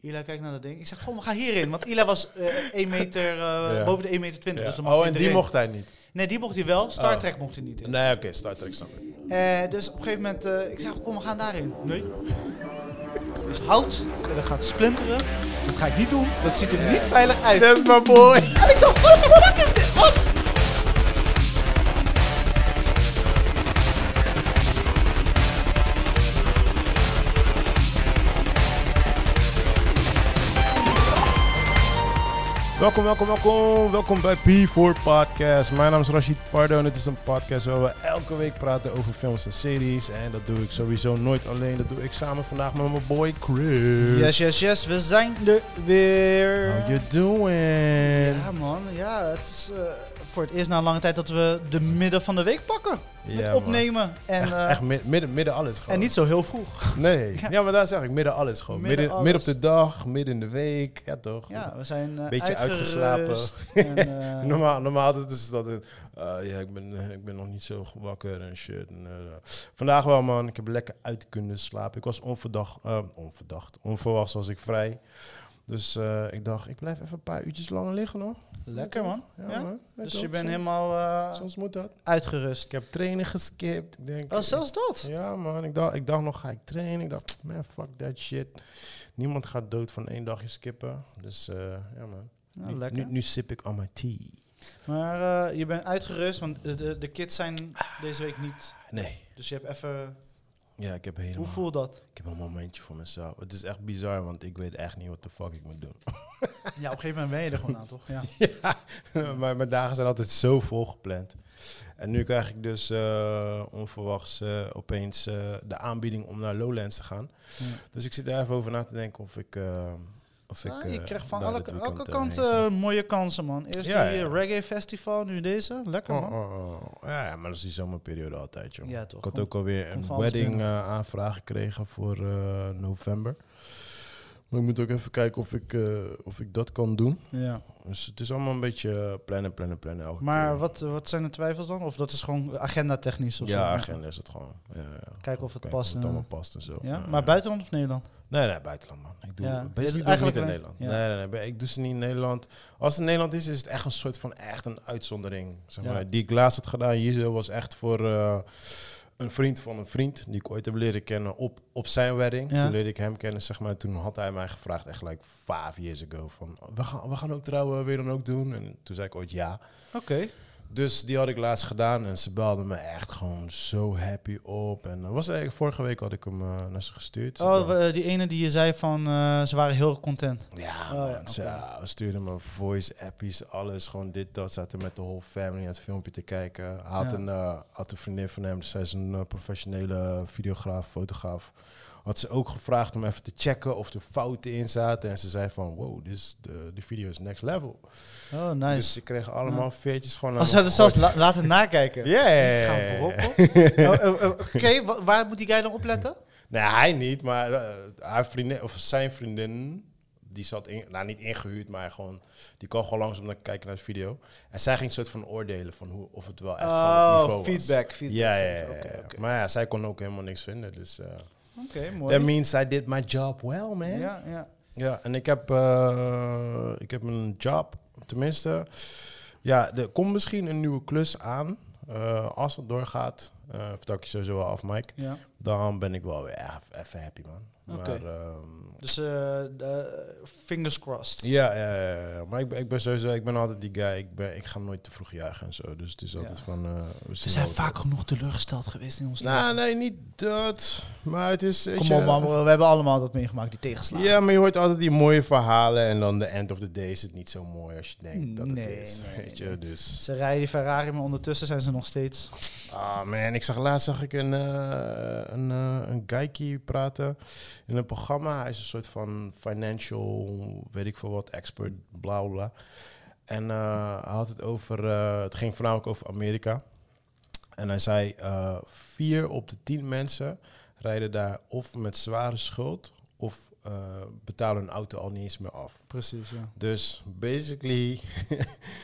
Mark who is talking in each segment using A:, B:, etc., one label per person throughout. A: Ila kijkt naar dat ding. Ik zeg, kom, we gaan hierin. Want Ila was eh 1 meter, eh,
B: Ja.
A: boven de 1 meter 20. Dus
B: Ja.
A: dan mocht
B: Oh,
A: hij
B: en die
A: erin.
B: mocht hij niet.
A: Nee, die mocht hij wel. Star
B: Oh.
A: Trek mocht hij niet in.
B: Nee, oké, Star Trek snap ik.
A: Eh, dus op een gegeven moment, eh, ik zeg, kom, we gaan daarin. Nee. Dus hout, en dat gaat splinteren. Dat ga ik niet doen. Dat ziet er niet veilig uit.
B: That's my boy.
A: En ik dacht, what the fuck is dit? Wat?
B: Welkom, welkom, welkom. Welkom bij P4 Podcast. Mijn naam is Rashid Pardo en dit is een podcast waar we elke week praten over films en series. En dat doe ik sowieso nooit alleen. Dat doe ik samen vandaag met mijn boy Chris.
A: Yes, yes, yes. We zijn er weer.
B: How you doing?
A: Ja, man. Ja, het is eh, voor het eerst na een lange tijd dat we de midden van de week pakken. Met
B: Ja, man.
A: opnemen. En,
B: Echt,
A: eh,
B: echt mid- midden, midden alles gewoon.
A: en niet zo heel vroeg.
B: Nee,
A: Ja.
B: ja. maar daar zeg ik midden alles gewoon.
A: Midden
B: Midden, midden,
A: alles.
B: op de dag, midden in de week. Ja, toch?
A: Ja, we zijn eh,
B: Beetje
A: uitgerust En, eh,
B: Normaal, normaal altijd is dat het, eh, ja, ik ben, eh, ik ben nog niet zo wakker en shit. En, eh, vandaag wel, man. Ik heb lekker uit kunnen slapen. Ik was onverdacht, eh, onverdacht, onverwachts was ik vrij. Dus eh, ik dacht, ik blijf even een paar uurtjes langer liggen, hoor.
A: Lekker, man. Ja,
B: man. Weet
A: Dus
B: toch,
A: je bent
B: soms-
A: helemaal eh,
B: Soms moet dat.
A: uitgerust.
B: Ik heb trainen geskipt. Ik denk,
A: Oh, zelfs dat?
B: Ja, man. Ik dacht, ik dacht nog, ga ik trainen? Ik dacht, man, fuck that shit. Niemand gaat dood van één dagje skippen. Dus eh, ja, man.
A: Nou,
B: Nu-
A: lekker.
B: nu, nu sip ik al mijn tea.
A: Maar eh, je bent uitgerust, want de- de, de kids zijn deze week niet.
B: Nee.
A: Dus je hebt even...
B: Ja, ik heb helemaal...
A: Hoe voel dat?
B: Ik heb een momentje voor mezelf. Het is echt bizar, want ik weet echt niet wat de fuck ik moet doen.
A: Ja, op een gegeven moment ben je er gewoon aan, toch? Ja.
B: ja, maar mijn dagen zijn altijd zo vol gepland. En nu krijg ik dus eh, onverwachts eh, opeens eh, de aanbieding om naar Lowlands te gaan.
A: Ja.
B: Dus ik zit er even over na te denken of ik... eh, of ik
A: Ah, je
B: eh,
A: krijgt van
B: daar
A: alle,
B: dit
A: elke
B: weekend, eh, heen
A: kant eh, mooie kansen, man. Eerst
B: Ja,
A: die
B: ja.
A: eh, reggae festival, nu deze. Lekker,
B: Oh,
A: man.
B: oh, oh. Ja, ja, maar dat is die zomerperiode altijd, joh.
A: Ja, toch.
B: Ik had
A: Kom.
B: ook alweer
A: komt
B: een
A: van alles
B: wedding
A: binnen.
B: eh, aanvraag gekregen voor eh, november. Maar ik moet ook even kijken of ik, eh, of ik dat kan doen.
A: Ja.
B: Dus het is allemaal een beetje eh, plannen, plannen, plannen. Elke
A: Maar
B: keer.
A: wat, wat zijn de twijfels dan? Of dat is gewoon agenda-technisch? of zo?
B: Ja, agenda is het gewoon. Ja, ja.
A: Kijken of het
B: Kijken
A: past.
B: het
A: en-
B: allemaal past en zo.
A: ja?
B: Ja,
A: Maar
B: ja.
A: buitenland of Nederland?
B: Nee, nee, buitenland, man. Ik doe
A: Ja. Je
B: basically
A: doet
B: doe ik
A: eigenlijk
B: niet in
A: alleen-
B: Nederland.
A: ja.
B: Nee, nee, nee. Ik doe ze niet in Nederland. Als het in Nederland is, is het echt een soort van echt een uitzondering. Zeg
A: Ja.
B: maar. Die ik laatst had gedaan hier zo, was echt voor eh, een vriend van een vriend. Die ik ooit heb leren kennen op, op zijn wedding.
A: Ja.
B: Toen leerde ik hem kennen, zeg maar. Toen had hij mij gevraagd, echt like five years ago, van... We gaan, we gaan ook trouwen, wil je dan ook doen? En toen zei ik ooit ja.
A: Oké.
B: Dus die had ik laatst gedaan en ze belde me echt gewoon zo happy op. En dat was eigenlijk, vorige week had ik hem eh, naar ze gestuurd. Ze
A: Oh, we- eh, die ene die je zei van eh, ze waren heel content.
B: Ja,
A: Oh,
B: man.
A: ja,
B: Ze-
A: oké.
B: ja, we stuurden me voice appies, alles. Gewoon dit, dat. Zaten met de whole family aan het filmpje te kijken. Hij Had,
A: Ja.
B: een, eh, had een vriendin van hem, zij is een eh, professionele videograaf, fotograaf. Had ze ook gevraagd om even te checken of er fouten in zaten. En ze zei van, wow, this, de, de video is next level.
A: Oh, nice.
B: Dus ze kregen allemaal veertjes gewoon
A: oh,
B: aan
A: ze hadden
B: hem
A: zelfs la- laten nakijken.
B: gegooid. Ja, ja, ja,
A: Gaan
B: ja, ja.
A: brokken. Oh, oh, oh, Oké, wa- waar moet die guy dan op letten?
B: Nee, hij niet, maar eh, haar vriendin, of zijn vriendin, die zat in, nou niet ingehuurd, maar gewoon, die kwam gewoon langs om te kijken naar de video. En zij ging soort van oordelen van hoe, of het wel echt gewoon het niveau was.
A: Oh, feedback. feedback.
B: Ja, ja, ja, ja.
A: Oké, oké.
B: Maar ja, zij kon ook helemaal niks vinden, dus eh
A: Oké, mooi.
B: that means I did my job well, man. Ja,
A: Ja, ja.
B: en ik heb, eh, ik heb een job, tenminste. Ja, er komt misschien een nieuwe klus aan, eh, als het doorgaat. Eh vertel ik je sowieso wel af, Mike.
A: ja.
B: Dan ben ik wel weer echt even happy, man.
A: Oké.
B: Maar, ehm,
A: Dus eh, de- fingers crossed.
B: ja, ja, ja, ja. maar ik, ben- ik ben sowieso, ik ben altijd die guy. Ik, ben, ik ga nooit te vroeg jagen en zo. Dus het is altijd
A: Ja.
B: van. eh, we
A: Ze
B: zien
A: zijn
B: wel wat
A: vaak genoeg teleurgesteld geweest in ons
B: er-
A: leven.
B: Nou, nee, niet dat. Maar het is. weet
A: Kom
B: je-
A: op, man. We hebben allemaal dat meegemaakt, die tegenslagen.
B: Ja, maar je hoort altijd die mooie verhalen. En dan de end of the day is het niet zo mooi als je denkt dat het
A: Mm, Nee,
B: is.
A: nee,
B: weet je,
A: nee.
B: dus.
A: Ze rijden die Ferrari, maar ondertussen zijn ze nog steeds.
B: Ah man, ik zag laatst zag ik een, eh een, eh, een geikie praten in een programma. Hij is een soort van financial, weet ik veel wat, expert, bla bla, bla. En eh, hij had het over, eh, het ging voornamelijk over Amerika. En hij zei, eh, vier op de tien mensen rijden daar of met zware schuld of eh, betalen hun auto al niet eens meer af.
A: Precies, ja.
B: Dus basically
A: Die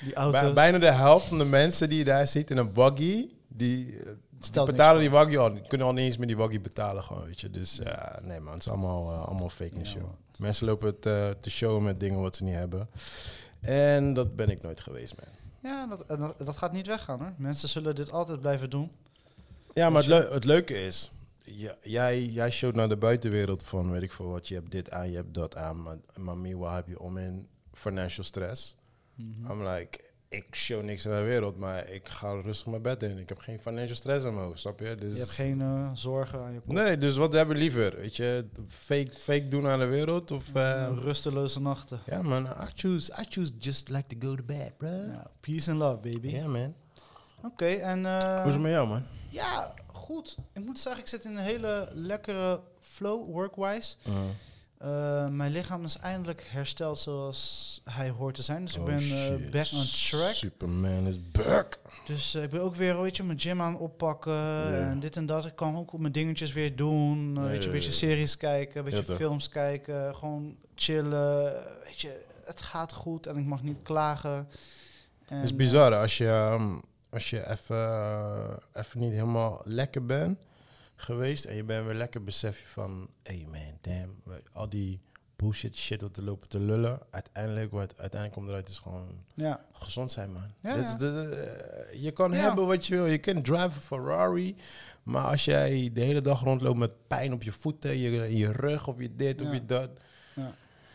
B: Bij-
A: auto's.
B: bijna de helft van de mensen die je daar ziet in een buggy, die, eh,
A: Stelt niks
B: betalen die buggy al, die kunnen al niet eens meer die buggy betalen gewoon, weet je. Dus ja, nee man, het is allemaal, eh, allemaal fake
A: Ja,
B: news, joh.
A: man.
B: Mensen lopen eh, te, te showen met dingen wat ze niet hebben. En dat ben ik nooit geweest, man.
A: Ja, dat, en dat, dat gaat niet weggaan hoor. Mensen zullen dit altijd blijven doen.
B: Ja, maar het,
A: Dus
B: leu- het leuke is, j- jij, jij showt naar de buitenwereld van, weet ik veel wat, je hebt dit aan, je hebt dat aan, maar, maar meanwhile heb je om in financial stress.
A: Mhm.
B: I'm like, ik show niks naar de wereld, maar ik ga rustig mijn bed in. Ik heb geen financial stress aan mijn hoofd, snap je? Dus
A: Je hebt geen eh, zorgen aan je kop.
B: Nee, dus wat hebben we liever? Weet je, fake, fake doen aan de wereld of... eh,
A: Eh, rusteloze nachten.
B: Ja man, I choose, I choose just like to go to bed, bro. Ja,
A: Ja, peace and love, baby.
B: man.
A: Oké, en... eh,
B: Hoe is het met jou, man?
A: Ja, goed. Ik moet zeggen, ik zit in een hele lekkere flow, workwise.
B: Oh,
A: Eh, mijn lichaam is eindelijk hersteld zoals hij hoort te zijn. Dus ik
B: Oh,
A: ben eh,
B: shit.
A: back on track.
B: Superman is back.
A: Dus eh, ik ben ook weer weet je, mijn gym aan het oppakken. En dit en dat. Ik kan ook mijn dingetjes weer doen. Eh,
B: Ja,
A: weet je,
B: ja,
A: een beetje
B: ja.
A: series kijken, een beetje
B: Ja, toch?
A: films kijken. Gewoon chillen. Weet je, het gaat goed en ik mag niet klagen. En,
B: Het is bizar hè, als je, ehm, als je even, eh, even niet helemaal lekker bent geweest en je bent weer lekker besef je van, hey man, damn, we- al die bullshit shit wat er lopen te lullen, uiteindelijk wat uiteindelijk komt eruit is gewoon
A: eh, ja.
B: gezond zijn man.
A: Ja,
B: Dit is
A: ja.
B: de- eh, je kan
A: Ja.
B: hebben wat je wil, je kunt drive een Ferrari, maar als jij de hele dag rondloopt met pijn op je voeten, je, je rug, op je dit,
A: Ja.
B: op je dat,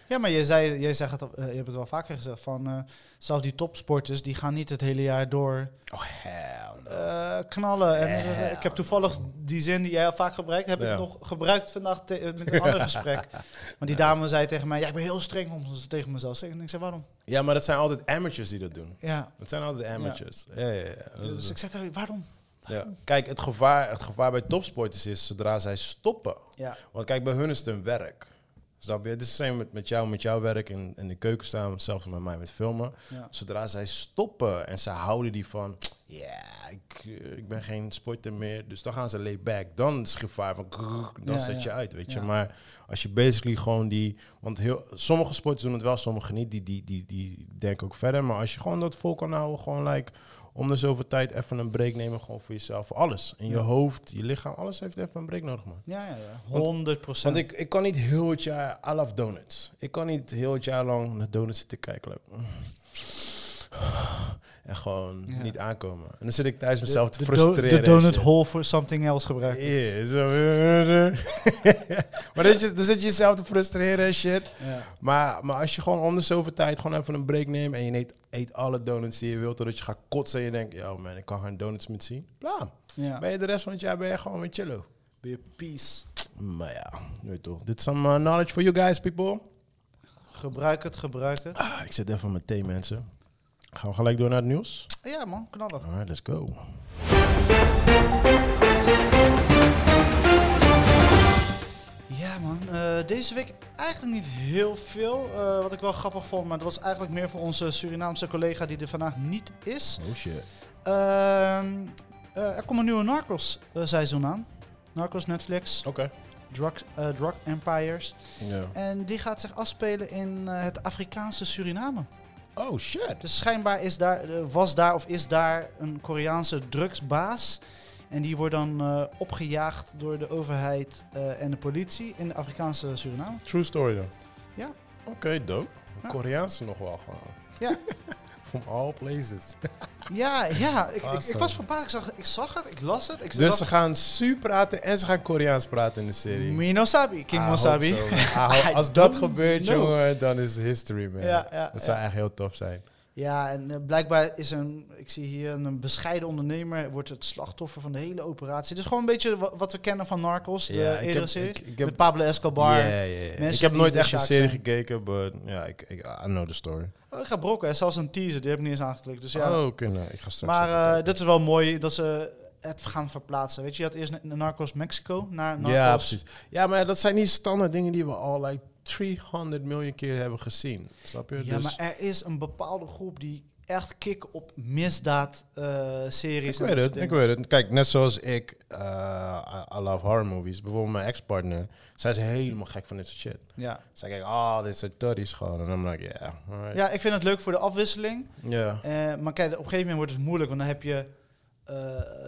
A: Ja, maar jij, zei, jij zegt het, al- eh, je hebt het wel vaker gezegd van eh, zelfs die topsporters die gaan niet het hele jaar door
B: oh hell no.
A: eh, knallen. En, eh,
B: Ja.
A: ik heb toevallig die zin die jij al vaak gebruikt, heb
B: Ja.
A: ik nog gebruikt vandaag te- eh, met een ander gesprek. Maar die dame zei tegen mij, ja, ik ben heel streng om, tegen mezelf. En ik zei, waarom?
B: Ja, maar dat zijn altijd amateurs die dat doen.
A: Ja.
B: Het zijn altijd amateurs. Ja. Ja, ja, Dat is
A: Dus ik zei tegen haar, waarom?
B: het. Ja. Kijk, het gevaar, het gevaar bij topsporters is zodra zij stoppen.
A: Ja.
B: Want kijk, bij hun is het een werk. Snap je? Het is het same met, met jou, met jouw werk in, in de keuken staan. Hetzelfde met mij met filmen.
A: Ja.
B: Zodra zij stoppen en ze houden die van... Ja, ik, eh, ik ben geen sporter meer. Dus dan gaan ze lay back. Dan is het gevaar van... grrr, Dan
A: Ja,
B: zet je
A: ja.
B: uit, weet je.
A: Ja.
B: Maar als je basically gewoon die... Want heel, sommige sporters doen het wel, sommige niet. Die, die, die, die denken ook verder. Maar als je gewoon dat vol kan houden, gewoon like... Om de zoveel tijd even een break nemen, gewoon voor jezelf. Voor alles. In je hoofd, je lichaam, alles heeft even een break nodig, man.
A: Ja, ja, ja. 100
B: Want ik, ik kan niet heel het jaar... I love donuts. Ik kan niet heel het jaar lang naar donuts zitten kijken. like, en gewoon
A: Ja.
B: niet aankomen. En dan zit ik thuis
A: De-
B: mezelf
A: de
B: te
A: do-
B: frustreren.
A: De
B: en
A: donut
B: shit.
A: hole for something else gebruikt.
B: Ja, zo. maar dat je, dan zit je jezelf te frustreren en shit.
A: Ja.
B: Maar, maar als je gewoon om de zoveel tijd gewoon even een break neemt... en je eet, eet alle donuts die je wilt... totdat je gaat kotsen en je denkt... yo man, ik kan geen donuts meer zien. Blam.
A: Ja.
B: Ben je de rest van het jaar ben je gewoon weer chillen.
A: Be peace.
B: Maar ja, je weet toch. Dit is some uh, knowledge for you guys, people.
A: Gebruik het, gebruik het.
B: Ah, ik zit even aan mijn thee, mensen. Gaan we gelijk door naar het nieuws?
A: Ja man, knallen.
B: Alright, let's go.
A: Ja man, Eh, deze week eigenlijk niet heel veel. eh, wat ik wel grappig vond, maar dat was eigenlijk meer voor onze Surinaamse collega die er vandaag niet is.
B: Oh shit.
A: Ehm, eh, er komt een nieuwe Narcos eh, seizoen aan. Narcos Netflix,
B: Oké.
A: Drug, eh, Drug Empires.
B: Ja.
A: En die gaat zich afspelen in eh, het Afrikaanse Suriname.
B: Oh shit.
A: Dus schijnbaar is daar, eh, was daar of is daar een Koreaanse drugsbaas. En die wordt dan eh, opgejaagd door de overheid eh, en de politie in de Afrikaanse Suriname.
B: True story dan?
A: Ja.
B: Oké, dope.
A: Ja.
B: Koreaanse nog wel gewoon.
A: Ja.
B: From all places.
A: Ja, ja. Ik, ik, ik
B: Awesome.
A: was verbaasd. Ik zag, ik zag het, ik las het. Ik
B: Dus ze
A: dacht,
B: gaan Su praten en ze gaan Koreaans praten in de serie. Ah,
A: Mino Sabi, King
B: I
A: Wasabi.
B: hope so, man. I hope-
A: I
B: Als dat
A: don't
B: gebeurt,
A: know.
B: jongen, dan is het history, man.
A: Ja, ja,
B: dat zou
A: ja.
B: echt heel tof zijn.
A: Ja, en eh, blijkbaar is een, ik zie hier een, een bescheiden ondernemer, wordt het slachtoffer van de hele operatie. Dus gewoon een beetje wa- wat we kennen van Narcos, de
B: Ja, ik
A: eerdere
B: heb-
A: serie.
B: ik- ik heb-
A: Met Pablo Escobar.
B: Ja, ja, ja.
A: mensen
B: Ik heb
A: die
B: nooit
A: de
B: echt de
A: Sjaak
B: serie
A: zijn.
B: gekeken, but ja, ik, ik, I know the story.
A: Oh, ik ga brokken, hè. zelfs een teaser, die heb ik niet eens aangeklikt. Dus ja.
B: Oh, kunnen. Ik ga straks
A: maar
B: even
A: eh, dat is wel mooi dat ze het gaan verplaatsen. Weet je, je had eerst na- Narcos Mexico naar Narcos.
B: Ja, precies. Ja, maar dat zijn niet standaard dingen die we al like 300 miljoen keer hebben gezien. Snap je?
A: Ja,
B: Dus-
A: maar er is een bepaalde groep die echt kick op eh, misdaad-series.
B: ik weet het, ik weet het. Kijk, net zoals ik, eh, I, I love horror movies. Bijvoorbeeld mijn ex-partner, zij is helemaal gek van dit soort shit.
A: Ja.
B: Zij kijkt, oh, dit soort toddies gewoon. En I'm like, yeah, alright.
A: ja, ik vind het leuk voor de afwisseling.
B: Ja.
A: Eh, maar kijk, op een gegeven moment wordt het moeilijk, want dan heb je eh,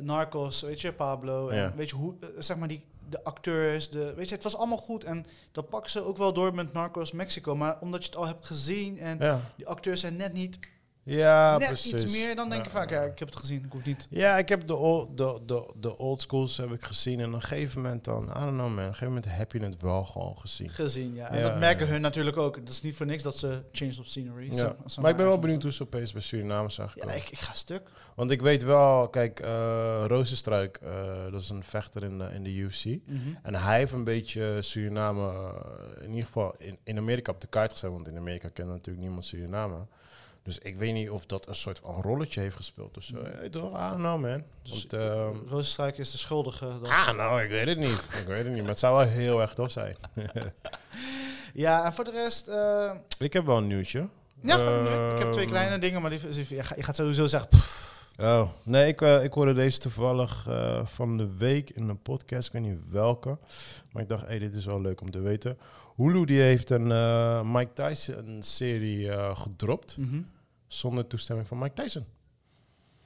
A: Narcos, weet je, Pablo. En
B: Ja.
A: Weet je hoe, eh, zeg maar, die, de acteurs, de, weet je, het was allemaal goed. En dat pakken ze ook wel door met Narcos Mexico. Maar omdat je het al hebt gezien en
B: Ja,
A: die acteurs zijn net niet,
B: ja
A: net
B: precies.
A: iets meer, dan denk
B: Ja,
A: je vaak, ja,
B: ja.
A: ik heb het gezien, ik hoef niet.
B: Ja, ik heb de, old, de, de, de old schools heb ik gezien. En op een gegeven moment dan, I don't know man, op een gegeven moment heb je het wel gewoon gezien.
A: Gezien, ja. En
B: Ja,
A: dat merken
B: ja.
A: hun natuurlijk ook. Het is niet voor niks dat ze Change of Scenery.
B: Ja.
A: zo- zo
B: Maar ik ben wel
A: maken.
B: benieuwd hoe ze opeens bij Suriname zijn
A: Ja,
B: gekomen.
A: ik, ik ga stuk.
B: Want ik weet wel, kijk, eh Rozenstruik, eh, dat is een vechter in de, in de UFC. En hij heeft een beetje Suriname, eh, in ieder geval in, in Amerika op de kaart gezet. Want in Amerika kent natuurlijk niemand Suriname. Dus ik weet niet of dat een soort van rolletje heeft gespeeld. Dus
A: Mm.
B: eh, hey, toch, I don't know man.
A: Dus
B: Want, ehm,
A: Roosstruik is de schuldige. dan.
B: ah, nou, ik weet het niet. Ik weet het niet, maar het zou wel heel erg tof zijn.
A: Ja, en voor de rest... eh,
B: Ik heb wel een nieuwtje.
A: ja, gewoon leuk. ik heb twee
B: Ehm,
A: kleine dingen, maar die, je gaat- je gaat sowieso zeggen... pff,
B: Oh, nee, ik, eh, ik hoorde deze toevallig eh, van de week in een podcast, ik weet niet welke. Maar ik dacht, hey, dit is wel leuk om te weten. Hulu die heeft een eh, Mike Tyson-serie eh, gedropt zonder toestemming van Mike Tyson.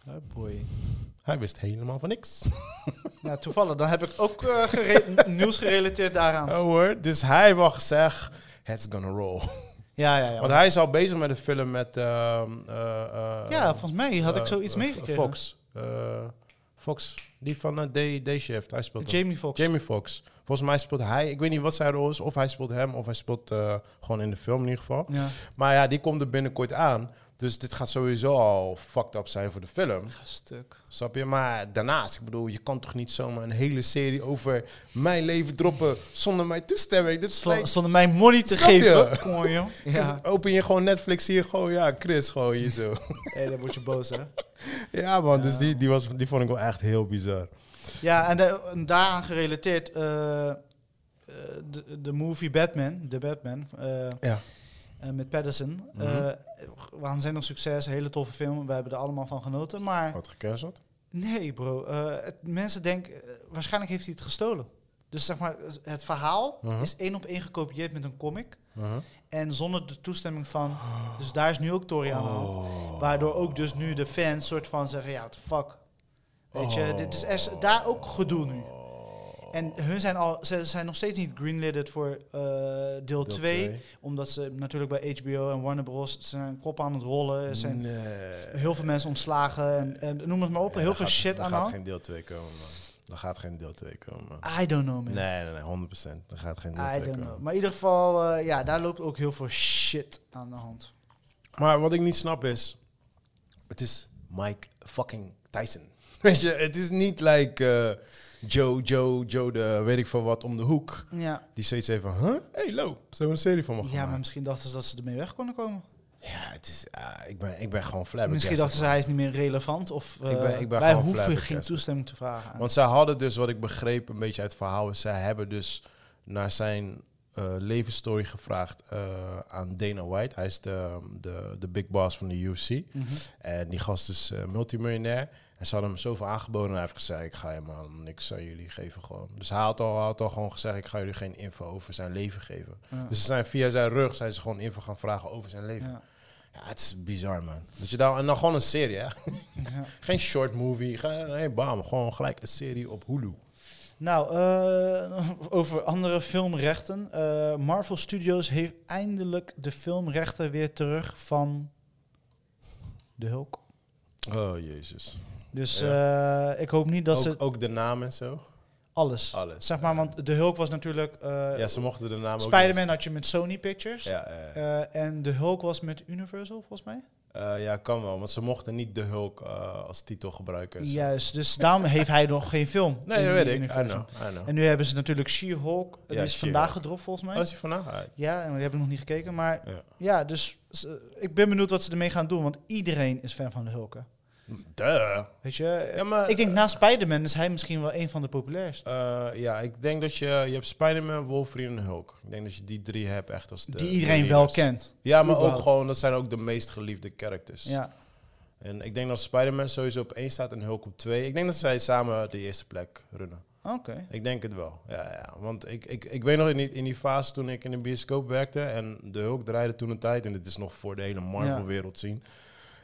A: Oh boy.
B: Hij wist helemaal van niks.
A: Ja, toevallig. Dan heb ik ook eh, gere- nieuws gerelateerd daaraan.
B: Oh hoor, dus hij heeft al gezegd, it's gonna roll.
A: Ja, ja, ja.
B: Want hij is al bezig met een film met... ehm, eh, eh,
A: ja, volgens mij had ik
B: eh,
A: zoiets
B: eh,
A: meegekregen.
B: Fox. Eh, Fox, die van eh, Day, Day Shift, hij speelt hem.
A: Jamie Foxx.
B: Jamie Foxx. Volgens mij speelt hij, ik weet niet wat zijn rol is, of hij speelt hem, of hij speelt eh, gewoon in de film in ieder geval.
A: ja.
B: Maar ja, die komt er binnenkort aan. Dus dit gaat sowieso al fucked up zijn voor de film.
A: Ga stuk.
B: Snap je? Maar daarnaast, ik bedoel, je kan toch niet zomaar een hele serie over mijn leven droppen zonder mijn toestemming. Dit is
A: Sla-
B: like,
A: Zonder mij money te
B: Snap je?
A: geven. Kom maar, joh. Ja.
B: open je gewoon Netflix, zie je gewoon, ja, Chris, gewoon hier zo.
A: Hé, dan word je boos, hè?
B: ja man, dus die, die, was, die vond ik wel echt heel bizar.
A: Ja, en, da- en daaraan gerelateerd... eh, eh, de, de movie Batman, de Batman, eh,
B: Ja.
A: eh, met Patterson.
B: Mhm.
A: Eh, waanzinnig succes, hele toffe film. We hebben er allemaal van genoten. Maar
B: Wat gecanceld?
A: Nee, bro. Eh, het- mensen denken, eh, waarschijnlijk heeft hij het gestolen. Dus zeg maar, het verhaal
B: Mhm.
A: is één op één gekopieerd met een comic.
B: Uh-huh.
A: En zonder de toestemming van. Dus daar is nu ook Tori aan de hand.
B: Oh.
A: Waardoor ook dus nu de fans soort van zeggen: ja, what the fuck. Weet je, dit is, er is daar ook gedoe nu. En hun zijn al, ze zijn nog steeds niet greenlidded voor eh, deel
B: Deel
A: 2.
B: twee.
A: Omdat ze natuurlijk bij HBO en Warner Bros. zijn kop aan het rollen. Er eh, zijn
B: Nee.
A: heel veel mensen ontslagen. En, en noem het maar op.
B: Ja,
A: heel
B: daar
A: veel
B: gaat-
A: shit
B: daar
A: aan de hand.
B: gaat geen deel 2 komen, man. Er gaat geen deel 2 komen, man.
A: I don't know, man.
B: Nee, nee, nee, 100%. Er gaat geen deel
A: I
B: 2
A: don't
B: komen.
A: know. Maar in ieder geval, eh, ja, daar loopt ook heel veel shit aan de hand.
B: Maar wat ik niet snap is... Het is Mike fucking Tyson. Weet je, het is niet like eh, Joe, Joe, Joe de weet ik veel wat om de hoek.
A: Ja,
B: Die steeds even, huh? Hey, Lo, ze hebben een serie van me
A: ja
B: gemaakt.
A: maar misschien dachten ze dat ze ermee weg konden komen.
B: Ja, het is, ah, ik, ben, ik ben gewoon flabbergasted.
A: misschien dachten ze hij is niet meer relevant. Of eh,
B: Ik ben- ik ben
A: wij
B: gewoon
A: hoeven geen
B: flabbergasted.
A: toestemming te vragen. aan.
B: Want zij hadden dus, wat ik begreep een beetje uit het verhaal, is zij hebben dus naar zijn eh, levensstory gevraagd eh, aan Dana White. Hij is de, de, de big boss van de UFC.
A: Mhm.
B: En die gast is eh, multimiljonair. En ze hadden hem zoveel aangeboden en hij heeft gezegd, ik ga helemaal niks aan jullie geven gewoon. Dus hij had al, had al gewoon gezegd, ik ga jullie geen info over zijn leven geven.
A: Ja.
B: Dus ze zijn via zijn rug zijn ze gewoon info gaan vragen over zijn leven. Ja,
A: Ja.
B: het is bizar man. Dat je daar, en dan gewoon een serie hè.
A: Ja.
B: Geen short movie, geen, nee, bam, gewoon gelijk een serie op Hulu.
A: Nou, eh, over andere filmrechten. Eh, Marvel Studios heeft eindelijk de filmrechten weer terug van de Hulk.
B: Oh jezus.
A: Dus eh, ik hoop niet dat
B: ook,
A: ze
B: ook de naam en zo.
A: alles,
B: Alles.
A: Zeg maar, want de Hulk was natuurlijk. eh,
B: Ja, ze mochten de naam ook.
A: Spider-Man had je met Sony Pictures.
B: niet- Ja, ja, ja.
A: Eh, en de Hulk was met Universal, volgens mij.
B: Eh, ja, kan wel, want ze mochten niet de Hulk eh, als titel gebruiken. en zo.
A: Juist, dus daarom heeft hij nog geen film.
B: Nee,
A: in
B: dat weet
A: die
B: ik. I
A: Universal.
B: know, I know.
A: En nu hebben ze natuurlijk She-Hulk. Die
B: Ja,
A: is
B: She-Hulk.
A: vandaag gedropt, volgens mij.
B: Oh, is hij vandaag uit?
A: Ja, en die hebben nog niet gekeken. Maar ja,
B: Ja.
A: dus ze- ik ben benieuwd wat ze ermee gaan doen. Want iedereen is fan van de Hulk. hè.
B: Duh.
A: Weet je? eh,
B: Ja, maar...
A: ik denk na Spider-Man is hij misschien wel een van de populairst.
B: eh, ja, ik denk dat je... Je hebt Spider-Man, Wolverine en Hulk. Ik denk dat je die drie hebt echt als de...
A: die
B: de
A: iedereen wel
B: leaders.
A: kent.
B: Ja, maar ook
A: Überhaupt.
B: gewoon... Dat zijn ook de meest geliefde characters.
A: Ja.
B: En ik denk dat Spider-Man sowieso op één staat en Hulk op twee. Ik denk dat zij samen de eerste plek runnen.
A: Oké.
B: Ik denk het wel. Ja, ja. Want ik, ik, ik weet nog in die, in die fase toen ik in de bioscoop werkte en de Hulk draaide toen een tijd, en dit is nog voor de hele Marvel-wereld zien.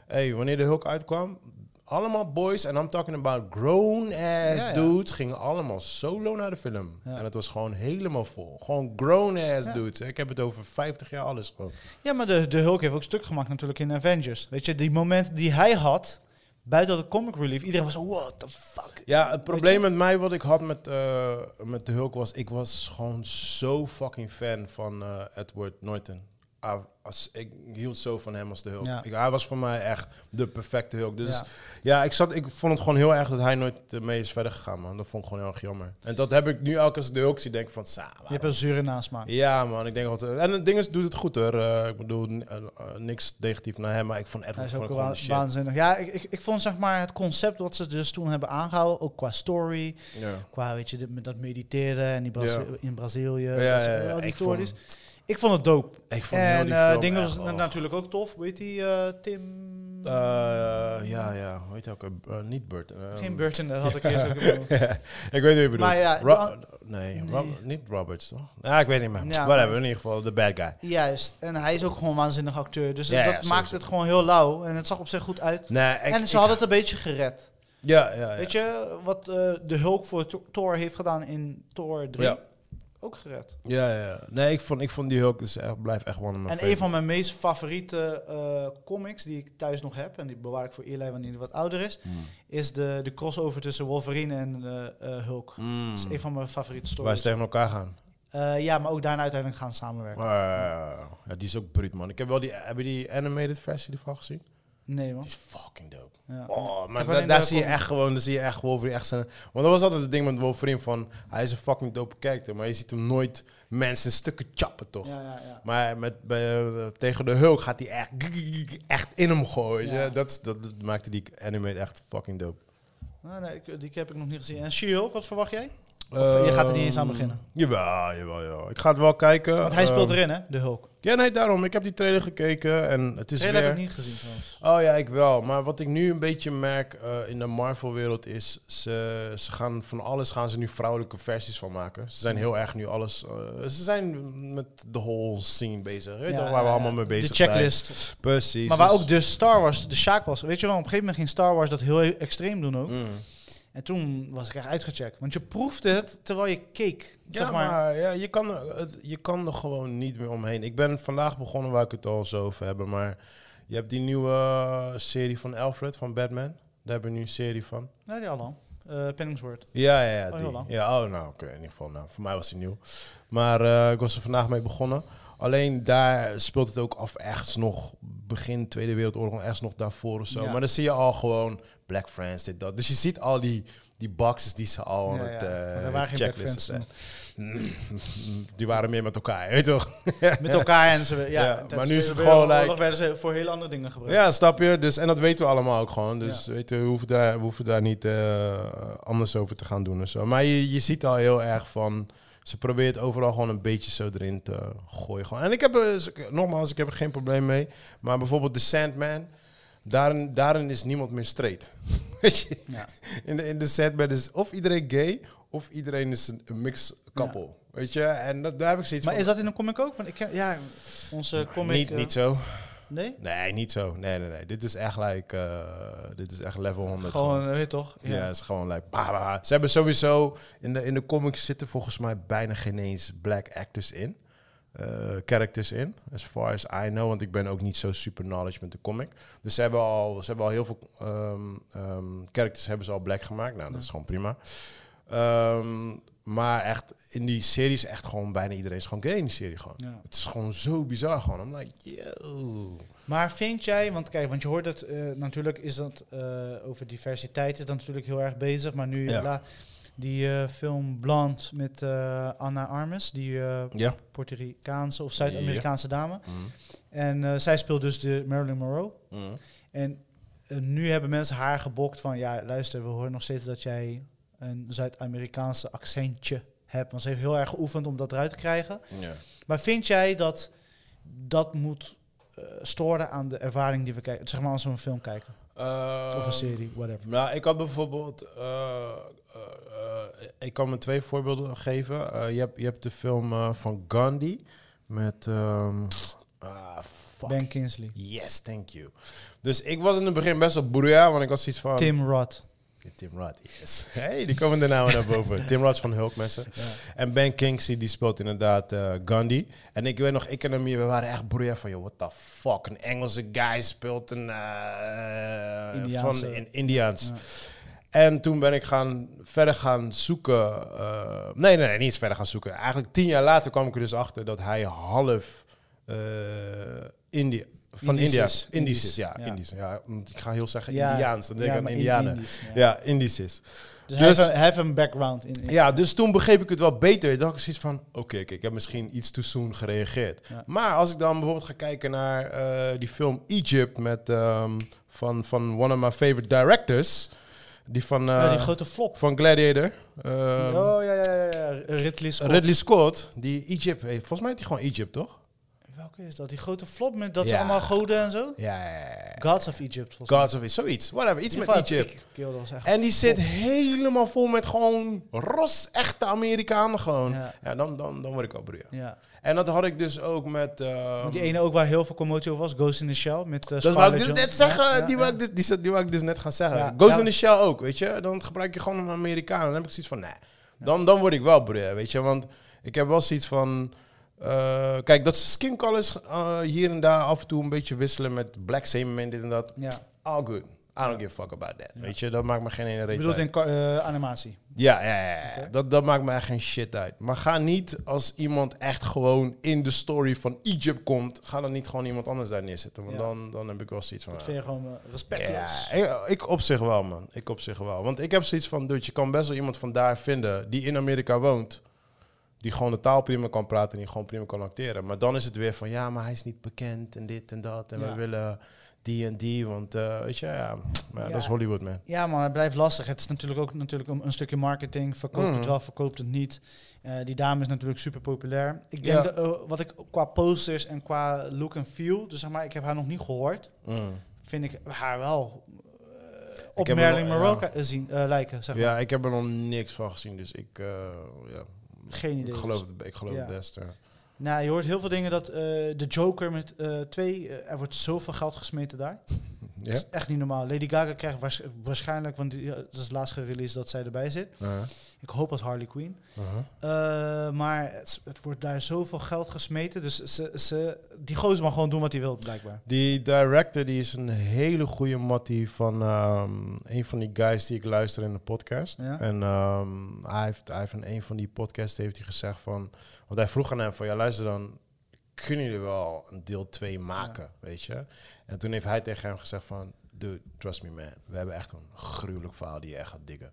B: Hey, wanneer de Hulk uitkwam, Allemaal boys, en I'm talking about grown-ass
A: Ja, ja.
B: dudes, gingen allemaal solo naar de film.
A: Ja.
B: En het was gewoon helemaal vol. Gewoon grown-ass
A: Ja.
B: dudes. hè. Ik heb het over 50 jaar alles gewoon.
A: Ja, maar de, de Hulk heeft ook stuk gemaakt natuurlijk in Avengers. Weet je, die momenten die hij had, buiten de comic relief, iedereen was zo, what the fuck?
B: Ja, het probleem met mij, wat ik had met, eh, met de Hulk was, ik was gewoon zo fucking fan van eh, Edward Norton. Ah, als, ik hield zo van hem als de Hulk.
A: Ja.
B: Ik, hij was voor mij echt de perfecte Hulk. Dus ja,
A: Ja.
B: ik, zat, ik vond het gewoon heel erg dat hij nooit eh, mee is verder gegaan, man. Dat vond ik gewoon heel erg jammer. En dat heb ik nu elke keer als ik de Hulk zie, denk ik van, sa,
A: Je hebt een zure nasmaak.
B: ja, man, ik denk altijd. En het ding is, doet het goed hoor. Eh, ik bedoel, n- eh, eh, niks negatief naar hem, maar ik vond
A: Hij
B: Edward
A: is
B: vond
A: ook
B: ik gewoon
A: wa-
B: de shit.
A: waanzinnig. Ja, ik, ik, ik vond zeg maar het concept wat ze dus toen hebben aangehouden, ook qua story,
B: Ja.
A: qua weet je, dit- met dat mediteren en die Brazi-
B: Ja.
A: in Brazilië.
B: Ja,
A: dat
B: ja,
A: ze-
B: ja,
A: al die
B: ik vond,
A: theories. Ik vond het dope.
B: ik vond heel
A: En
B: die
A: eh
B: film
A: dingen
B: echt,
A: was na-
B: oh.
A: natuurlijk ook tof. Weet die eh, Tim?
B: Eh, ja, ja, hoe heet hij ook? eh, eh, niet Burt. eh,
A: Tim Burton, dat had ik eerst ook. bedoeld.
B: ik weet niet wie je bedoelt.
A: Maar ja,
B: Ro-
A: dan-
B: nee,
A: Nee.
B: Rob- niet Roberts, toch? Ja, ik weet niet meer.
A: Ja,
B: Whatever,
A: maar-
B: in ieder geval de bad guy.
A: Juist. En hij is ook gewoon een waanzinnig acteur. Dus
B: Ja, ja,
A: dat
B: sowieso.
A: maakt het gewoon heel lauw. En het zag op zich goed uit.
B: Nee, ik,
A: en ze
B: ik-
A: hadden het een beetje gered.
B: Ja, ja, ja.
A: Weet je, wat eh, de Hulk voor Thor- Thor heeft gedaan in Thor 3.
B: Ja.
A: Ook gered.
B: Ja, ja. Nee, ik vond, ik vond die Hulk dus echt, blijft echt one of my
A: en een van mijn meest favoriete eh, comics die ik thuis nog heb... en die bewaar ik voor Eli wanneer hij wat ouder is...
B: Hmm.
A: is de, de crossover tussen Wolverine en eh, eh, Hulk. Dat is een van mijn favoriete
B: Mm. Waar ze
A: stories.
B: tegen elkaar gaan.
A: Eh, ja, maar ook daarna uiteindelijk gaan samenwerken.
B: Ah, ja, die is ook bruut, man. Ik heb wel die, heb je die animated versie ervan gezien?
A: Nee, man.
B: Die is fucking dope.
A: Ja.
B: Oh, maar
A: heb
B: da-
A: alleen
B: daar
A: de
B: zie je
A: comic.
B: echt gewoon, daar zie je echt Wolverine echt zijn... Want dat was altijd het ding met Wolverine van, hij is een fucking dope character, maar je ziet hem nooit mensen in stukken chappen, toch?
A: Ja, ja, ja.
B: Maar met, bij, eh, tegen de Hulk gaat hij echt, echt in hem gooien. weet je.
A: Ja.
B: Dat, is- dat, dat maakte die anime echt fucking dope.
A: Nou, nee, ik- die heb ik nog niet gezien. En She-Hulk, wat verwacht jij? Of je gaat er niet eens aan beginnen?
B: Ehm, Jawel, jawel, jawel. Ik ga het wel kijken.
A: Want hij speelt
B: Ehm,
A: erin, hè? De Hulk.
B: Ja, nee, daarom. Ik heb die trailer gekeken en het is
A: Dat
B: weer...
A: heb ik niet gezien trouwens.
B: Oh ja, ik wel. Maar wat ik nu een beetje merk eh, in de Marvel-wereld is... Ze, ze gaan van alles gaan ze nu vrouwelijke versies van maken. Ze
A: Mm.
B: zijn heel erg nu alles... eh, ze zijn met de whole scene bezig. Weet je
A: Ja,
B: toch, waar we
A: ja,
B: allemaal mee bezig
A: de
B: zijn.
A: checklist.
B: Precies.
A: Maar waar
B: dus-
A: ook de Star Wars, de Sjaak was. Weet je wel, op een gegeven moment ging Star Wars dat heel extreem doen ook.
B: Mm.
A: En toen was ik echt uitgecheckt. Want je proefde het terwijl je keek.
B: Ja,
A: zeg
B: maar,
A: maar.
B: ja, je, kan er, het- je kan er gewoon niet meer omheen. Ik ben vandaag begonnen waar ik het al zo over hebben. Maar je hebt die nieuwe eh, serie van Alfred, van Batman. Daar hebben we nu een serie van.
A: Nee, die al lang. Eh, Penningsword.
B: Ja, ja, ja.
A: Oh,
B: die.
A: heel lang.
B: ja oh, nou, oké. in ieder geval, nou, voor mij was die nieuw. Maar eh, ik was er vandaag mee begonnen. Alleen daar speelt het ook af ergens nog begin Tweede Wereldoorlog, ergens nog daarvoor of zo.
A: Ja.
B: Maar dan zie je al gewoon Black Friends, dit, dat. Dus je ziet al die, die boxes die ze al aan
A: Ja,
B: het
A: ja.
B: eh,
A: Want er waren geen Black
B: checklisten
A: Friends
B: zijn. Die waren meer met elkaar, weet je toch?
A: Met elkaar en ze. Ja,
B: Ja,
A: tijdens
B: maar nu
A: de
B: is het
A: Tweede
B: gewoon,
A: Wereldoorlog
B: like-
A: werden ze voor hele andere dingen gebruikt.
B: Ja, snap je? Dus, en dat weten we allemaal ook gewoon. Dus weet je, we, hoeven daar, we hoeven daar niet eh, anders over te gaan doen en zo. Maar je, je ziet al heel erg van... Ze probeert overal gewoon een beetje zo erin te gooien. Gewoon. En ik heb, eh, z- nogmaals, ik heb er geen probleem mee. Maar bijvoorbeeld The Sandman... Daarin, daarin is niemand meer straight. Weet je?
A: Ja.
B: in, de, in de Sandman is of iedereen gay... of iedereen is een, een mixed couple. Weet je? En dat, daar heb ik zoiets
A: Maar
B: van...
A: is dat in een comic ook? Want ik ken- ja, onze comic.
B: niet,
A: eh,
B: niet zo.
A: Nee?
B: Nee, niet zo. Nee, nee, nee. Dit is echt like, eh, dit is echt level 100.
A: Gewoon, eh, weet je toch?
B: Ja, het is gewoon like, bah, bah, bah. Ze hebben sowieso, in de, in de comics zitten volgens mij bijna geen eens black actors in. eh, characters in, as far as I know. Want ik ben ook niet zo super knowledge met de comic. Dus ze hebben al, ze hebben al heel veel ehm, ehm, characters hebben ze al black gemaakt. Nou, dat is gewoon prima. Ehm, maar echt, in die serie is echt gewoon bijna iedereen is gewoon gay in die serie gewoon.
A: Ja.
B: Het is gewoon zo bizar gewoon. I'm like, yo.
A: Maar vind jij, want kijk, want je hoort het eh, natuurlijk, is dat eh, over diversiteit is dat natuurlijk heel erg bezig. Maar nu
B: Ja.
A: la- die eh, film Blond met eh, Anna Armes, die eh,
B: Ja.
A: Puerto Ricaanse of Zuid-Amerikaanse dame.
B: Mhm.
A: En eh, zij speelt dus de Marilyn Monroe. En eh, nu hebben mensen haar gebokt van, ja luister, we horen nog steeds dat jij een Zuid-Amerikaanse accentje hebt. Want ze heeft heel erg geoefend om dat eruit te krijgen.
B: Ja.
A: Maar vind jij dat dat moet eh, storen aan de ervaring die we kijken? Zeg maar als we een film kijken of een serie, whatever.
B: Nou, Ehm, ik had bijvoorbeeld. eh, eh, eh, ik kan me twee voorbeelden geven. Eh, je, hebt, je hebt de film eh, van Gandhi met. ehm, ah, Fuck.
A: Ben Kingsley.
B: Yes, thank you. Dus ik was in het begin best wel boeria, want ik was iets van...
A: Tim Roth.
B: Tim Rudd, yes. Hey, die komen er nou naar boven. Tim Rudd is van Hulk, mensen. En Ben Kingsley, die speelt inderdaad eh, Gandhi. En ik weet nog, ik en hem hier, we waren echt broer van, joh, what the fuck. Een Engelse guy speelt een... eh,
A: Indiaanse.
B: Van in Indiaans. En toen ben ik gaan, verder gaan zoeken. eh, nee, nee, nee, niet eens verder gaan zoeken. Eigenlijk tien jaar later kwam ik er dus achter dat hij half eh Indië... Van
A: Indisch
B: India.
A: is.
B: Indisch is,
A: Indisch,
B: ja.
A: ja.
B: Indisch, ja. Want ik ga heel zeggen
A: Ja,
B: Indiaans. Dan denk
A: ja,
B: ik aan
A: maar
B: Indianen.
A: Indisch, ja.
B: Ja, Indisch is.
A: Dus, hij heeft
B: Dus-
A: een- hij heeft een background in. in-
B: Ja, dus toen begreep ik het wel beter. Dacht ik zoiets van, oké, kijk, ik heb misschien iets te soon gereageerd.
A: Ja.
B: Maar als ik dan bijvoorbeeld ga kijken naar eh, die film Egypt met, ehm, van, van one of my favorite directors. Die van, eh,
A: Ja, die grote flop.
B: van Gladiator. ehm,
A: oh ja, ja, ja, ja. Ridley Scott.
B: Ridley Scott, die Egypt heeft. Volgens mij heeft hij gewoon Egypt, toch?
A: Welke is dat? Die grote flop met dat ze
B: Ja.
A: allemaal goden en zo?
B: Ja, ja, ja.
A: Gods of Egypt. volgens mij.
B: Gods of zoiets. Whatever, iets
A: In
B: met
A: ieder geval,
B: Egypt.
A: ik- Kill, dat was echt
B: En die zit helemaal vol met gewoon ros echte Amerikanen gewoon. Ja,
A: Ja.
B: dan, dan, dan word ik al broer.
A: Ja.
B: En dat had ik dus ook met... ehm,
A: Want die ene ook waar heel veel commotie over was, Ghost in the Shell met eh,
B: Dat wou
A: Scarlett
B: ik dus
A: Johansson.
B: net zeggen.
A: Ja, ja,
B: die,
A: ja.
B: wou ik dus, die, zat- die wou ik dus net gaan zeggen.
A: Ja,
B: Ghost
A: ja.
B: in the Shell ook, weet je. Dan gebruik je gewoon een Amerikaan. Dan heb ik zoiets van, nee. Dan, dan word ik wel broer, weet je. Want ik heb wel zoiets van... eh, kijk, dat skin colors eh, hier en daar af en toe een beetje wisselen met black semen en dit en dat.
A: Ja.
B: All good. I don't give a fuck about that. Weet je, dat maakt me geen ene
A: Ik
B: reet
A: bedoel
B: uit.
A: in ka- eh, animatie.
B: Ja, ja, ja, ja. Dat, dat maakt me echt geen shit uit. Maar ga niet als iemand echt gewoon in de story van Egypt komt, ga dan niet gewoon iemand anders daar neerzetten. Want
A: Ja.
B: dan, dan heb ik wel zoiets van.
A: Dat
B: ah,
A: vind je gewoon eh, respectloos.
B: ja, ik, ik op zich wel, man. Ik op zich wel. Want ik heb zoiets van, dude, je kan best wel iemand vandaar vinden die in Amerika woont. Die gewoon de taal prima kan praten en die gewoon prima kan acteren. Maar dan is het weer van, ja, maar hij is niet bekend en dit en dat. En we
A: Ja.
B: willen die en die, want eh, weet je, ja, maar
A: Ja.
B: dat is Hollywood, man.
A: Ja, maar het blijft lastig. Het is natuurlijk ook natuurlijk een, een stukje marketing. Verkoopt
B: Mhm.
A: het wel, verkoopt het niet. Eh, die dame is natuurlijk super populair. Ik
B: Ja.
A: denk dat, eh, wat ik qua posters en qua look en feel, dus zeg maar, ik heb haar nog niet gehoord,
B: Mm.
A: vind ik haar wel eh, op
B: heb
A: Marilyn
B: haar nog-
A: Monroe ka- zien eh, lijken. Zeg maar.
B: Ja, ik heb er nog niks van gezien, dus ik, eh, ja,
A: Geen idee.
B: ik geloof, het, ik geloof
A: Ja.
B: het best. ja.
A: Nou, je hoort heel veel dingen dat eh, de Joker met eh, twee, eh, er wordt zoveel geld gesmeten daar.
B: Ja?
A: Dat is echt niet normaal. Lady Gaga krijgt waars- waarschijnlijk, want die, dat is laatst gereleased dat zij erbij zit.
B: Ja.
A: Ik hoop als Harley Quinn.
B: Uh-huh.
A: Eh, maar het, het wordt daar zoveel geld gesmeten. Dus ze, ze, die gozer mag gewoon doen wat hij wil, blijkbaar.
B: Die director die is een hele goede mattie van ehm, een van die guys die ik luister in de podcast.
A: Ja.
B: En ehm, hij, heeft, hij heeft in een van die podcasts heeft hij gezegd van... Want hij vroeg aan hem van, ja luister dan, kunnen jullie wel een deel 2 maken, weet je? En toen heeft hij tegen hem gezegd van, dude, trust me man, we hebben echt een gruwelijk verhaal die je echt gaat diggen.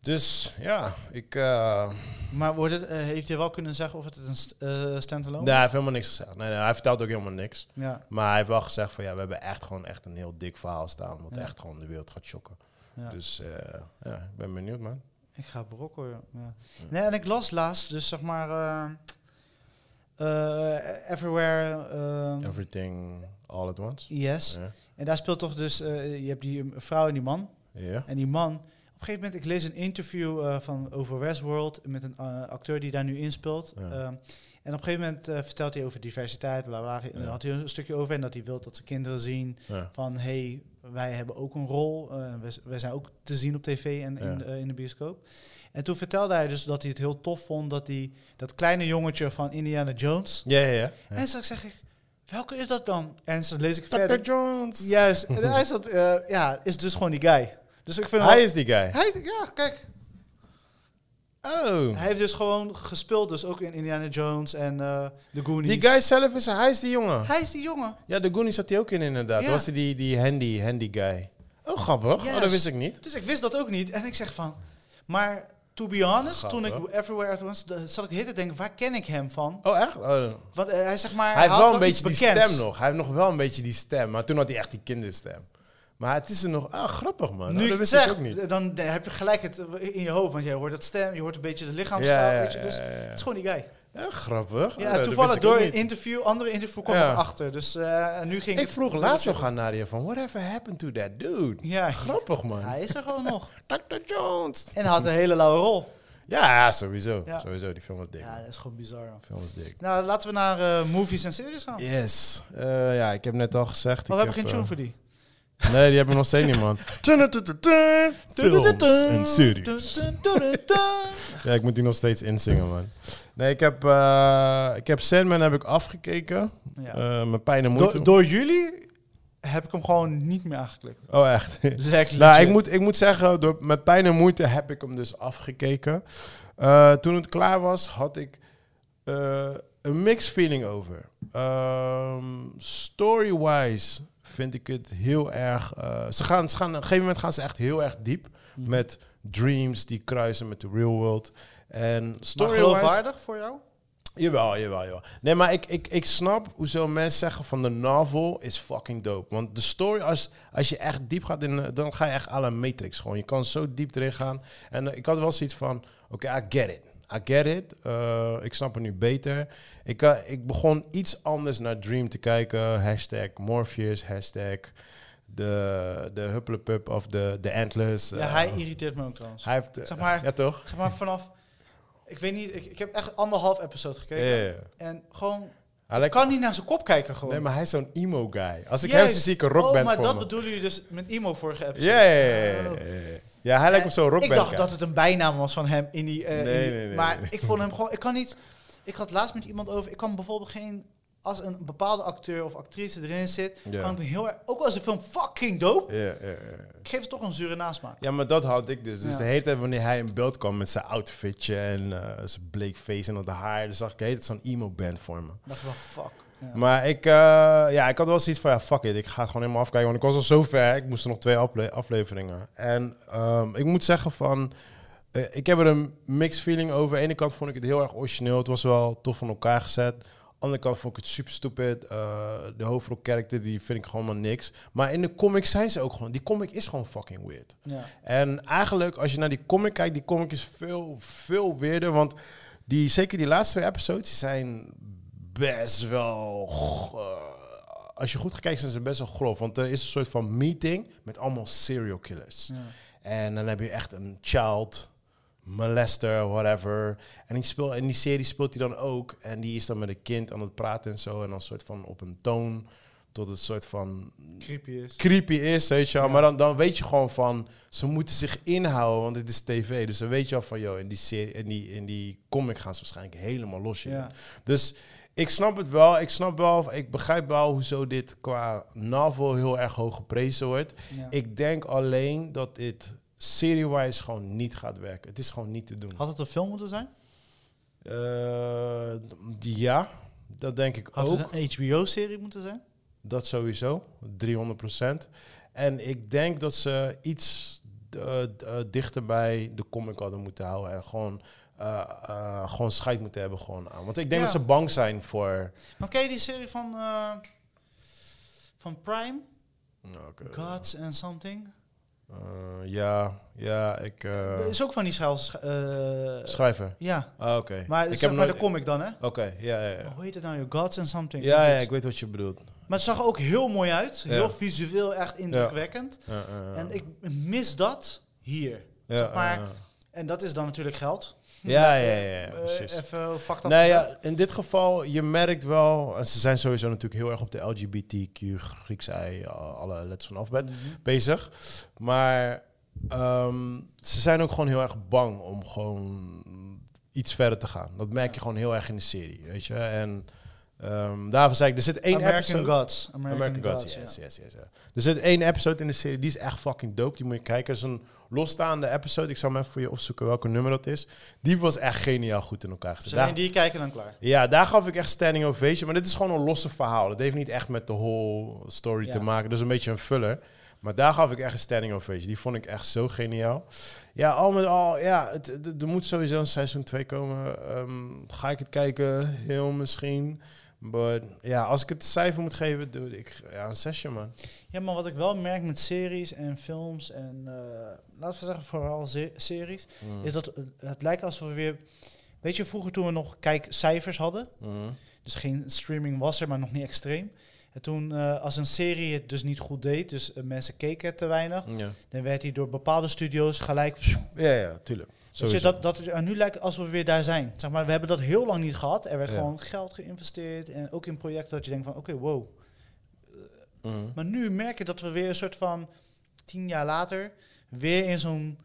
B: Dus ja, ik...
A: Nou.
B: eh,
A: Maar wordt het, eh, heeft hij wel kunnen zeggen of het een st eh, standalone
B: nee, hij heeft helemaal niks gezegd. Nee, nee, hij vertelt ook helemaal niks.
A: Ja,
B: Maar hij heeft wel gezegd van ja, we hebben echt gewoon echt een heel dik verhaal staan. Wat
A: Ja.
B: echt gewoon de wereld gaat shocken.
A: ja.
B: Dus eh, ja, ik ben benieuwd man.
A: Ik ga brokken. Ja. Nee, en ik las laatst, dus zeg maar. eh, eh, everywhere. eh,
B: Everything all at once.
A: yes.
B: Ja.
A: En daar speelt toch dus. eh, je hebt die eh, vrouw en die man.
B: Ja.
A: En die man. Op een gegeven moment, ik lees een interview eh, van over Westworld met een eh, acteur die daar nu in speelt.
B: Ja.
A: Ehm, en op een gegeven moment eh, vertelt hij over diversiteit, bla bla. bla. En
B: Ja.
A: daar had hij een stukje over en dat hij wil dat zijn kinderen zien
B: Ja.
A: van hey, wij hebben ook een rol. eh, wij, z- wij zijn ook te zien op tv en in,
B: Ja.
A: eh, in de bioscoop. En toen vertelde hij dus dat hij het heel tof vond dat hij dat kleine jongetje van Indiana Jones.
B: Ja, ja, ja.
A: En straks zeg ik, welke is dat dan? En dan lees ik
B: Dr.
A: verder.
B: Jones.
A: Juist. En hij is dat, eh, ja, is dus gewoon die guy. Dus ik vind
B: Hij
A: wel-
B: is die guy.
A: hij is- ja, kijk.
B: Oh.
A: Hij heeft dus gewoon gespeeld, dus ook in Indiana Jones en eh The Goonies.
B: Die guy zelf is, hij is die jongen.
A: Hij is die jongen.
B: Ja, de Goonies zat hij ook in inderdaad.
A: Ja.
B: Dat was hij die, die handy, handy guy. Oh, grappig. Oh, dat
A: Juist.
B: wist ik niet.
A: Dus ik wist dat ook niet. En ik zeg van... Maar to be honest,
B: Grappig.
A: toen ik Everywhere at Once... da- zat ik de hele tijd te denken, waar ken ik hem van?
B: Oh, echt? Oh.
A: Want eh, hij zeg maar...
B: Hij heeft
A: had
B: wel een beetje die
A: iets bekends.
B: stem nog. Hij heeft nog wel een beetje die stem. Maar toen had hij echt die kinderstem. Maar het is er nog... Ah, grappig man. Oh,
A: Nu
B: dat
A: ik het
B: wist ik ook
A: zeg,
B: niet.
A: d- dan eh, heb je gelijk het eh, in je hoofd. Want je hoort dat stem, je hoort een beetje de lichaamstaal.
B: Ja, ja,
A: weet je, dus
B: ja, ja, ja.
A: het is gewoon die guy.
B: Ja, grappig.
A: Ja,
B: Oh, dat wist
A: toevallig
B: ik
A: door
B: ook
A: een
B: niet.
A: interview, andere interview kwam
B: Ja.
A: ik achter. Dus eh, en nu ging
B: Ik
A: het-
B: vroeg laatst nog aan Nadia van, whatever happened to that dude?
A: Ja,
B: Grappig man.
A: hij is er gewoon nog.
B: Dr. Jones.
A: En hij had een hele lauwe rol.
B: Ja, sowieso.
A: Ja.
B: Sowieso, die film was dik.
A: Ja,
B: man.
A: dat is gewoon bizar. man.
B: Die film was dik.
A: Nou, laten we naar eh, movies en series gaan.
B: Yes. Eh, ja, ik heb net al gezegd.
A: Maar Oh, we
B: ik
A: hebben geen
B: heb,
A: tune
B: eh,
A: voor die.
B: Nee, die hebben we nog steeds niet, man. Films en series. Ja, ik moet die nog steeds inzingen, man. Nee, ik heb, eh, ik heb Sandman heb ik afgekeken.
A: Ja.
B: Eh, mijn pijn en moeite.
A: Door, door jullie heb ik hem gewoon niet meer aangeklikt.
B: Oh, echt?
A: Lekker.
B: nou, ik moet, ik moet zeggen, door, met pijn en moeite heb ik hem dus afgekeken. Eh, toen het klaar was, had ik eh, een mixed feeling over. Ehm, Story-wise vind ik het heel erg... eh, ze gaan, ze gaan, op een gegeven moment gaan ze echt heel erg diep met dreams die kruisen met de real world. En
A: Maar
B: story-wise...
A: geloofwaardig voor jou?
B: Jawel, jawel, jawel. Nee, maar ik, ik, ik snap hoezo mensen zeggen van de novel is fucking dope. Want de story, als, als je echt diep gaat, in, eh, dan ga je echt à la Matrix gewoon. Je kan zo diep erin gaan. En eh, ik had wel zoiets van, oké, I get it. I get it. Eh, ik snap het nu beter. Ik, eh, ik begon iets anders naar Dream te kijken. Hashtag Morpheus, hashtag de, de huppelepup of de, de antlers.
A: Ja,
B: Eh,
A: hij irriteert me ook trouwens.
B: hij heeft... eh,
A: Zeg maar,
B: ja, toch?
A: zeg maar vanaf... Ik weet niet, ik, ik heb echt anderhalf episode
B: Ja,
A: gekeken.
B: ja, ja.
A: En gewoon,
B: Hij lijkt-
A: kan niet naar zijn kop kijken gewoon.
B: Nee, maar hij is zo'n emo guy. Als ik
A: Juist.
B: hem zie, zie ik een rockband
A: Oh, maar
B: voor
A: dat
B: me.
A: bedoelen jullie dus met Imo vorige episode.
B: Ja, ja, ja, ja, ja, ja. Ja, hij lijkt op zo'n rockband.
A: Oh. Eh, Ik dacht
B: guy.
A: dat het een bijnaam was van hem in die. eh, in
B: Nee,
A: die-
B: nee, nee,
A: maar
B: nee.
A: ik vond hem gewoon. Ik kan niet. Ik had laatst met iemand over. Ik kan bijvoorbeeld geen. Als een bepaalde acteur of actrice erin zit,
B: Ja.
A: kan ik me heel erg. Ook als de film fucking dope,
B: Ja, ja, ja.
A: ik geef het toch een zure nasmaak.
B: ja, maar dat had ik dus. Dus
A: Ja.
B: de hele tijd wanneer hij in beeld kwam met zijn outfitje en eh, zijn bleek face en dat haar, dan zag ik de hele tijd zo'n emo-band voor me.
A: Ik dacht wel fuck. Ja.
B: Maar ik, eh, ja, ik had wel zoiets van, ja, fuck it, ik ga het gewoon helemaal afkijken. Want ik was al zo ver, ik moest er nog twee afle- afleveringen. En ehm, ik moet zeggen van, eh, ik heb er een mixed feeling over. Aan de ene kant vond ik het heel erg origineel, het was wel tof van elkaar gezet. Aan de andere kant vond ik het super stupid. Eh, de hoofdrolkarakter, die vind ik gewoon maar niks. Maar in de comic zijn ze ook gewoon, die comic is gewoon fucking weird.
A: Ja.
B: En eigenlijk, als je naar die comic kijkt, die comic is veel, veel weerder. Want die, zeker die laatste twee episodes die zijn best wel. g- eh, als je goed kijkt, zijn ze best wel grof. Want er is een soort van meeting met allemaal serial killers.
A: Ja.
B: En dan heb je echt een child, molester, whatever. En die, speel, en die serie speelt hij dan ook. En die is dan met een kind aan het praten en zo. En dan soort van op een toon tot het soort van
A: Creepy is.
B: creepy is, weet je wel.
A: Ja.
B: Maar dan, dan weet je gewoon van, ze moeten zich inhouden, want dit is tv. Dus dan weet je al van, joh, in die, serie, in die, in die comic gaan ze waarschijnlijk helemaal los in.
A: Ja.
B: Dus ik snap het wel. Ik snap wel, ik begrijp wel hoezo dit qua novel heel erg hoog geprezen wordt.
A: Ja.
B: Ik denk alleen dat dit serie-wise gewoon niet gaat werken. Het is gewoon niet te doen.
A: Had het een film moeten zijn?
B: Eh, ja, dat denk ik
A: Had
B: ook.
A: het een HBO-serie moeten zijn?
B: Dat sowieso, 300 En ik denk dat ze iets eh, d- eh, dichter bij de comic hadden moeten houden. En gewoon, eh, eh, gewoon scheid moeten hebben gewoon aan. Want ik denk
A: Ja.
B: dat ze bang zijn voor...
A: Want ken je die serie van, eh, van Prime? Gods and Something?
B: Eh, ja, ja, ik... eh,
A: is ook van die schuil... Dus, eh,
B: schrijver.
A: ja,
B: Ah, Oké.
A: maar,
B: ik
A: zeg maar
B: nooit-
A: de comic dan, hè?
B: Oké, ja, ja, ja.
A: Hoe heet het nou? joh? Gods and Something?
B: Ja, ja,
A: Iets.
B: ik weet wat je bedoelt.
A: Maar het zag er ook heel mooi uit. Heel
B: Ja.
A: visueel, echt indrukwekkend.
B: Eh, eh, eh.
A: En ik mis dat hier.
B: Ja,
A: zeg maar,
B: eh, eh.
A: En dat is dan natuurlijk geld.
B: Ja, ja, ja, ja,
A: Eh,
B: precies.
A: even fucked up.
B: Nou
A: gezegd.
B: ja, in dit geval, je merkt wel, en ze zijn sowieso natuurlijk heel erg op de LGBTQ, Grieks ei, eh, alle letters van alfabet
A: Mhm.
B: bezig. Maar ehm, ze zijn ook gewoon heel erg bang om gewoon iets verder te gaan. Dat merk je gewoon heel erg in de serie, weet je. En ehm daarvan zei ik, er zit één
A: American
B: episode...
A: Gods. American,
B: American Gods,
A: Gods,
B: yes,
A: ja.
B: yes, yes, ja. Er zit één episode in de serie, die is echt fucking dope. Die moet je kijken. Dat is een losstaande episode. Ik zal hem even voor je opzoeken welke nummer dat is. Die was echt geniaal goed in elkaar gezet.
A: Dus alleen
B: Daar-
A: die kijken dan klaar.
B: ja, daar gaf ik echt standing ovation. Maar dit is gewoon een losse verhaal. Dat heeft niet echt met de whole story
A: Ja.
B: te maken. Dat is een beetje een vuller. Maar daar gaf ik echt een standing ovation. Die vond ik echt zo geniaal. Ja, al met al, ja, het, het- er moet sowieso een seizoen 2 komen. Ehm, ga ik het kijken? Heel misschien. Maar ja, als ik het een cijfer moet geven, doe ik ja, een zesje, man.
A: Ja, maar wat ik wel merk met series en films en... eh, laten we zeggen vooral se- series...
B: Mm,
A: Is dat eh, het lijkt alsof we weer... Weet je, vroeger toen we nog kijkcijfers hadden...
B: Mm.
A: Dus geen streaming was er, maar nog niet extreem. En toen, eh, als een serie het dus niet goed deed, dus eh, mensen keken het te weinig,
B: Ja.
A: dan werd hij door bepaalde studio's gelijk.
B: ja, ja, tuurlijk.
A: Weet je,
B: Sowieso.
A: dat, dat, en nu lijkt het alsof we weer daar zijn. Zeg maar, we hebben dat heel lang niet gehad. Er werd
B: Ja.
A: gewoon geld geïnvesteerd. En ook in projecten dat je denkt van, oké, wow.
B: Mhm.
A: Maar nu merk je dat we weer een soort van tien jaar later weer in zo'n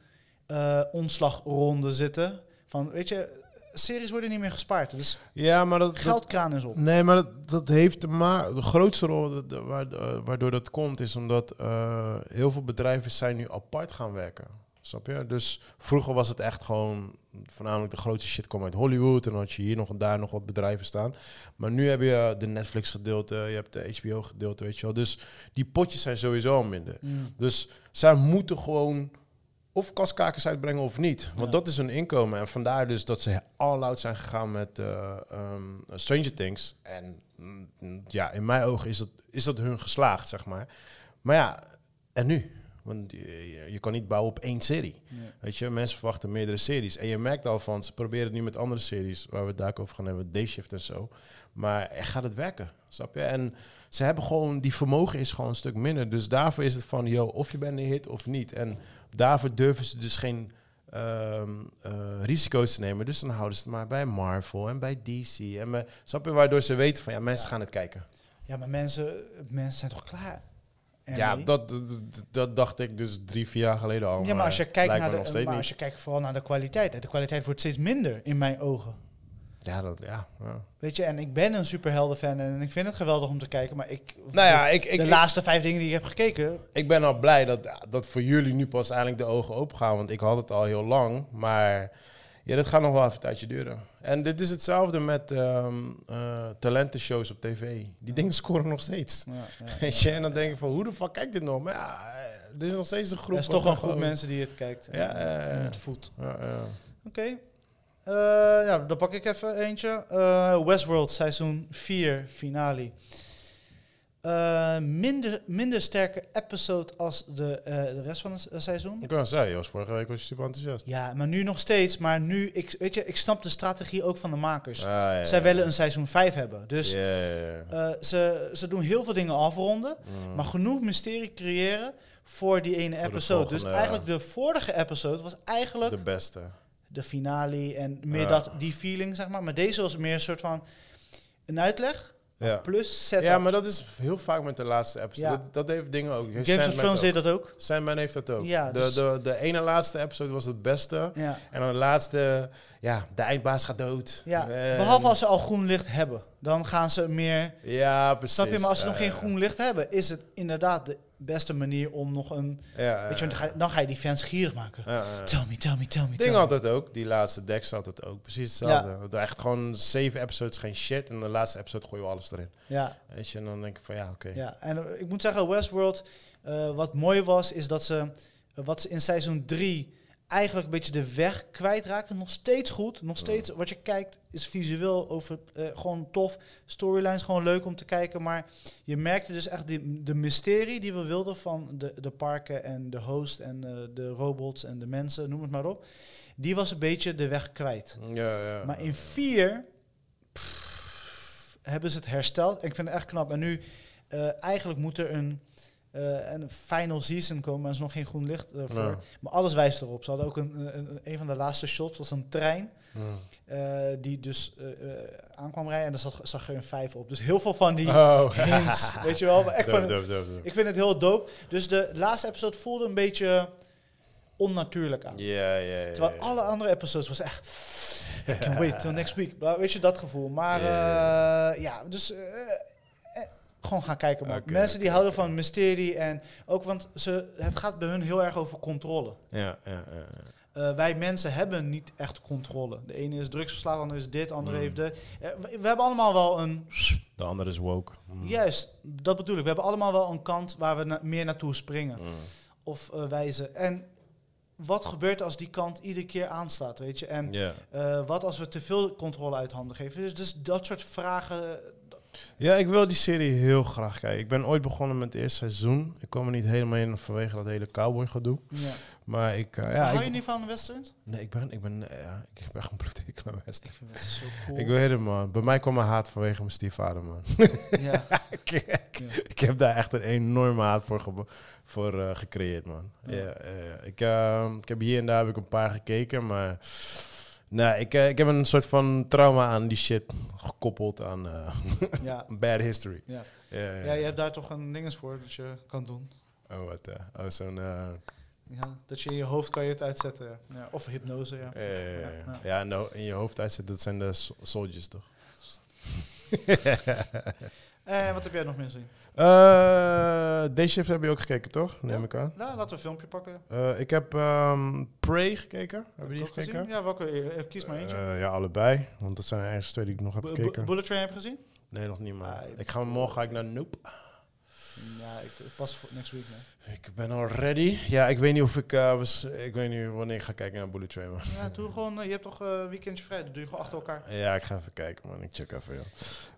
A: eh, ontslagronde zitten. Van weet je, series worden niet meer gespaard. Dus
B: Ja, maar dat, dat-
A: geldkraan is op.
B: Nee, maar dat, dat heeft te maken. De grootste rol dat- dat- waar- eh, waardoor dat komt, is omdat eh, heel veel bedrijven zijn nu apart gaan werken. Snap je? Dus vroeger was het echt gewoon, voornamelijk de grootste shit kwam uit Hollywood. En dan had je hier nog en daar nog wat bedrijven staan. Maar nu heb je de Netflix gedeelte, je hebt de HBO gedeelte, weet je wel. Dus die potjes zijn sowieso al minder.
A: Mm.
B: Dus zij moeten gewoon of kaskakers uitbrengen of niet. Want
A: Ja.
B: dat is hun inkomen. En vandaar dus dat ze all out zijn gegaan met eh, ehm, Stranger Things. En mm, mm, ja, in mijn ogen is dat, is dat hun geslaagd, zeg maar. Maar ja, en nu? Want je, je- je kan niet bouwen op één serie.
A: Nee.
B: Weet je, mensen verwachten meerdere series. En je merkt al van, ze proberen het nu met andere series... waar we het daar ook over gaan hebben, D-Shift en zo. Maar echt gaat het werken, snap je? En ze hebben gewoon, die vermogen is gewoon een stuk minder. Dus daarvoor is het van, yo, of je bent een hit of niet. En daarvoor durven ze dus geen ehm, eh, risico's te nemen. Dus dan houden ze het maar bij Marvel en bij DC. En bij, snap je, waardoor ze weten van, ja, mensen
A: Ja.
B: gaan het kijken.
A: Ja, maar mensen, mensen zijn toch klaar? En
B: Ja,
A: nee.
B: dat, dat, dat dacht ik dus drie, vier jaar geleden al.
A: ja, maar als je kijkt,
B: lijkt
A: naar
B: me nog
A: de,
B: steeds
A: maar
B: niet.
A: als je kijkt vooral naar de kwaliteit. hè. De kwaliteit wordt steeds minder in mijn ogen.
B: Ja, dat, ja, ja.
A: Weet je, en ik ben een superheldenfan en ik vind het geweldig om te kijken, maar ik...
B: Nou ja,
A: de-
B: ik, ik,
A: de
B: ik,
A: laatste vijf dingen die ik heb gekeken,
B: ik ben al blij dat, dat voor jullie nu pas eigenlijk de ogen open gaan. Want ik had het al heel lang. Maar ja, dat gaat nog wel even een tijdje duren. En dit is hetzelfde met ehm eh, talentenshows op tv. Die dingen scoren nog steeds.
A: ja, ja.
B: Weet je? En dan denk ik van, hoe de fuck kijkt dit nog? Maar ja, eh, er is nog steeds een groep.
A: er is toch
B: wat
A: een groep
B: gewoon-
A: mensen die het kijkt en,
B: Ja, ja, ja.
A: en het voelt.
B: Ja, ja.
A: Oké. Eh, ja, dan pak ik even eentje. Eh, Westworld seizoen 4 finale. Eh, minder, minder sterke episode als de, eh, de rest van het se- seizoen.
B: Ik kan zeggen, je was vorige week was je super enthousiast.
A: Ja, maar nu nog steeds. Maar nu, ik, weet je, ik snap de strategie ook van de makers.
B: Ah, ja, ja,
A: Zij
B: ja.
A: willen een seizoen 5 hebben. Dus
B: Ja, ja, ja.
A: eh, ze, ze doen heel veel dingen afronden.
B: Mm.
A: Maar genoeg mysterie creëren voor die ene
B: de
A: episode. dus
B: volgende,
A: eigenlijk de vorige episode was eigenlijk
B: de beste.
A: de finale en meer
B: Ja.
A: dat, die feeling, zeg maar. Maar deze was meer een soort van een uitleg
B: Ja.
A: plus setup.
B: ja, maar dat is heel vaak met de laatste episode.
A: Ja.
B: Dat, dat heeft dingen ook. Heeft
A: Games of
B: Sandman
A: Thrones
B: ook.
A: deed dat ook.
B: Sandman heeft dat ook.
A: Ja,
B: de,
A: dus-
B: de, de ene laatste episode was het beste.
A: Ja.
B: En dan de laatste, ja, de eindbaas gaat dood. Eh,
A: Ja,
B: En-
A: behalve als ze al groen licht hebben. Dan gaan ze meer...
B: Ja, precies.
A: Snap je? Maar als ze
B: Ja,
A: nog geen
B: ja.
A: groen licht hebben, is het inderdaad de beste manier om nog een...
B: Ja,
A: Weet je, want
B: ja,
A: dan ga je, dan ga je die fans gierig maken.
B: ja, ja.
A: Tell me, tell me, tell me, tell
B: Ding
A: me.
B: had dat ook, die laatste Dex had het ook. Precies hetzelfde. Want Echt gewoon zeven episodes geen shit. En de laatste episode gooi je alles erin.
A: Ja,
B: Weet je, en dan denk ik van ja, oké.
A: ja. En eh, ik moet zeggen, Westworld, eh, wat mooi was, is dat ze... eh, wat ze in seizoen 3 eigenlijk een beetje de weg kwijtraakte. Nog steeds goed. Nog steeds wat je kijkt is visueel over, eh, gewoon tof. Storylines gewoon leuk om te kijken. Maar je merkte dus echt die, de mysterie die we wilden van de, de parken en de host en eh, de robots en de mensen, noem het maar op. Die was een beetje de weg kwijt.
B: Ja, ja.
A: Maar in 4 hebben ze het hersteld. Ik vind het echt knap. En nu, eh, eigenlijk moet er een, eh, een final season komen. Maar er is nog geen groen licht eh, voor.
B: Ja.
A: Maar alles wijst erop. Ze hadden ook een, een, een van de laatste shots, was een trein.
B: Mm.
A: eh, die dus eh, eh, aankwam rijden. En daar zat, zag er een vijf op. Dus heel veel van die
B: Oh.
A: hints. weet je wel? Maar ik,
B: Dope,
A: vond het,
B: dope, dope, dope.
A: ik vind het heel dope. Dus de laatste episode voelde een beetje onnatuurlijk aan.
B: Ja, ja, ja.
A: Terwijl
B: ja.
A: alle andere episodes was echt... I can wait till next week. Maar weet je, dat gevoel. Maar
B: Ja, ja,
A: eh, ja, dus... eh, eh, gewoon gaan kijken, man.
B: Oké,
A: Mensen
B: oké,
A: die houden
B: oké.
A: van mysterie en ook... Want ze, het gaat bij hun heel erg over controle.
B: Ja, ja, ja. ja.
A: Eh, wij mensen hebben niet echt controle. De ene is drugsverslaafd, de andere is dit, de andere
B: Mm.
A: heeft dit. Eh, we, we hebben allemaal wel een...
B: De andere is woke. Mm.
A: Juist, dat bedoel ik. We hebben allemaal wel een kant waar we na- meer naartoe springen
B: Mm.
A: of eh, wijzen. En wat gebeurt er als die kant iedere keer aanslaat, weet je? En
B: Ja.
A: eh, wat als we te veel controle uit handen geven? Dus, dus dat soort vragen, eh, d-
B: Ja, ik wil die serie heel graag kijken. Ik ben ooit begonnen met het eerste seizoen. Ik kwam er niet helemaal in vanwege dat hele cowboy gedoe.
A: Ja.
B: Maar ik... eh,
A: Maar
B: ja,
A: hou je
B: ik,
A: niet van westerns?
B: nee, ik ben... Ik ben, eh, ja, ik ben gewoon bloedhekel aan
A: Ik
B: western.
A: vind dat zo cool.
B: Ik weet het, man. Bij mij kwam mijn haat vanwege mijn stiefvader, man.
A: ja.
B: ik, ik- ik heb daar echt een enorme haat voor, gebo- voor eh, gecreëerd, man.
A: Ja.
B: Ja. eh, ik, eh, ik heb hier en daar heb ik een paar gekeken, maar... Nou, ik, eh, ik heb een soort van trauma aan die shit gekoppeld aan eh,
A: Ja.
B: bad history.
A: Ja.
B: Ja, ja.
A: ja, je hebt daar toch een dinges voor dat je kan doen.
B: Oh, wat, eh, oh, zo'n... eh,
A: Ja. Dat je in je hoofd kan je het uitzetten. Ja. Of hypnose, ja.
B: Ja, ja, ja,
A: Ja.
B: ja. Ja, nou, in je hoofd uitzet, dat zijn de so- soldiers, toch?
A: Eh, wat heb jij nog meer zien?
B: Eh D-Shift heb je ook gekeken, toch? Neem
A: Ja.
B: ik aan.
A: Nou, laten we een filmpje pakken.
B: Eh, ik heb ehm, Prey gekeken. Hebben
A: Heb
B: jullie
A: je ook
B: gekeken?
A: gezien? Ja, welke? eh, Kies maar eentje.
B: Eh, ja, allebei. Want dat zijn de ergste twee die ik nog heb
A: Bu- bu-
B: gekeken.
A: Bullet Train heb je gezien?
B: nee, nog niet, man.
A: Ah,
B: ik ga morgen ga ik naar Nope.
A: Ja, ik pas voor next week. Nee.
B: Ik ben al ready. Ja, ik weet niet of ik... eh, was, ik weet niet wanneer ik ga kijken naar Bullet Train, man.
A: Ja, doe gewoon, eh, je hebt toch eh, weekendje vrij, dat doe je gewoon achter elkaar.
B: Ja, ik ga even kijken, man. Ik check even, joh.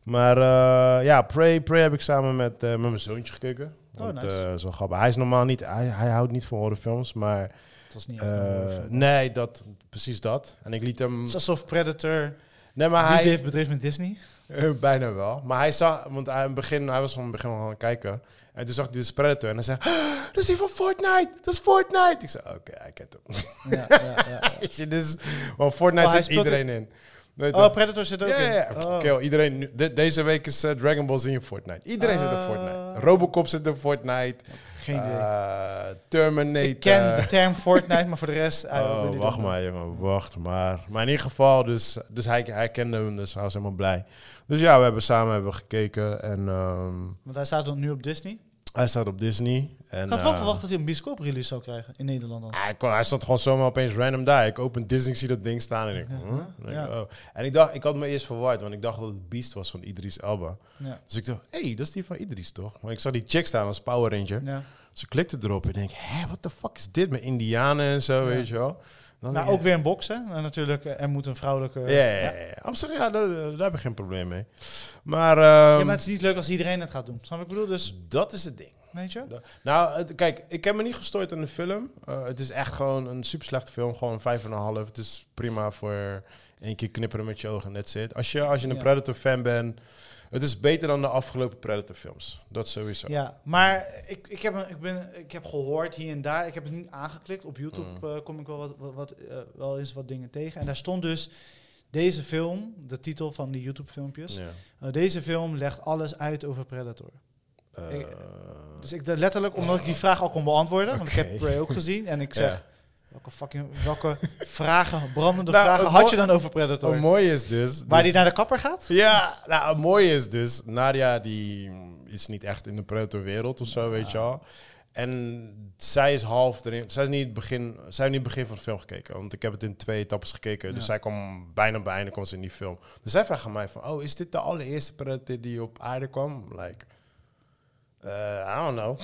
B: Maar eh, ja, Prey, Prey heb ik samen met, eh, met mijn zoontje gekeken.
A: Oh,
B: Want,
A: nice.
B: eh, dat is wel grappig. Hij is normaal niet... Hij, hij houdt niet van horrorfilms, maar...
A: Het was niet
B: eh, nee, dat, precies dat. En ik liet hem...
A: Het is alsof Predator
B: Nee, maar
A: maar
B: hij...
A: liefde heeft bedreven met Disney.
B: Eh, bijna wel. Maar hij zag, want hij, in het begin, hij was van het begin al aan het kijken. En toen zag hij de Predator en hij zei, "Ah, dat is die van Fortnite, dat is Fortnite. Ik zei, oké, hij kent hem.
A: Ja, ja, ja.
B: Weet je, dus, want Fortnite
A: Oh, hij
B: zit
A: speelt
B: iedereen in. Weet je
A: Oh,
B: toch?
A: Predator zit ook
B: ja, ja,
A: in.
B: ja.
A: Oh.
B: Kill, iedereen, nu- de- deze week is eh, Dragon Ball Z in Fortnite. Iedereen zit in
A: Ah.
B: Fortnite. Robocop zit in Fortnite.
A: Geen idee.
B: Eh, Terminator.
A: ik ken de Ah, term Fortnite, maar voor de rest... I don't
B: eh, Oh,
A: really
B: wacht
A: don't
B: maar, jongen, wacht maar. Maar in ieder geval, dus, dus hij, hij kende hem, dus hij was helemaal blij. Dus ja, we hebben samen hebben gekeken en ehm,
A: know. Want hij staat nu op Disney.
B: hij staat op Disney. En,
A: Ik had wel
B: eh,
A: verwacht dat hij een bioscoop-release zou krijgen in Nederland dan.
B: Hij, kon, hij stond gewoon zomaar opeens random daar. Ik open Disney, ik zie dat ding staan en ik...
A: Ja,
B: huh? En ik,
A: ja.
B: oh. En ik dacht, ik had me eerst verward, want ik dacht dat het Beast was van Idris Elba.
A: Ja.
B: Dus ik dacht, hé, hey, dat is die van Idris, toch? Maar ik zag die chick staan als Power Ranger.
A: Ja.
B: Dus ik klikte erop en denk, hé, wat de fuck is dit met indianen en zo,
A: Ja.
B: weet je wel? Dan
A: Nou,
B: denk
A: ook
B: ik,
A: weer een box, hè. En natuurlijk, eh, er moet een vrouwelijke...
B: Ja, ja, ja, ja. Op zich, ja, daar, daar heb ik geen probleem mee. Maar, ehm,
A: Ja, maar het is niet leuk als iedereen het gaat doen. Snap je wat ik bedoel? Dus,
B: dat is het ding.
A: weet je?
B: Da- Nou, het- kijk, ik heb me niet gestoord aan de film. Eh, het is echt gewoon een super slechte film. Gewoon een vijf en een half. Het is prima voor één keer knipperen met je ogen. That's it. Als je, als je een
A: Ja.
B: Predator-fan bent, het is beter dan de afgelopen Predator-films. Dat sowieso.
A: Ja, maar ik, ik, heb, een- ik, ben, ik heb gehoord hier en daar. Ik heb het niet aangeklikt. Op YouTube
B: Mm.
A: eh, kom ik wel, wat, wat, wat, eh, wel eens wat dingen tegen. En daar stond dus deze film, de titel van die YouTube-filmpjes.
B: Ja.
A: eh, deze film legt alles uit over Predator.
B: Eh,
A: Ik- Dus ik dacht letterlijk, omdat ik die vraag al kon beantwoorden. Want ik heb
B: Oh. Oké.
A: Prey ook gezien. En ik
B: Ja.
A: zeg, welke, fucking, welke vragen, brandende
B: Nou,
A: vragen
B: het
A: had
B: mo-
A: je dan over Predator?
B: het mooie is dus...
A: Waar die
B: dus-
A: naar de kapper gaat?
B: Ja, nou, het mooie is dus, Nadia die is niet echt in de predator-wereld of zo, weet je wel. En zij is half erin. Zij, is niet het begin, zij heeft niet het begin van de film gekeken. Want ik heb het in twee etappes gekeken. Dus
A: Ja.
B: zij kwam bijna bij einde kwam ze in die film. Dus zij vraagt aan mij van... Oh, is dit de allereerste predator die op aarde kwam? Like... eh, I don't know.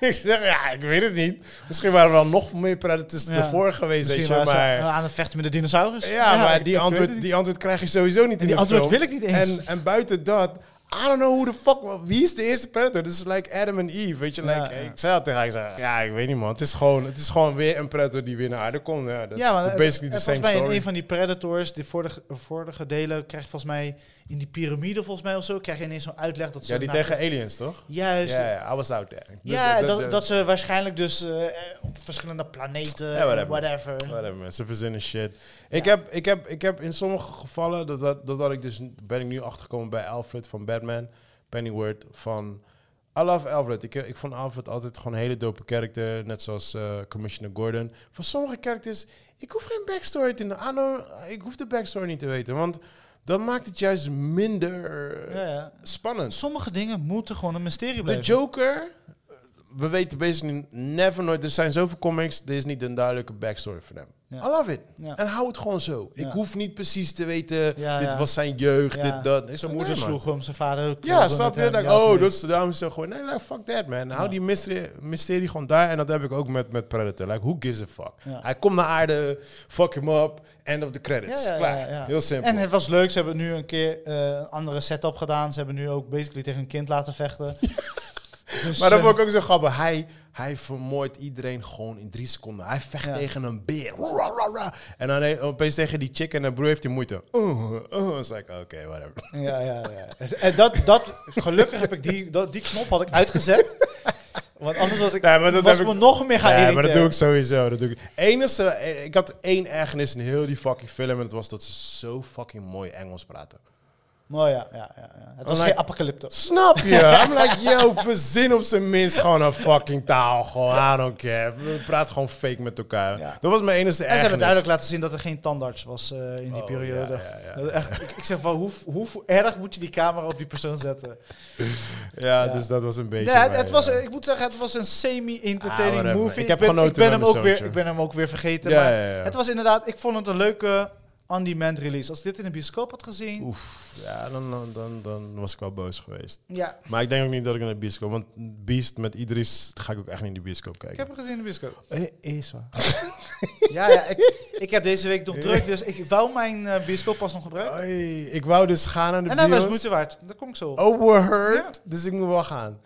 B: ik zeg, ja, ik weet het niet. Misschien waren er wel nog meer predators
A: Ja.
B: ervoor geweest, weet je.
A: waren ze
B: maar...
A: aan het vechten met de dinosaurus.
B: Ja, maar
A: ik-
B: die
A: ik weet
B: antwoord,
A: het niet.
B: die antwoord krijg je sowieso niet in
A: En die
B: de
A: antwoord
B: film.
A: wil ik niet eens.
B: En, en buiten dat, I don't know who the fuck, wie is de eerste Predator? Dus like Adam en Eve, weet je.
A: Ja,
B: Like,
A: ja.
B: Ik zei al tegen haar, ik zei, ja, ik weet niet man. Het is gewoon, het is gewoon weer een Predator die weer naar aarde komt. Ja, dat
A: Ja, maar
B: is
A: het-
B: basically
A: en
B: the same
A: volgens mij in
B: story.
A: een van die Predators, die vorige, vorige delen, krijg je volgens mij in die piramide volgens mij of zo, krijg je ineens zo'n uitleg dat ze...
B: ja, die
A: naar-
B: tegen aliens, toch? Ja,
A: Juist. Ja,
B: ja, I was out there.
A: dat, dat ze waarschijnlijk dus eh, op verschillende planeten,
B: Ja, whatever.
A: whatever.
B: Whatever, man. Ze verzinnen shit. Ik, heb, ik, heb, ik heb in sommige gevallen, dat, dat, dat had ik dus, ben ik nu achtergekomen bij Alfred van Batman, Pennyworth van... I love Alfred. Ik, ik vond Alfred altijd gewoon een hele dope character, net zoals eh, Commissioner Gordon. Voor sommige characters, ik hoef geen backstory te... I don't- ik hoef de backstory niet te weten, want dat maakt het juist minder eh,
A: Ja, ja.
B: spannend.
A: Sommige dingen moeten gewoon een mysterie
B: De
A: blijven.
B: Joker eh, we weten basically never nooit. Er zijn zoveel comics, er is niet een duidelijke backstory van hem.
A: Ja.
B: I love it.
A: Ja.
B: En hou het gewoon zo. Ik
A: Ja.
B: hoef niet precies te weten,
A: Ja,
B: dit
A: ja.
B: was zijn jeugd,
A: Ja.
B: dit, dat. Ik zeg,
A: Zijn moeder
B: nee, man.
A: sloeg hem, zijn vader.
B: Ja,
A: knalde
B: snap
A: met
B: je?
A: hem,
B: Denk,
A: ja, of
B: oh,
A: niet?
B: dat is daarom is het gewoon. Nee, like, fuck that, man. Hou die mysterie, mysterie gewoon daar. En dat heb ik ook met, met Predator. Like, who gives a fuck?
A: Ja.
B: Hij komt naar aarde, fuck him up, end of the credits.
A: Ja, ja,
B: Klaar.
A: ja, ja.
B: Heel simpel.
A: En het was leuk. Ze hebben nu een keer eh, een andere setup gedaan. Ze hebben nu ook basically tegen een kind laten vechten. Dus,
B: maar dat
A: eh,
B: vond ik ook zo grappig. Hij, hij vermoordt iedereen gewoon in drie seconden. Hij vecht
A: Ja.
B: tegen een beer. Ra, ra, ra. En dan he- opeens tegen die chick en haar broer heeft hij moeite. Uh, uh. It's like, oké, whatever.
A: Ja, ja, ja. En dat, dat, gelukkig heb ik die, dat, die knop had ik uitgezet. Want anders was ik,
B: Nee, maar dat
A: was
B: heb
A: ik me
B: ik-
A: nog meer gaan
B: Ja, maar dat
A: irriteren.
B: doe ik sowieso. Dat doe ik. Enige, eh, ik had één ergernis in heel die fucking film. En dat was dat ze zo fucking mooi Engels praten.
A: Maar ja, ja, ja, ja. Het was
B: Online-
A: geen apocalypto.
B: Snap je? I'm like, yo, verzin op zijn minst gewoon een fucking taal. Gewoon, I don't care. We praten gewoon fake met elkaar.
A: Ja.
B: Dat was mijn enige
A: En ze hebben
B: ergernis.
A: duidelijk laten zien dat er geen tandarts was eh, in die
B: Oh,
A: periode.
B: ja, ja, ja.
A: Dat Echt, ik, ik zeg van, hoe, hoe erg moet je die camera op die persoon zetten?
B: ja,
A: Ja.
B: dus dat was een beetje...
A: Nee, het,
B: mijn, eh,
A: het was,
B: ja.
A: ik moet zeggen, het was een
B: Ah,
A: semi-entertaining
B: whatever.
A: movie.
B: Ik heb
A: ben,
B: genoten
A: ik ben
B: van
A: hem
B: de
A: ook weer,
B: soundtrack.
A: Ik ben hem ook weer vergeten.
B: Ja,
A: maar
B: ja, ja.
A: Het was inderdaad, ik vond het een leuke on-demand release. Als ik dit in de bioscoop had gezien,
B: Oef, ja, dan, dan, dan, dan was ik wel boos geweest.
A: ja,
B: Maar ik denk ook niet dat ik naar de bioscoop... Want Beast met Idris ga ik ook echt niet in de bioscoop
A: ik
B: kijken.
A: heb hem gezien in de bioscoop.
B: Eh, is waar.
A: Ja, ja ik, ik heb deze week nog druk, dus ik wou mijn eh, bioscooppas nog gebruiken.
B: Oei, ik wou dus gaan naar de
A: en dat was
B: bios.
A: moeite waard. Daar kom ik zo op.
B: Oh, we heard. Dus ik moet wel gaan.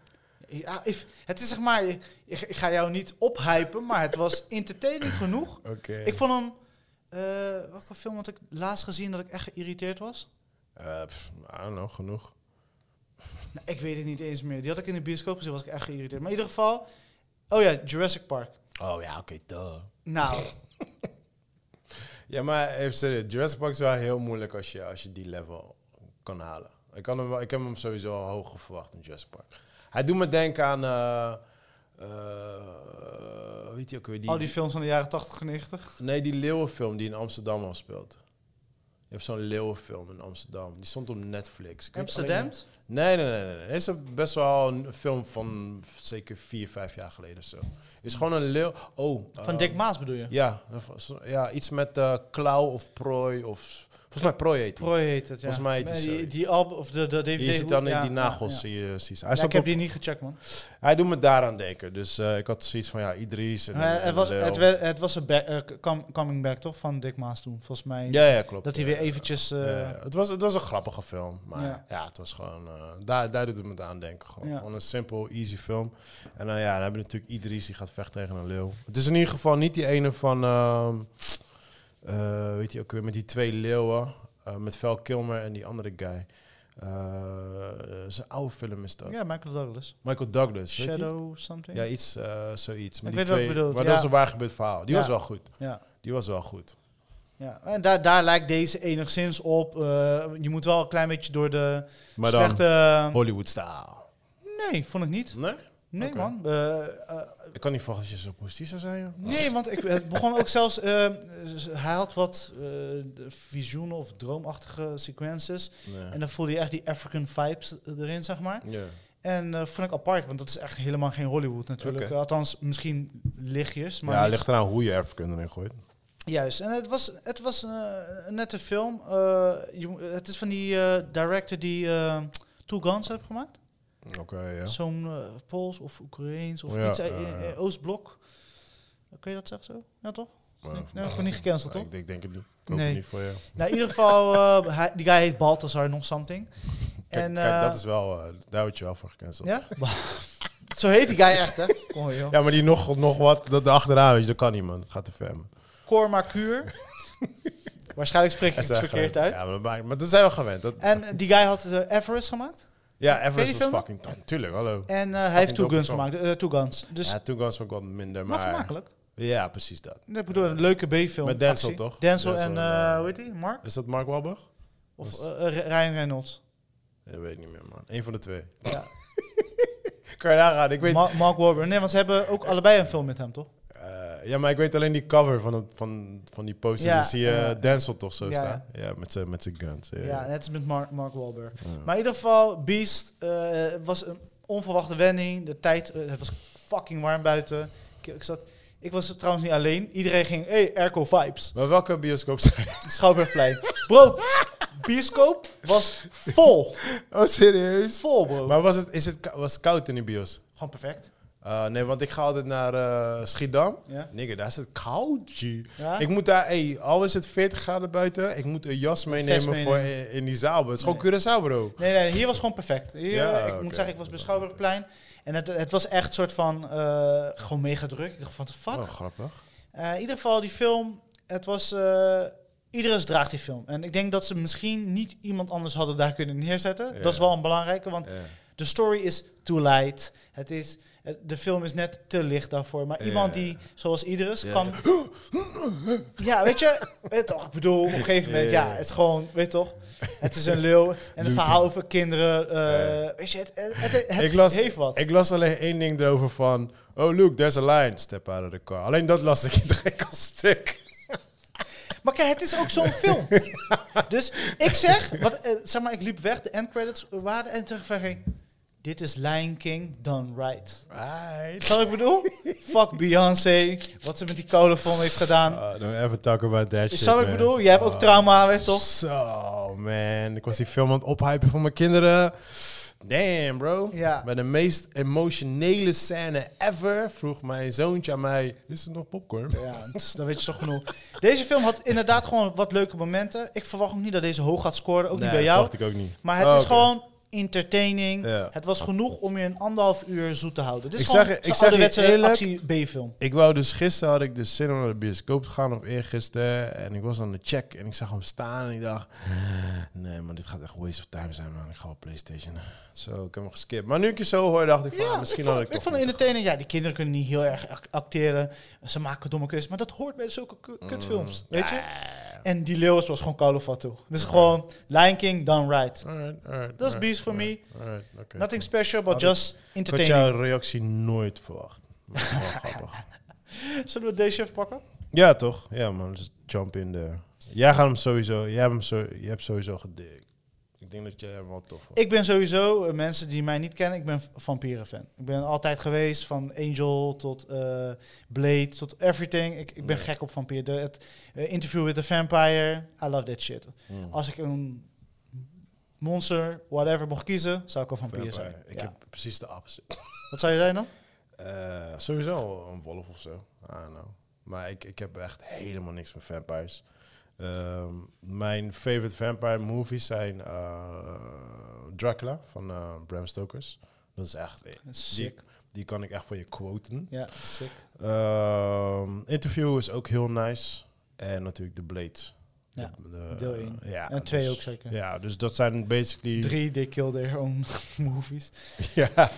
A: Ja, if- het is zeg maar, ik, ik ga jou niet ophypen, maar het was entertaining genoeg.
B: Oké.
A: Ik vond hem, eh, welke film had ik laatst gezien dat ik echt geïrriteerd was?
B: Eh, pff, I don't know, genoeg.
A: Nou, ik weet het niet eens meer. Die had ik in de bioscoop gezien, was ik echt geïrriteerd. Maar in ieder geval, oh ja, Jurassic Park.
B: Oh ja, oké, duh.
A: Nou,
B: Ja, maar even serieus. Jurassic Park is wel heel moeilijk als je, als je die level kan halen. Ik, kan hem, wel- ik heb hem sowieso al hoger verwacht in Jurassic Park. Hij doet me denken aan... eh eh, weet je ook weer? Die,
A: al die films van de jaren 80 en 90.
B: Nee, die leeuwenfilm die in Amsterdam afspeelt. Je hebt zo'n leeuwenfilm in Amsterdam. Die stond op Netflix. Ik weet alleen
A: Amsterdam?
B: niet- Nee, nee, nee. nee. nee. Het is een- best wel een film van zeker vier, vijf jaar geleden of zo. is gewoon een leeuw... Oh,
A: Van
B: eh,
A: Dick Maas bedoel je?
B: Ja, ja, iets met eh, klauw of prooi of... Volgens mij prooi heet hij.
A: Prooi heet het, ja.
B: Volgens mij heet die
A: Nee,
B: zo.
A: die, die alb of de, de DVD.
B: Je ziet dan in
A: ja,
B: die
A: ja,
B: nagels,
A: ja.
B: zie je precies. Hij,
A: Ja,
B: stond
A: ik heb
B: op-
A: die niet gecheckt, man.
B: hij doet me daaraan denken. Dus eh, ik had zoiets van, ja, Idris en...
A: Maar
B: en
A: het, was,
B: Leo.
A: het, we- het was een back- eh, com- coming back, toch? Van Dick Maas toen, volgens mij.
B: Ja, ja, klopt.
A: dat hij weer eventjes... eh,
B: Ja, ja. het, was, het was een grappige film, maar ja,
A: Ja.
B: het was gewoon... eh, daar, daar doet het me aan denken. Gewoon.
A: Ja.
B: Gewoon een simpel, easy film. En dan, ja, dan hebben we natuurlijk Idris die gaat vechten tegen een leeuw. Het is in ieder geval niet die ene van... ehm, eh, weet je ook weer, met die twee leeuwen. eh, met Val Kilmer en die andere guy. Eh, zijn oude film is dat.
A: ja, Michael Douglas.
B: Michael Douglas, weet je?
A: Shadow something?
B: Ja, iets, eh, zoiets. Maar
A: Ik
B: die
A: weet wat je
B: twee,
A: bedoelt,
B: maar
A: ja.
B: dat was een waar gebeurd verhaal. Die
A: Ja.
B: was wel goed.
A: Ja.
B: Die was wel goed.
A: ja. En daar, daar lijkt deze enigszins op. Eh, je moet wel een klein beetje door de
B: Maar dan
A: slechte...
B: Hollywood-style.
A: Nee, vond ik niet.
B: Nee?
A: Nee,
B: Oké.
A: man. Eh, eh,
B: Ik kan niet volgens je zo positief zou zijn, joh.
A: nee, want ik, het begon ook zelfs... eh, z- hij had wat eh, de visioenen of droomachtige sequences. En
B: Nee.
A: dan voelde je echt die African vibes erin, zeg maar.
B: Ja.
A: En eh, vond ik apart, want dat is echt helemaal geen Hollywood natuurlijk.
B: Oké.
A: Althans, misschien lichtjes. Maar
B: ja,
A: niet-
B: ligt eraan hoe je erfkunde erin gooit.
A: Juist. En het was, het was eh, een nette film. Eh, je, mo- het is van die eh, director die eh, Two Guns heeft gemaakt.
B: Oké, ja. Oh
A: Zo'n eh, Pools of Oekraïens of
B: Ja,
A: iets uit
B: ja,
A: in-
B: ja.
A: in Oostblok. Kun je dat zeggen zo? Ja, toch?
B: Maar-
A: Nee, nou, gewoon niet gecanceld, toch?
B: Ik denk, denk het niet. Ik hoop
A: Nee.
B: het niet voor jou.
A: Nou, in ieder geval, eh, hij- die guy heet Balthazar nog something.
B: Kijk,
A: en,
B: kijk,
A: eh,
B: dat is wel... eh, daar word je wel voor gecanceld. Ja,
A: Ja? zo heet die guy echt, hè? Kom joh.
B: maar die nog, nog wat dat achteraan, weet je, dat kan niet, man. Dat gaat te ver, man.
A: Cormacuur. Waarschijnlijk spreek ik
B: Dat
A: het
B: zijn
A: verkeerd
B: gewend.
A: uit.
B: eh, Ja, maar, dat maakt- maar dat zijn we gewend. Dat,
A: En die guy had eh, Everest gemaakt.
B: ja,
A: Ken je
B: Everest
A: die
B: is
A: film?
B: fucking... Tuurlijk, hallo.
A: En eh, hij heeft Two
B: dope
A: Guns
B: song.
A: gemaakt. eh, two Guns. Dus,
B: ja, toen was ik wat minder,
A: maar
B: maar...
A: vermakelijk.
B: ja, precies dat.
A: Ik bedoel, een leuke B-film.
B: Met Denzel,
A: actie.
B: toch?
A: Denzel,
B: Denzel
A: en,
B: en,
A: eh,
B: eh,
A: hoe heet die? Mark?
B: Is dat Mark Wahlberg?
A: Of
B: dat
A: eh, eh, Ryan Reynolds?
B: Ik weet ik niet meer, man. Eén van de twee.
A: Ja.
B: kan je nagaan, ik weet...
A: Ma- Mark Wahlberg. Nee, want ze hebben ook allebei een film met hem, toch?
B: Eh, ja, maar ik weet alleen die cover van, het, van, van die poster.
A: Ja,
B: Daar zie je
A: ja.
B: Denzel toch zo
A: Ja,
B: staan. Ja, met zijn met zijn guns. Ja,
A: Ja,
B: ja.
A: net als met Mark, Mark Wahlberg.
B: Ja.
A: Maar in ieder geval, Beast eh, was een onverwachte wending. De tijd, eh, het was fucking warm buiten. Ik, ik zat... Ik was er trouwens niet alleen. Iedereen ging, hey, airco vibes.
B: Maar welke bioscoop zijn?
A: Schouwburgplein. Bro, bioscoop was vol.
B: Oh, serieus?
A: Vol, bro.
B: Maar was het, is het, ko- was het koud in die bios?
A: Gewoon perfect.
B: Eh, nee, want ik ga altijd naar eh, Schiedam.
A: Ja.
B: Nigga, daar is het koud, G.
A: Ja?
B: Ik moet daar, ey, al is het 40 graden buiten, ik moet een jas meenemen
A: meenemen.
B: voor in, in die zaal. bro. Het is gewoon Curaçao, bro.
A: Nee, nee, hier was gewoon perfect. Hier,
B: Ja,
A: ik
B: oké.
A: moet zeggen, ik was bij Schouwburgplein. En het, het was echt soort van, eh, gewoon mega druk. Ik dacht van, what the fuck?
B: Oh, grappig.
A: Eh, in ieder geval, die film, het was... eh Iedereen draagt die film. En ik denk dat ze misschien niet iemand anders hadden daar kunnen neerzetten.
B: Ja.
A: Dat is wel een belangrijke, want
B: Ja.
A: de story is too light. Het is, het- de film is net te licht daarvoor. Maar
B: Ja.
A: iemand die, zoals iedereen,
B: Ja.
A: kan... Ja, weet je, weet toch, ik bedoel, op een gegeven moment,
B: Ja.
A: ja, het is gewoon, weet toch, het is een leeuw. En het verhaal over kinderen, eh, weet je, het, het, het, het
B: Ik las-
A: heeft wat.
B: Ik las alleen één ding erover van... Oh, look, there's a line. Step out of the car. Alleen dat las ik in het gek als stuk.
A: Maar kijk, het is ook zo'n film. dus ik zeg, wat, eh, zeg maar, ik liep weg, de endcredits waren en toen dacht ik, dit is Lion King done right.
B: Right.
A: Snap wat ik bedoel? Fuck Beyoncé, wat ze met die kolenfilm heeft gedaan.
B: Uh, don't ever talk about that shit,
A: Snap wat ik
B: man.
A: bedoel? Jij hebt
B: Ah.
A: ook trauma, weet je toch?
B: Zo, man. Ik was die film aan het ophypen voor mijn kinderen. Damn, bro.
A: Ja.
B: Bij de meest emotionele scène ever vroeg mijn zoontje aan mij... Is er nog popcorn?
A: Ja, dus dan weet je toch genoeg. Deze film had inderdaad gewoon wat leuke momenten. Ik verwacht ook niet dat deze hoog gaat scoren, ook
B: Nee,
A: niet bij
B: dat
A: jou.
B: dacht ik ook niet.
A: Maar het
B: Oh,
A: is
B: oké.
A: gewoon entertaining.
B: Ja.
A: Het was genoeg om je een anderhalf uur zoet te houden. Dit is
B: Ik
A: gewoon
B: zeg je- ik
A: zo'n
B: zeg je
A: ouderwetse
B: eerlijk-
A: actie-B-film.
B: Ik wou dus gisteren had ik dus zin om naar de bioscoop te gaan of eergisteren. En ik was aan de check en ik zag hem staan en ik dacht.
A: Ah.
B: Nee, maar dit gaat echt waste of time zijn, man. Ik ga op PlayStation. Zo, ik heb hem geskipt. Maar nu ik je zo hoor, dacht ik van ah,
A: Ja,
B: misschien
A: ik vond,
B: had ik.
A: ik
B: toch
A: vond
B: moeten
A: entertaining... Ja, die kinderen kunnen niet heel erg ac- acteren. Ze maken domme keuzes. Maar dat hoort bij zulke ku-
B: Mm.
A: kutfilms, weet je? En die leeuw was gewoon Call of Duty. Dus gewoon Lion King done right.
B: gaan. Alright, alright.
A: Dat is
B: alright,
A: beast for me.
B: alright, oké.
A: Nothing special, but
B: Had ik-
A: just
B: Ik had
A: entertaining.
B: jouw reactie nooit verwacht. Maar het is wel grappig.
A: Zullen we deze even pakken?
B: Ja, toch? Ja, man. Dus jump in de. Jij gaat hem sowieso. Jij hebt hem zo. Je hebt sowieso gedikt. Ik denk dat jij hem wel tof vond.
A: Ik ben sowieso, eh, mensen die mij niet kennen, ik ben v- vampierenfan. Ik ben altijd geweest, van Angel tot eh, Blade tot everything. Ik, ik ben
B: Ja.
A: gek op vampieren. De- Het eh, interview with the vampire, I love that shit.
B: Mm.
A: Als ik een monster, whatever, mocht kiezen, zou ik een vampier
B: Vampire.
A: zijn.
B: Ik
A: Ja.
B: heb precies de opposite.
A: Wat zou je zijn dan?
B: Eh, sowieso een wolf of zo. I don't know. Maar ik, ik heb echt helemaal niks met vampires. Ehm, mijn favorite vampire movies zijn eh, Dracula van eh, Bram Stokers. Dat is echt... eh,
A: Sick.
B: Die kan ik echt voor je quoten.
A: Ja, sick.
B: Ehm, interview is ook heel nice. En natuurlijk The Blade.
A: Ja,
B: De- de-
A: deel één.
B: Ja,
A: en twee
B: dus-
A: ook zeker.
B: Ja, dus dat zijn basically...
A: Drie, they kill their own movies.
B: Ja.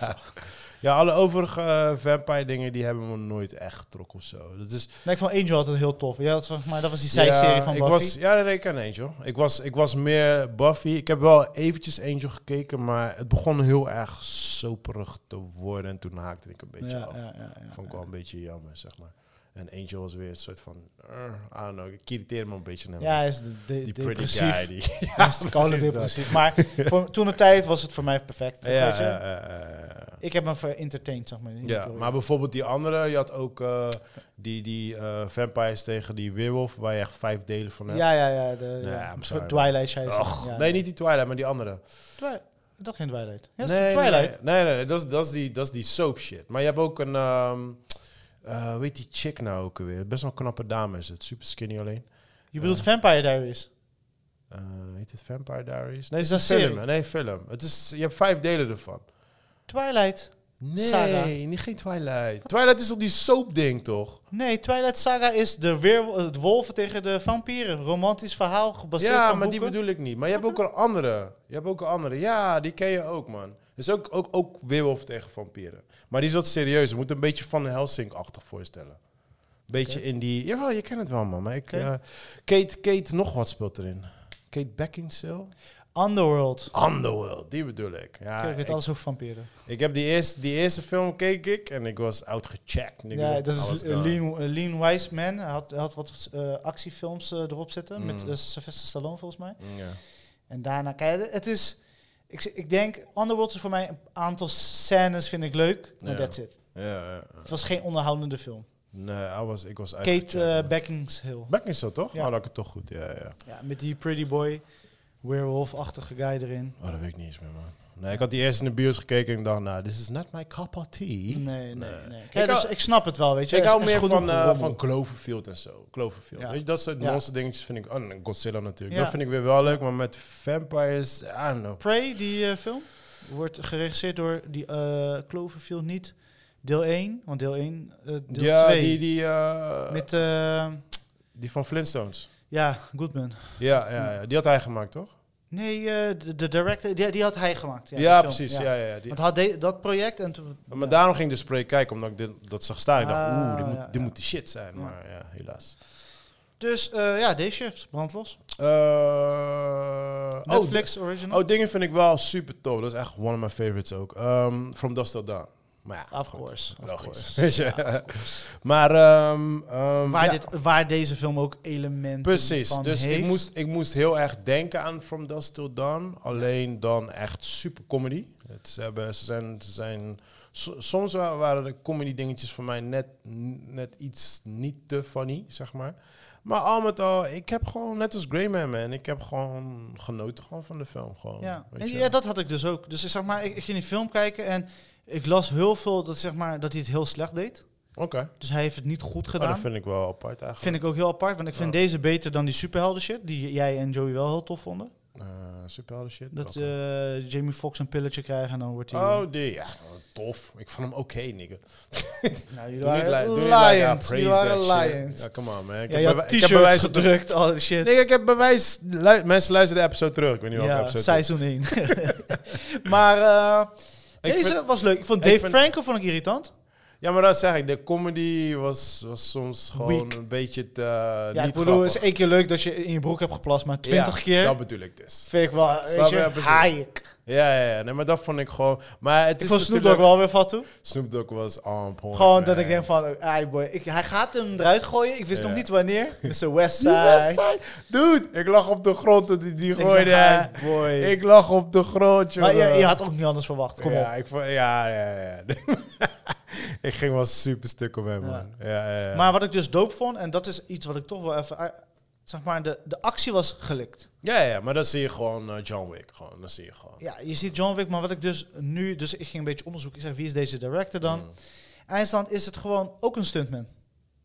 B: ja, alle overige eh, vampire dingen die hebben me nooit echt getrokken of zo. Dat is,
A: Nee, ik vond Angel altijd heel tof. Ja, dat, was- maar dat was die zijserie van
B: ik
A: Buffy.
B: Was, ja, nee, nee, ik ken Angel. Ik was, ik was meer Buffy. Ik heb wel eventjes Angel gekeken, maar het begon heel erg soperig te worden. En toen haakte ik een beetje
A: Ja,
B: af.
A: ja, ja, ja,
B: Vond ik
A: ja.
B: wel een beetje jammer, zeg maar. En Angel was weer een soort van... eh, I don't know, ik irriteerde me een beetje naar
A: Ja, hij is de, de,
B: die pretty
A: depressief.
B: guy. Die, ja,
A: Hij is de koude
B: precies dat.
A: depressief. Maar voor, toen de tijd was het voor mij perfect.
B: Ja,
A: weet je?
B: ja, ja, ja, ja.
A: Ik heb me ver-entertained, zeg maar. in die
B: Ja,
A: periode.
B: maar bijvoorbeeld die andere, je had ook eh, die, die eh, vampires tegen die werewolf, waar je echt vijf delen van hebt.
A: Ja, ja, ja. De, ja,
B: I'm
A: een
B: sorry,
A: soort Twilight, jij
B: Och,
A: ja,
B: nee, niet die Twilight, maar die andere.
A: Twi- dat geen Twilight. Ja, is
B: nee,
A: het Twilight.
B: Nee, nee, nee, nee, dat, is, dat, is die, dat is die soap shit. Maar je hebt ook een, ehm eh, weet die chick nou ook alweer? Best wel een knappe dame is het, super skinny alleen.
A: Je bedoelt Vampire Diaries.
B: Eh, heet het Vampire Diaries? Nee, het is
A: dat
B: een
A: een
B: film.
A: serie?
B: Nee, film. Het is, je hebt vijf delen ervan.
A: Twilight.
B: Nee,
A: Saga.
B: niet geen Twilight. Twilight is toch die soap ding, toch?
A: Nee, Twilight Saga is de weerwol- het wolven tegen de vampieren. Romantisch verhaal gebaseerd
B: ja,
A: op
B: maar die
A: boeken.
B: bedoel ik niet. Maar je hebt ook een andere. Je hebt ook een andere. Ja, die ken je ook, man. Dus ook, ook, ook weerwolf tegen vampieren. Maar die is wat serieus. Je moet een beetje Van Helsing-achtig voorstellen. Beetje in die... Jawel, je kent het wel, man. Maar ik,
A: Oké.
B: eh, Kate, Kate nog wat speelt erin. Kate Beckinsale?
A: Underworld.
B: Underworld, die bedoel ik. Ja,
A: Kijk, ik weet
B: ik,
A: alles over vampieren.
B: ik heb die eerste, die eerste film keek ik en ik was outgecheckt. nigga.
A: Ja, dat
B: Alles
A: is eh,
B: gone.
A: Lean, eh, Lean Wiseman. Hij had, hij had wat eh, actiefilms eh, erop zitten. Met
B: Mm.
A: eh, Sylvester Stallone, volgens mij.
B: Ja.
A: En daarna, kijk, het- het is... Ik, z- ik denk, Underworld is voor mij een aantal scènes vind ik leuk, maar
B: Ja.
A: that's it.
B: Ja, ja.
A: Het was geen onderhoudende film.
B: Nee, hij was, ik was
A: Kate
B: uitgecheckt.
A: eh, Beckinsale.
B: Beck is zo, toch?
A: Ja.
B: Ja. Oh, dat ik het toch goed. Ja, ja.
A: Ja, met die pretty boy, werewolf-achtige guy erin.
B: Oh, dat weet ik niet eens meer, man. Nee, ik had die eerst in de bios gekeken en ik dacht, nou, this is not my cup of tea.
A: Nee, nee, nee.
B: Nee.
A: Ja,
B: Ik
A: dus
B: hou-
A: ik snap het wel, weet je.
B: Ik
A: Er is-
B: hou
A: er is
B: meer
A: genoeg
B: van, eh,
A: gerommel.
B: van Cloverfield en zo. Cloverfield.
A: Ja.
B: Weet je, dat soort
A: Ja.
B: monster dingetjes vind ik... Oh, en Godzilla natuurlijk.
A: Ja.
B: Dat vind ik weer wel leuk, maar met vampires... I don't know.
A: Prey, die eh, film, wordt geregisseerd door die eh Cloverfield niet. Deel 1, want deel 1, eh, deel
B: ja,
A: 2.
B: die, die, eh,
A: met, eh,
B: die van Flintstones.
A: ja, Goodman.
B: Ja, ja,
A: Hmm.
B: ja, die had hij gemaakt, toch?
A: Nee, eh, de, de director, die, die had hij gemaakt.
B: Ja,
A: die film,
B: precies. Ja. Ja, ja, die-
A: Want hij had de- dat project en toen...
B: maar daarom ging ik dus Prey kijken, omdat ik dit, dat zag staan. Ik dacht,
A: Ah,
B: oeh, dit, moet,
A: ja,
B: dit
A: ja.
B: moet die shit zijn.
A: Ja.
B: Maar ja, helaas.
A: Dus eh, ja, deze shift, brandlos.
B: Eh, oh,
A: Netflix original.
B: Oh, dingen vind ik wel super tof. Dat is echt one of my favorites ook. Ehm From Dust Till Dawn. Maar ja,
A: of
B: goed,
A: course, of
B: logisch.
A: course.
B: Weet je? maar ehm, ehm,
A: waar,
B: ja,
A: dit, waar deze film ook elementen
B: precies.
A: van
B: Dus
A: heeft.
B: ik moest, ik moest heel erg denken aan From Dust Till Dawn. Alleen dan echt super comedy. Het, ze, hebben, ze zijn, ze zijn so- soms wa- waren de comedy dingetjes voor mij net, net iets niet te funny, zeg maar. Maar al met al, ik heb gewoon, net als Greyman, man, ik heb gewoon genoten gewoon van de film. Gewoon,
A: Ja.
B: weet
A: En
B: je.
A: ja, dat had ik dus ook. Dus ik, zeg maar, ik, ik ging die film kijken en ik las heel veel dat, zeg maar, dat hij het heel slecht deed.
B: Oké.
A: Dus hij heeft het niet goed
B: Maar
A: gedaan.
B: Oh, dat vind ik wel apart eigenlijk.
A: Vind ik ook heel apart, want ik vind
B: Ja.
A: deze beter dan die superhelden shit, die jij en Joey wel heel tof vonden.
B: Eh, superhelden shit.
A: Dat
B: Welke?
A: eh, Jamie Foxx een pilletje krijgen en dan wordt hij...
B: Oh, die. Ja, tof. Ik vond hem oké, nigga.
A: nou, jullie
B: Doe niet
A: waren
B: li- doe niet like, ah,
A: lions.
B: praise
A: Jullie waren
B: that shit.
A: lions.
B: Ja, come on, man. Ik
A: Ja, je
B: heb bewij-
A: had
B: ik heb
A: t-shirts
B: bewijs
A: gedrukt, al die shit.
B: Nigga, ik heb bewijs... Lu- mensen luisteren de episode terug. Ik weet niet welke
A: ja,
B: episode.
A: seizoen 1. maar eh,
B: Ik
A: deze
B: vind-
A: was leuk. Ik vond
B: ik
A: Dave
B: vind-
A: Franco vond ik irritant.
B: Ja, maar dat zeg ik. De comedy was, was soms gewoon
A: Weak.
B: een beetje te,
A: Ja, ik
B: Eh, niet
A: bedoel, het
B: grappig.
A: is één keer leuk dat je in je broek hebt geplast, maar twintig
B: Ja,
A: keer
B: dat bedoel ik dus.
A: vind ik wel, weet
B: je?
A: je,
B: Ja, precies.
A: haaiek.
B: Ja, ja, ja. Nee, maar dat vond ik gewoon... Maar het
A: Ik
B: is
A: vond Snoop Dogg
B: natuurlijk-
A: wel weer van toe.
B: Snoop Dogg was um, on point,
A: Gewoon
B: man.
A: dat ik denk van, ai boy, ik, hij gaat hem eruit gooien. Ik wist
B: Ja.
A: nog niet wanneer. Mr.
B: Die
A: Westside.
B: Westside. Dude, ik lag op de grond toen die, die
A: Ik zeg,
B: gooide. en-
A: ai boy.
B: Ik lag op de grond, joh.
A: maar je, je had ook niet anders verwacht, kom
B: ja,
A: op.
B: Ik vond, ja, ja, ja. ik ging wel super stuk op hem,
A: Ja.
B: man. Ja, ja, ja.
A: Maar wat ik dus dope vond, en dat is iets wat ik toch wel even... eh, Zeg maar, de, de actie was gelikt.
B: ja, ja, maar dan zie je gewoon eh, John Wick. Gewoon, dat zie je gewoon.
A: Ja, je ziet John Wick, maar wat ik dus nu... Dus ik ging een beetje onderzoeken. Ik zeg, wie is deze director dan?
B: Mm.
A: Eindstand is het gewoon ook een stuntman.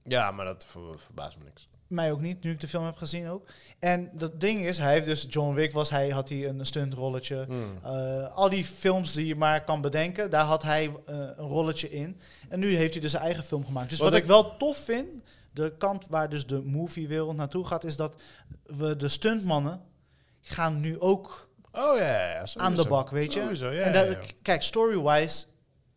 B: Ja, maar dat ver- verbaast me niks.
A: Mij ook niet, nu ik de film heb gezien ook. En dat ding is, hij heeft dus... John Wick was hij, had hij een stuntrolletje.
B: Mm.
A: Eh, al die films die je maar kan bedenken, daar had hij eh, een rolletje in. En nu heeft hij dus zijn eigen film gemaakt. Dus wat,
B: Wat
A: ik
B: ik-
A: wel tof vind, de kant waar dus de moviewereld naartoe gaat... is dat we de stuntmannen gaan nu ook
B: Oh ja, ja, ja, sowieso.
A: aan de bak, weet je?
B: Sowieso, ja,
A: en
B: ja,
A: daar-
B: ja.
A: k- Kijk, story-wise,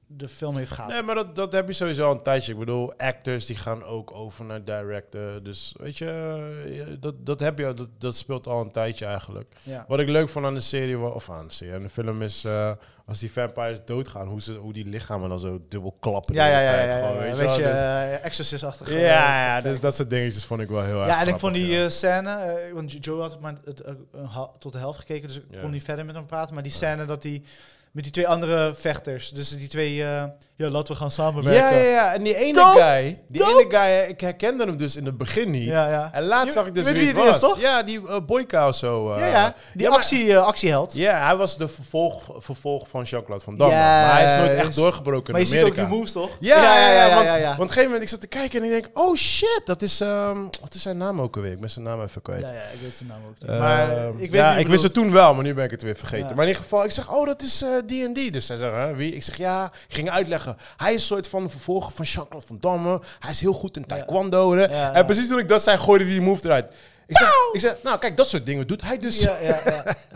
A: de film heeft gehad.
B: Nee, maar dat, dat heb je sowieso al een tijdje. Ik bedoel, actors die gaan ook over naar director. Dus weet je, eh, dat, dat heb je, al- dat, dat speelt al een tijdje eigenlijk.
A: Ja.
B: Wat ik leuk vond aan de serie, wa- of aan de serie, aan de film is eh, als die vampires doodgaan, hoe, ze, hoe die lichamen dan zo dubbel klappen.
A: Ja,
B: de
A: ja,
B: hele
A: ja,
B: tijd
A: ja, ja,
B: gewoon,
A: ja.
B: weet
A: Weet,
B: je wel.
A: je,
B: Dus-
A: eh, Exorcist-achtig. eh,
B: ja, ja,
A: kijk.
B: dus dat soort dingetjes vond ik wel heel erg
A: ja, en ik vond die
B: grappig,
A: eh, scène, eh, want Jo- Joe had maar het, eh, een ha- tot de helft gekeken, dus ik
B: Ja.
A: kon niet verder met hem praten. Maar die scène dat hij met die twee andere vechters, dus die twee, eh, ja, laten we gaan
B: ja.
A: samenwerken.
B: ja, ja, ja. En die ene
A: Dope,
B: guy, die
A: dope.
B: ene guy, eh, ik herkende hem dus in het begin niet.
A: Ja, ja.
B: En laatst
A: Je-
B: zag ik dus
A: weet
B: wie
A: wie
B: het
A: het is,
B: was.
A: toch?
B: Ja, die eh, Boyka of zo. eh.
A: Ja, ja, die
B: Ja, maar-
A: actie, eh, actieheld.
B: Ja, hij was de vervolg, vervolg van Jean-Claude Van Damme.
A: Juist.
B: Maar hij is nooit echt doorgebroken
A: maar je
B: in
A: ziet ook
B: Amerika.
A: die moves, toch?
B: Ja, ja, ja.
A: ja,
B: want,
A: ja, ja.
B: want op een gegeven moment, ik zat te kijken en ik denk, oh shit, dat is... ehm, wat is zijn naam ook alweer? Ik ben zijn naam even kwijt.
A: Ja, ja, ik weet zijn naam ook niet.
B: Ehm,
A: maar eh, ik weet wie je
B: ja, ik
A: bedoelt.
B: wist het toen wel, maar nu ben ik het weer vergeten.
A: Ja.
B: Maar in ieder geval, ik zeg, oh, dat is eh, die en die. Dus zij zegt, hè, wie? Ik zeg, ja, ik ging uitleggen. Hij is een soort van vervolger van Jean-Claude Van Damme. Hij is heel goed in taekwondo. hè.
A: Ja, ja.
B: En precies toen ik dat zei, gooide die move eruit. Ik zeg, ik zeg, nou kijk, dat soort dingen doet hij dus. Ja,
A: Ja, ja, ja.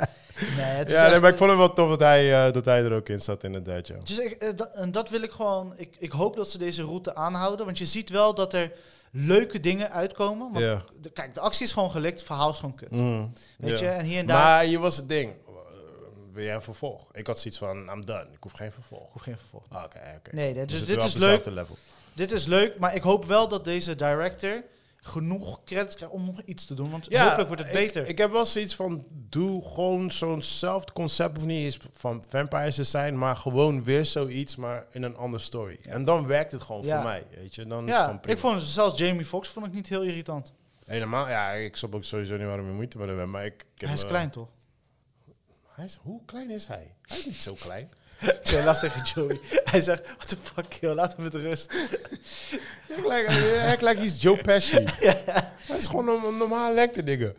A: Nee, het is
B: nee,
A: echt-
B: maar ik vond het wel tof dat hij, eh, dat hij er ook in zat, inderdaad, ja.
A: Dus ik, eh, dat, en dat wil ik gewoon. Ik, ik hoop dat ze deze route aanhouden. Want je ziet wel dat er leuke dingen uitkomen. Want
B: Ja.
A: de- kijk, de actie is gewoon gelikt, het verhaal is gewoon kut.
B: Mm,
A: Weet
B: ja.
A: je, en hier en daar.
B: Maar hier was het ding. Eh, wil jij een vervolg? Ik had zoiets van, I'm done. Ik hoef geen vervolg.
A: Ik hoef geen vervolg.
B: Ah, Oké, oké.
A: Nee, dat- dus
B: het
A: dit
B: wel
A: is
B: op hetzelfde level.
A: Dit is leuk, maar ik hoop wel dat deze director genoeg credits krijgt om nog iets te doen. Want
B: Ja,
A: hopelijk wordt het
B: ik-
A: beter.
B: Ik, heb wel zoiets van, doe gewoon zo'nzelfde concept, of niet eens van vampires te zijn, maar gewoon weer zoiets, maar in een andere story. En dan werkt het gewoon
A: Ja.
B: voor mij, weet je. Dan is het
A: ja,
B: gewoon prima.
A: ik vond zelfs Jamie Foxx vond ik niet heel irritant.
B: Helemaal, ja, ik snap ook sowieso niet waarom je moeite met hem hebt, maar ik... ik heb,
A: Hij is
B: eh,
A: klein toch?
B: Hij is, hoe klein is hij? Hij is niet zo klein.
A: Zij las tegen Joey. Hij zegt, what the fuck, joh, laat hem met rust.
B: Hij lijkt- hij lijkt iets Joe Pesci. Hij is gewoon een, een normaal lekker digger.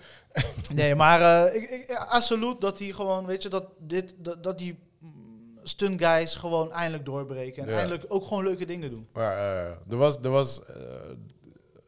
A: Nee, maar eh ik, ik, ja, absoluut dat hij gewoon, weet je, dat, dit, dat, dat die mm, stunt guys gewoon eindelijk doorbreken. En
B: Ja.
A: eindelijk ook gewoon leuke dingen doen.
B: Maar eh, er was, er was eh,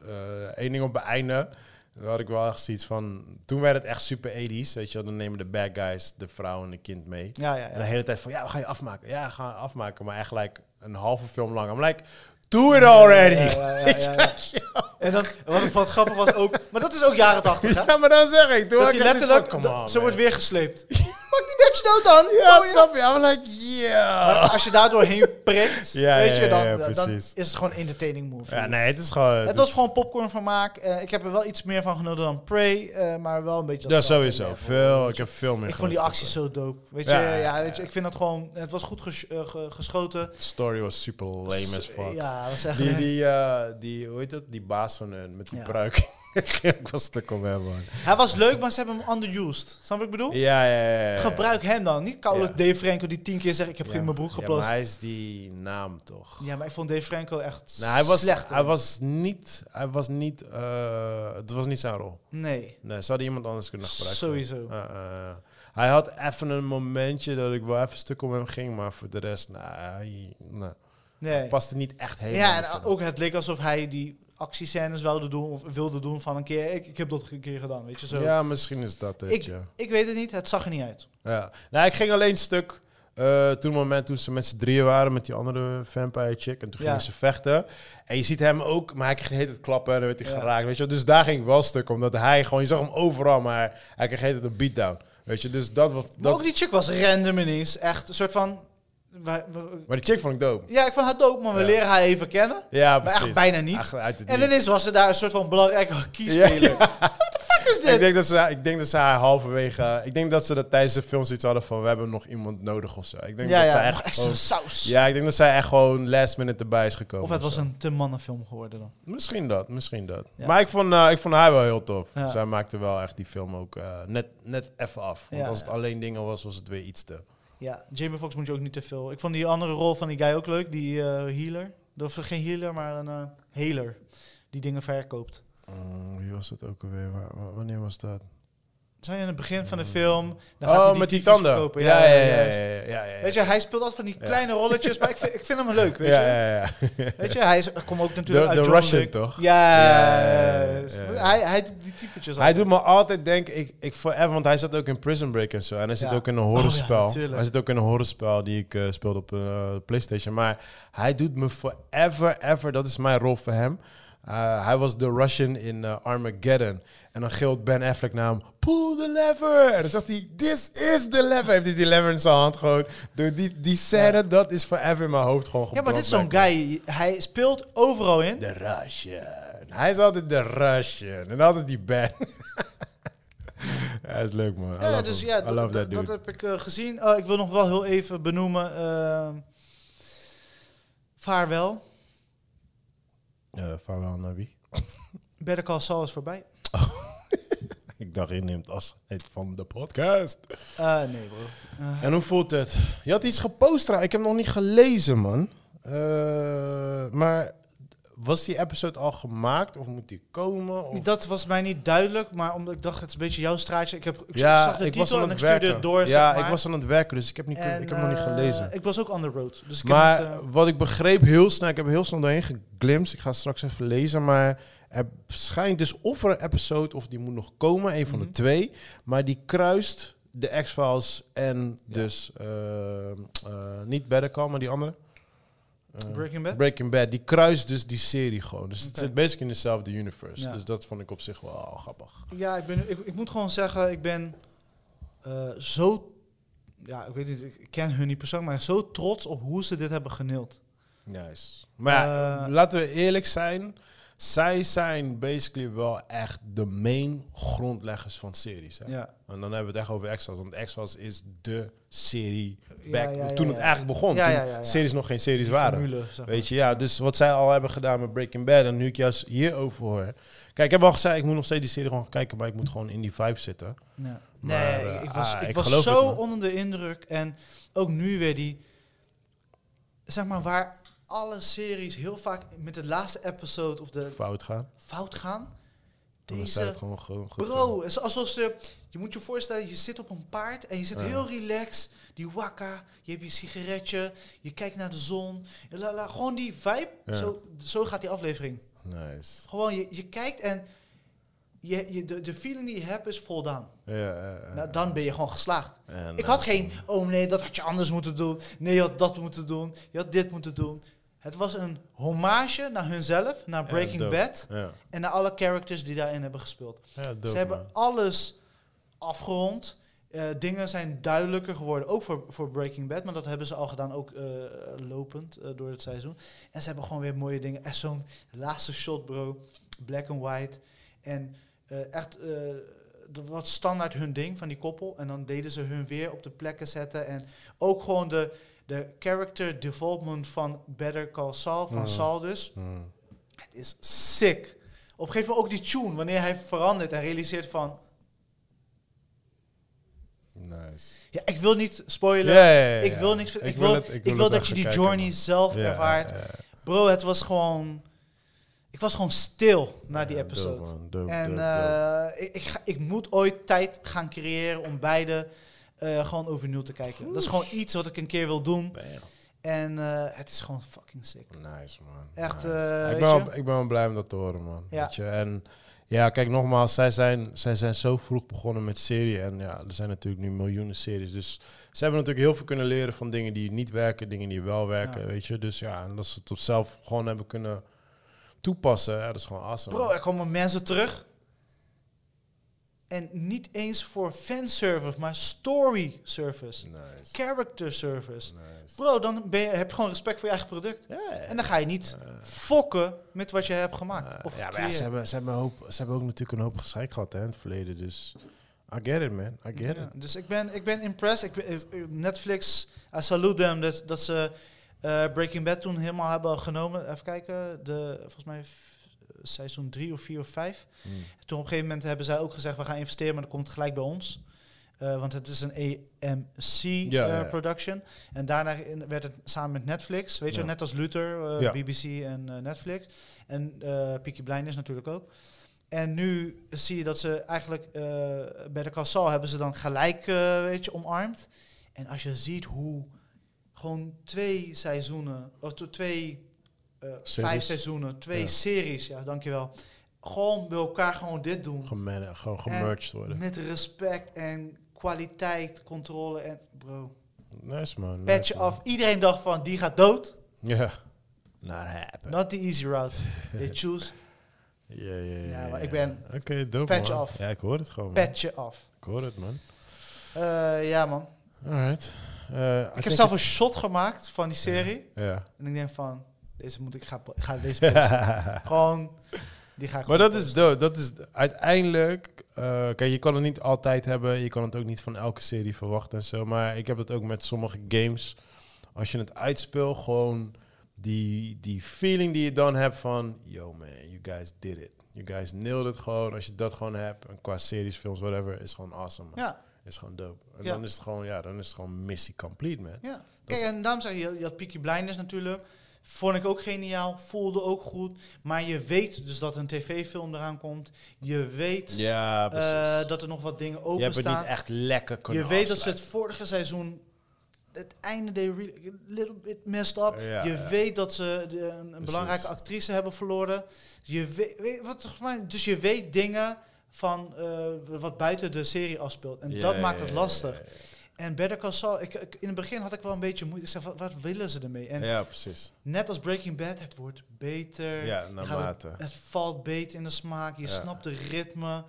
B: eh, één ding op het einde. Daar had ik wel echt zoiets van. Toen werd het echt super 80s. Weet je, wel. dan nemen de bad guys de vrouw en de kind mee.
A: Ja, ja,
B: En de
A: ja.
B: hele tijd van ja, we gaan je afmaken. Ja, we gaan je afmaken. Maar echt like een halve film lang. I'm like, do it already.
A: Ja, ja, ja, ja, ja. En dan, wat, wat grappig was ook, maar dat is ook jaren tachtig, hè?
B: Ja, maar dan zeg ik. Toen
A: Dat
B: had
A: je
B: ik echt zoiets van,
A: letterlijk,
B: come
A: dat-
B: on,
A: ze wordt
B: man.
A: weer gesleept. Pak die bitch dood dan!
B: Ja,
A: Oh,
B: snap je? I'm like, yeah.
A: Maar als je daar doorheen prikt,
B: Ja,
A: weet je,
B: ja,
A: dan,
B: ja,
A: dan- dan
B: precies.
A: is het gewoon een entertaining movie.
B: Ja, nee, het is gewoon...
A: Het was gewoon popcornvermaak. Eh ik heb er wel iets meer van genoten dan Prey, eh, maar wel een beetje...
B: Ja,
A: datzelfde
B: sowieso.
A: level.
B: Veel, ik heb veel meer
A: Ik vond die
B: genoten.
A: acties zo dope. Weet
B: Ja,
A: je, ja,
B: ja,
A: weet je,
B: ja.
A: ik vind dat gewoon... Het was goed ges- eh, ge- geschoten.
B: De story was super lame as fuck.
A: Ja, dat is echt...
B: Die, die, eh, die, hoe heet dat? Die baas van hun, met die
A: Ja.
B: pruik. ik was stuk op hem, man.
A: Hij was leuk, maar ze hebben hem underused. Snap je wat ik bedoel?
B: Ja, ja, ja. ja.
A: Gebruik hem dan. Niet koude
B: Ja.
A: Dave Franco die tien keer zegt, ik heb geen in mijn broek
B: Ja,
A: geplast.
B: maar
A: Ja, maar,
B: hij is die naam, toch?
A: ik vond Dave Franco echt
B: Nou, hij was,
A: slecht.
B: Hij was niet, hij was niet, eh, het was niet zijn rol.
A: nee,
B: Nee, ze hadden iemand anders kunnen gebruiken.
A: sowieso.
B: Eh, eh, eh. hij had even een momentje dat ik wel even stuk op hem ging, maar voor de rest, nou, hij- nou,
A: Nee.
B: paste niet echt helemaal.
A: Ja,
B: voor
A: en ook het leek alsof hij die actiescènes wilde doen, of wilde doen van een keer, ik, ik heb dat een keer gedaan, weet je zo.
B: hem. ja, misschien is dat het,
A: ik,
B: ja.
A: ik weet het niet, het zag er niet uit.
B: Ja. Nou, ik ging alleen stuk. eh, toen het moment toen ze met z'n drieën waren met die andere vampire chick. En toen
A: Ja.
B: gingen ze vechten. En je ziet hem ook, maar hij kreeg de hele tijd klappen en dan werd hij
A: Ja.
B: geraakt. Weet je? wel. Dus daar ging ik wel stuk. Omdat hij gewoon, je zag hem overal, maar hij kreeg de hele tijd een beatdown. Weet je, dus dat was.
A: Maar
B: Dat,
A: ook die chick was random ineens, echt een soort van... wij- we-
B: Maar die chick vond ik dope.
A: ja, ik vond haar dope, maar we
B: Ja.
A: leren haar even kennen.
B: Ja,
A: Maar
B: precies.
A: echt bijna niet.
B: Echt uit het
A: En
B: niets.
A: ineens was ze daar een soort van belangrijke kiespeler.
B: Ja,
A: What the fuck is
B: ik
A: dit?
B: denk, dat ze, ik denk dat ze haar halverwege... eh, Ik denk dat ze dat tijdens de film zoiets hadden van... We hebben nog iemand nodig of zo. Ik denk
A: Ja,
B: dat
A: ja,
B: zij
A: echt,
B: echt...
A: echt
B: gewoon-
A: zo'n saus.
B: ja, ik denk dat zij echt gewoon last minute erbij is gekomen.
A: Of het
B: zo.
A: was een te mannenfilm geworden dan.
B: Misschien dat, misschien dat.
A: Ja.
B: Maar ik vond, eh, ik vond haar wel heel tof.
A: Ja.
B: Zij maakte wel echt die film ook eh, net, net even af. Want
A: Ja,
B: als het
A: ja.
B: alleen dingen was, was het weer iets te.
A: Ja, Jamie Foxx moet je ook niet te veel. Ik vond die andere rol van die guy ook leuk, die eh, healer. Of geen healer, maar een eh, healer. Die dingen verkoopt.
B: Mm, wie was dat ook alweer? Waar- wa- wanneer was dat?
A: Zijn in het begin van de film. Dan gaat hij
B: Mm. oh, met die
A: tyfus
B: tanden.
A: verkopen.
B: Ja, ja, ja.
A: juist.
B: ja, ja, ja, ja.
A: Weet je, hij speelt altijd van die
B: Ja.
A: kleine rolletjes, maar ik vind, ik vind hem leuk, weet
B: ja,
A: je.
B: ja, ja.
A: Weet je, hij is, komt ook
B: De,
A: natuurlijk
B: de
A: uit John
B: Russian,
A: Wick.
B: toch?
A: Ja,
B: Ja, ja, ja, ja.
A: Hij, hij doet die typetjes
B: Hij doet me altijd denken, ik, ik forever, want hij zat ook in Prison Break en zo. En hij zit
A: Ja. Oh
B: ook in een
A: ja,
B: horrorspel.
A: natuurlijk.
B: hij zit ook in een horrorspel die ik eh, speelde op eh, PlayStation. Maar hij doet me forever, ever, dat is mijn rol voor hem. Eh, hij was de Russian in eh, Armageddon. En dan gilt Ben Affleck naar hem, pull the lever. En dan zegt hij, this is the lever. Heeft hij die lever in zijn hand gewoon. Door die, die scène, dat is forever in mijn hoofd gewoon
A: Ja, maar dit is zo'n
B: gebrandmerkt.
A: guy. Hij speelt overal in.
B: De Russian. Hij is altijd de Russian. En altijd die band. Hij is leuk, man. I
A: Ja,
B: love
A: dus
B: him.
A: ja,
B: I
A: dat-
B: love that
A: dat,
B: dude.
A: dat heb ik eh, gezien. Oh, ik wil nog wel heel even benoemen. ehm, vaarwel.
B: Eh, Vaarwel naar wie?
A: Better Call Saul is voorbij.
B: Ik dacht, je neemt afscheid van de podcast.
A: Eh, nee, bro.
B: Oh.
A: Eh,
B: En hoe voelt het? Je had iets gepost, trouwens. ik heb nog niet gelezen, man. Eh, maar was die episode al gemaakt of moet die komen? Of?
A: dat was mij niet duidelijk, maar omdat ik dacht, het is een beetje jouw straatje. Ik, heb, ik zag de titel en ik stuurde
B: werken.
A: het door.
B: Ja,
A: zeg maar.
B: ik was aan het werken, dus ik heb, niet, kun-
A: En,
B: ik heb nog niet
A: eh,
B: gelezen.
A: ik was ook on the road. Dus ik
B: maar
A: heb het, eh,
B: wat ik begreep heel snel, ik heb heel snel doorheen geglimst. Ik ga straks even lezen, maar er schijnt dus of er een episode of die moet nog komen, een van
A: Mhm.
B: de twee. Maar die kruist de X-Files en
A: Ja.
B: dus eh, eh, niet Better Call, maar die andere. Eh,
A: Breaking Bad?
B: Breaking Bad. Die kruist dus die serie gewoon. Dus het
A: Oké.
B: zit basic in dezelfde universe.
A: Ja.
B: Dus dat vond ik op zich wel oh, grappig.
A: ja, ik, ben, ik, ik moet gewoon zeggen, ik ben eh, zo... Ja, ik weet niet, ik ken hun niet persoonlijk, maar zo trots op hoe ze dit hebben geneeld.
B: Nice. Maar ja,
A: Eh,
B: laten we eerlijk zijn. Zij zijn basically wel echt de main grondleggers van series. Hè?
A: Ja.
B: En dan hebben we het echt over X-Files. Want X-Files is de serie
A: Ja,
B: back
A: ja, ja,
B: toen het
A: ja.
B: eigenlijk begon.
A: Ja,
B: toen
A: ja, ja, ja.
B: series nog geen series
A: Die
B: waren.
A: formule, zeg maar.
B: Weet je, ja. Dus wat zij al hebben gedaan met Breaking Bad en nu ik juist hierover hoor. Kijk, ik heb al gezegd, ik moet nog steeds die serie gewoon gaan kijken, maar ik moet gewoon in die vibe zitten.
A: Ja.
B: Maar,
A: nee,
B: eh,
A: ik, ik was,
B: ah,
A: ik
B: ik
A: was
B: geloof het,
A: zo
B: man.
A: onder de indruk. En ook nu weer die... Zeg maar, waar alle series heel vaak met de laatste episode of de
B: Fout gaan.
A: fout gaan.
B: Dan is zij
A: Deze
B: het gewoon gewoon goed.
A: Bro, het is alsof ze... Je moet je voorstellen, je zit op een paard en je zit
B: Ja.
A: heel relaxed. Die wakka, je hebt je sigaretje, je kijkt naar de zon. La, la, gewoon die vibe.
B: Ja.
A: Zo, zo gaat die aflevering.
B: Nice.
A: Gewoon, je, je kijkt en je, je, de, de feeling die je hebt is voldaan.
B: Ja, ja, ja.
A: Nou, dan ben je gewoon geslaagd.
B: En,
A: Ik had
B: eh,
A: geen, oh nee, dat had je anders moeten doen. Nee, je had dat moeten doen. Je had dit moeten doen. Het was een hommage naar hunzelf, naar
B: Ja,
A: Breaking
B: dope.
A: Bad
B: Ja,
A: en naar alle characters die daarin hebben gespeeld.
B: ja dope,
A: Ze hebben
B: man.
A: alles afgerond. Eh, dingen zijn duidelijker geworden, ook voor, voor Breaking Bad, maar dat hebben ze al gedaan, ook eh, lopend eh, door het seizoen. En ze hebben gewoon weer mooie dingen. En zo'n laatste shot, bro, black and white. En eh, echt, eh, dat wat standaard hun ding van die koppel. En dan deden ze hun weer op de plekken zetten. En ook gewoon de, de character development van Better Call Saul, van
B: Mhm.
A: Saul dus.
B: Hmm.
A: Het is sick. Op een gegeven moment ook die tune, wanneer hij verandert en realiseert van...
B: Nice.
A: Ja, ik wil niet spoilen.
B: Ja, ja, ja,
A: Ik
B: ja.
A: wil niks... Ik, wil,
B: het-
A: ik
B: wil
A: wil,
B: het
A: dat
B: echt
A: je die
B: gaan kijken,
A: journey
B: man.
A: zelf
B: Ja,
A: ervaart.
B: ja, ja.
A: Bro, het was gewoon... Ik was gewoon stil na die
B: Ja,
A: episode.
B: dope, man. Dope,
A: en
B: dope, dope.
A: eh, ik, ik, ga- ik moet ooit tijd gaan creëren om beide eh, gewoon overnieuw te kijken. Dat is gewoon iets wat ik een keer wil doen. En eh, het is gewoon fucking sick.
B: Damn. Nice, man.
A: Echt,
B: Nice.
A: eh,
B: ik,
A: weet
B: ben
A: je?
B: wel, ik ben wel blij om dat te horen, man.
A: Ja.
B: Weet je? En ja, kijk, nogmaals, zij zijn, zij zijn zo vroeg begonnen met serie. En ja, er zijn natuurlijk nu miljoenen series. Dus ze hebben natuurlijk heel veel kunnen leren van dingen die niet werken, dingen die wel werken,
A: Ja.
B: weet je. Dus ja, en dat ze het op zelf gewoon hebben kunnen toepassen, ja, dat is gewoon awesome.
A: Bro, er komen mensen terug. En niet eens voor fanservice, maar story service.
B: Nice,
A: Character service.
B: nice.
A: Bro, dan ben je, heb je gewoon respect voor je eigen product.
B: Ja,
A: En dan ga je niet fokken met wat je hebt gemaakt. Of
B: Eh, ja, maar ja,
A: gecreëerd.
B: ze, hebben, ze, hebben een hoop, ze hebben ook natuurlijk een hoop gezeik gehad hè, in het verleden. Dus I get it, man. I get
A: Ja,
B: it.
A: Dus ik ben, ik ben impressed. Ik ben- is- eh, Netflix, I salute them dat, dat ze eh, Breaking Bad toen helemaal hebben genomen. Even kijken, de, volgens mij f- seizoen 3 of 4 of 5.
B: Mm.
A: Toen op een gegeven moment hebben zij ook gezegd, we gaan investeren, maar dat komt gelijk bij ons. Eh, want het is een AMC
B: Ja,
A: eh,
B: ja, ja.
A: production. En daarna in- werd het samen met Netflix, weet je,
B: Ja.
A: net als Luther, eh,
B: Ja.
A: BBC en eh, Netflix. En eh Peaky Blinders natuurlijk ook. En nu zie je dat ze eigenlijk eh, bij de Casal hebben ze dan gelijk, eh, weet je, omarmd. En als je ziet hoe gewoon twee seizoenen, of to- twee, eh,
B: Series.
A: vijf seizoenen, twee
B: Ja.
A: series, ja, dankjewel. Gewoon bij elkaar gewoon dit doen.
B: Geman- gewoon
A: En-
B: gemerged worden.
A: Met respect en kwaliteit, controle en bro.
B: Nice, man.
A: Patch
B: nice, man.
A: af. Iedereen dacht van die gaat dood.
B: Ja. Not happen.
A: Not the easy route. They choose
B: Ja, ja, ja.
A: Ja, maar
B: ja.
A: ik ben-
B: Oké, dope,
A: Patch
B: man.
A: af.
B: Ja, ik hoor het gewoon, man.
A: patchen af.
B: Ik hoor het, man.
A: Eh, ja man.
B: Alright. Eh, I
A: Ik heb
B: think
A: zelf een
B: it's-
A: shot gemaakt van die serie.
B: Ja.
A: En ik denk van deze moet ik ga, ik ga deze posten. gewoon die ga ik.
B: maar
A: gewoon
B: dat is
A: posten.
B: dope. Dat is uiteindelijk... eh, kijk, je kan het niet altijd hebben. Je kan het ook niet van elke serie verwachten en zo. Maar ik heb het ook met sommige games. Als je het uitspeelt, gewoon die, die feeling die je dan hebt van... Yo, man, you guys did it. You guys nailed it gewoon. Als je dat gewoon hebt, en qua series, films, whatever, is gewoon awesome, man.
A: Ja,
B: Is gewoon dope. En
A: Ja. Eh,
B: dan is het gewoon, ja, dan is het gewoon missie complete, man.
A: ja. Kijk, en daarom zeg je, je had Peaky Blinders natuurlijk. Vond ik ook geniaal, voelde ook goed. Maar je weet dus dat een tv-film eraan komt. Je weet
B: Ja,
A: eh, dat er nog wat dingen
B: je hebt het
A: openstaan.
B: niet echt lekker kunnen
A: Je weet dat ze het
B: afsluiten.
A: vorige seizoen het einde deed really- a little bit messed up.
B: Ja,
A: je
B: ja.
A: weet dat ze de- een- een,
B: Precies.
A: belangrijke actrice hebben verloren. Je weet, weet, wat, dus je weet dingen van eh, wat buiten de serie afspeelt. En
B: Ja,
A: dat
B: ja,
A: maakt
B: ja,
A: het
B: ja,
A: lastig.
B: ja, ja.
A: En Better Call Saul, ik, ik- in het begin had ik wel een beetje moeite. Ik zei, wat, wat willen ze ermee? En
B: Ja, precies.
A: net als Breaking Bad, het wordt beter.
B: Ja,
A: Je gaat het,
B: naarmate.
A: het valt beter in de smaak. Je
B: Ja.
A: snapt de ritme.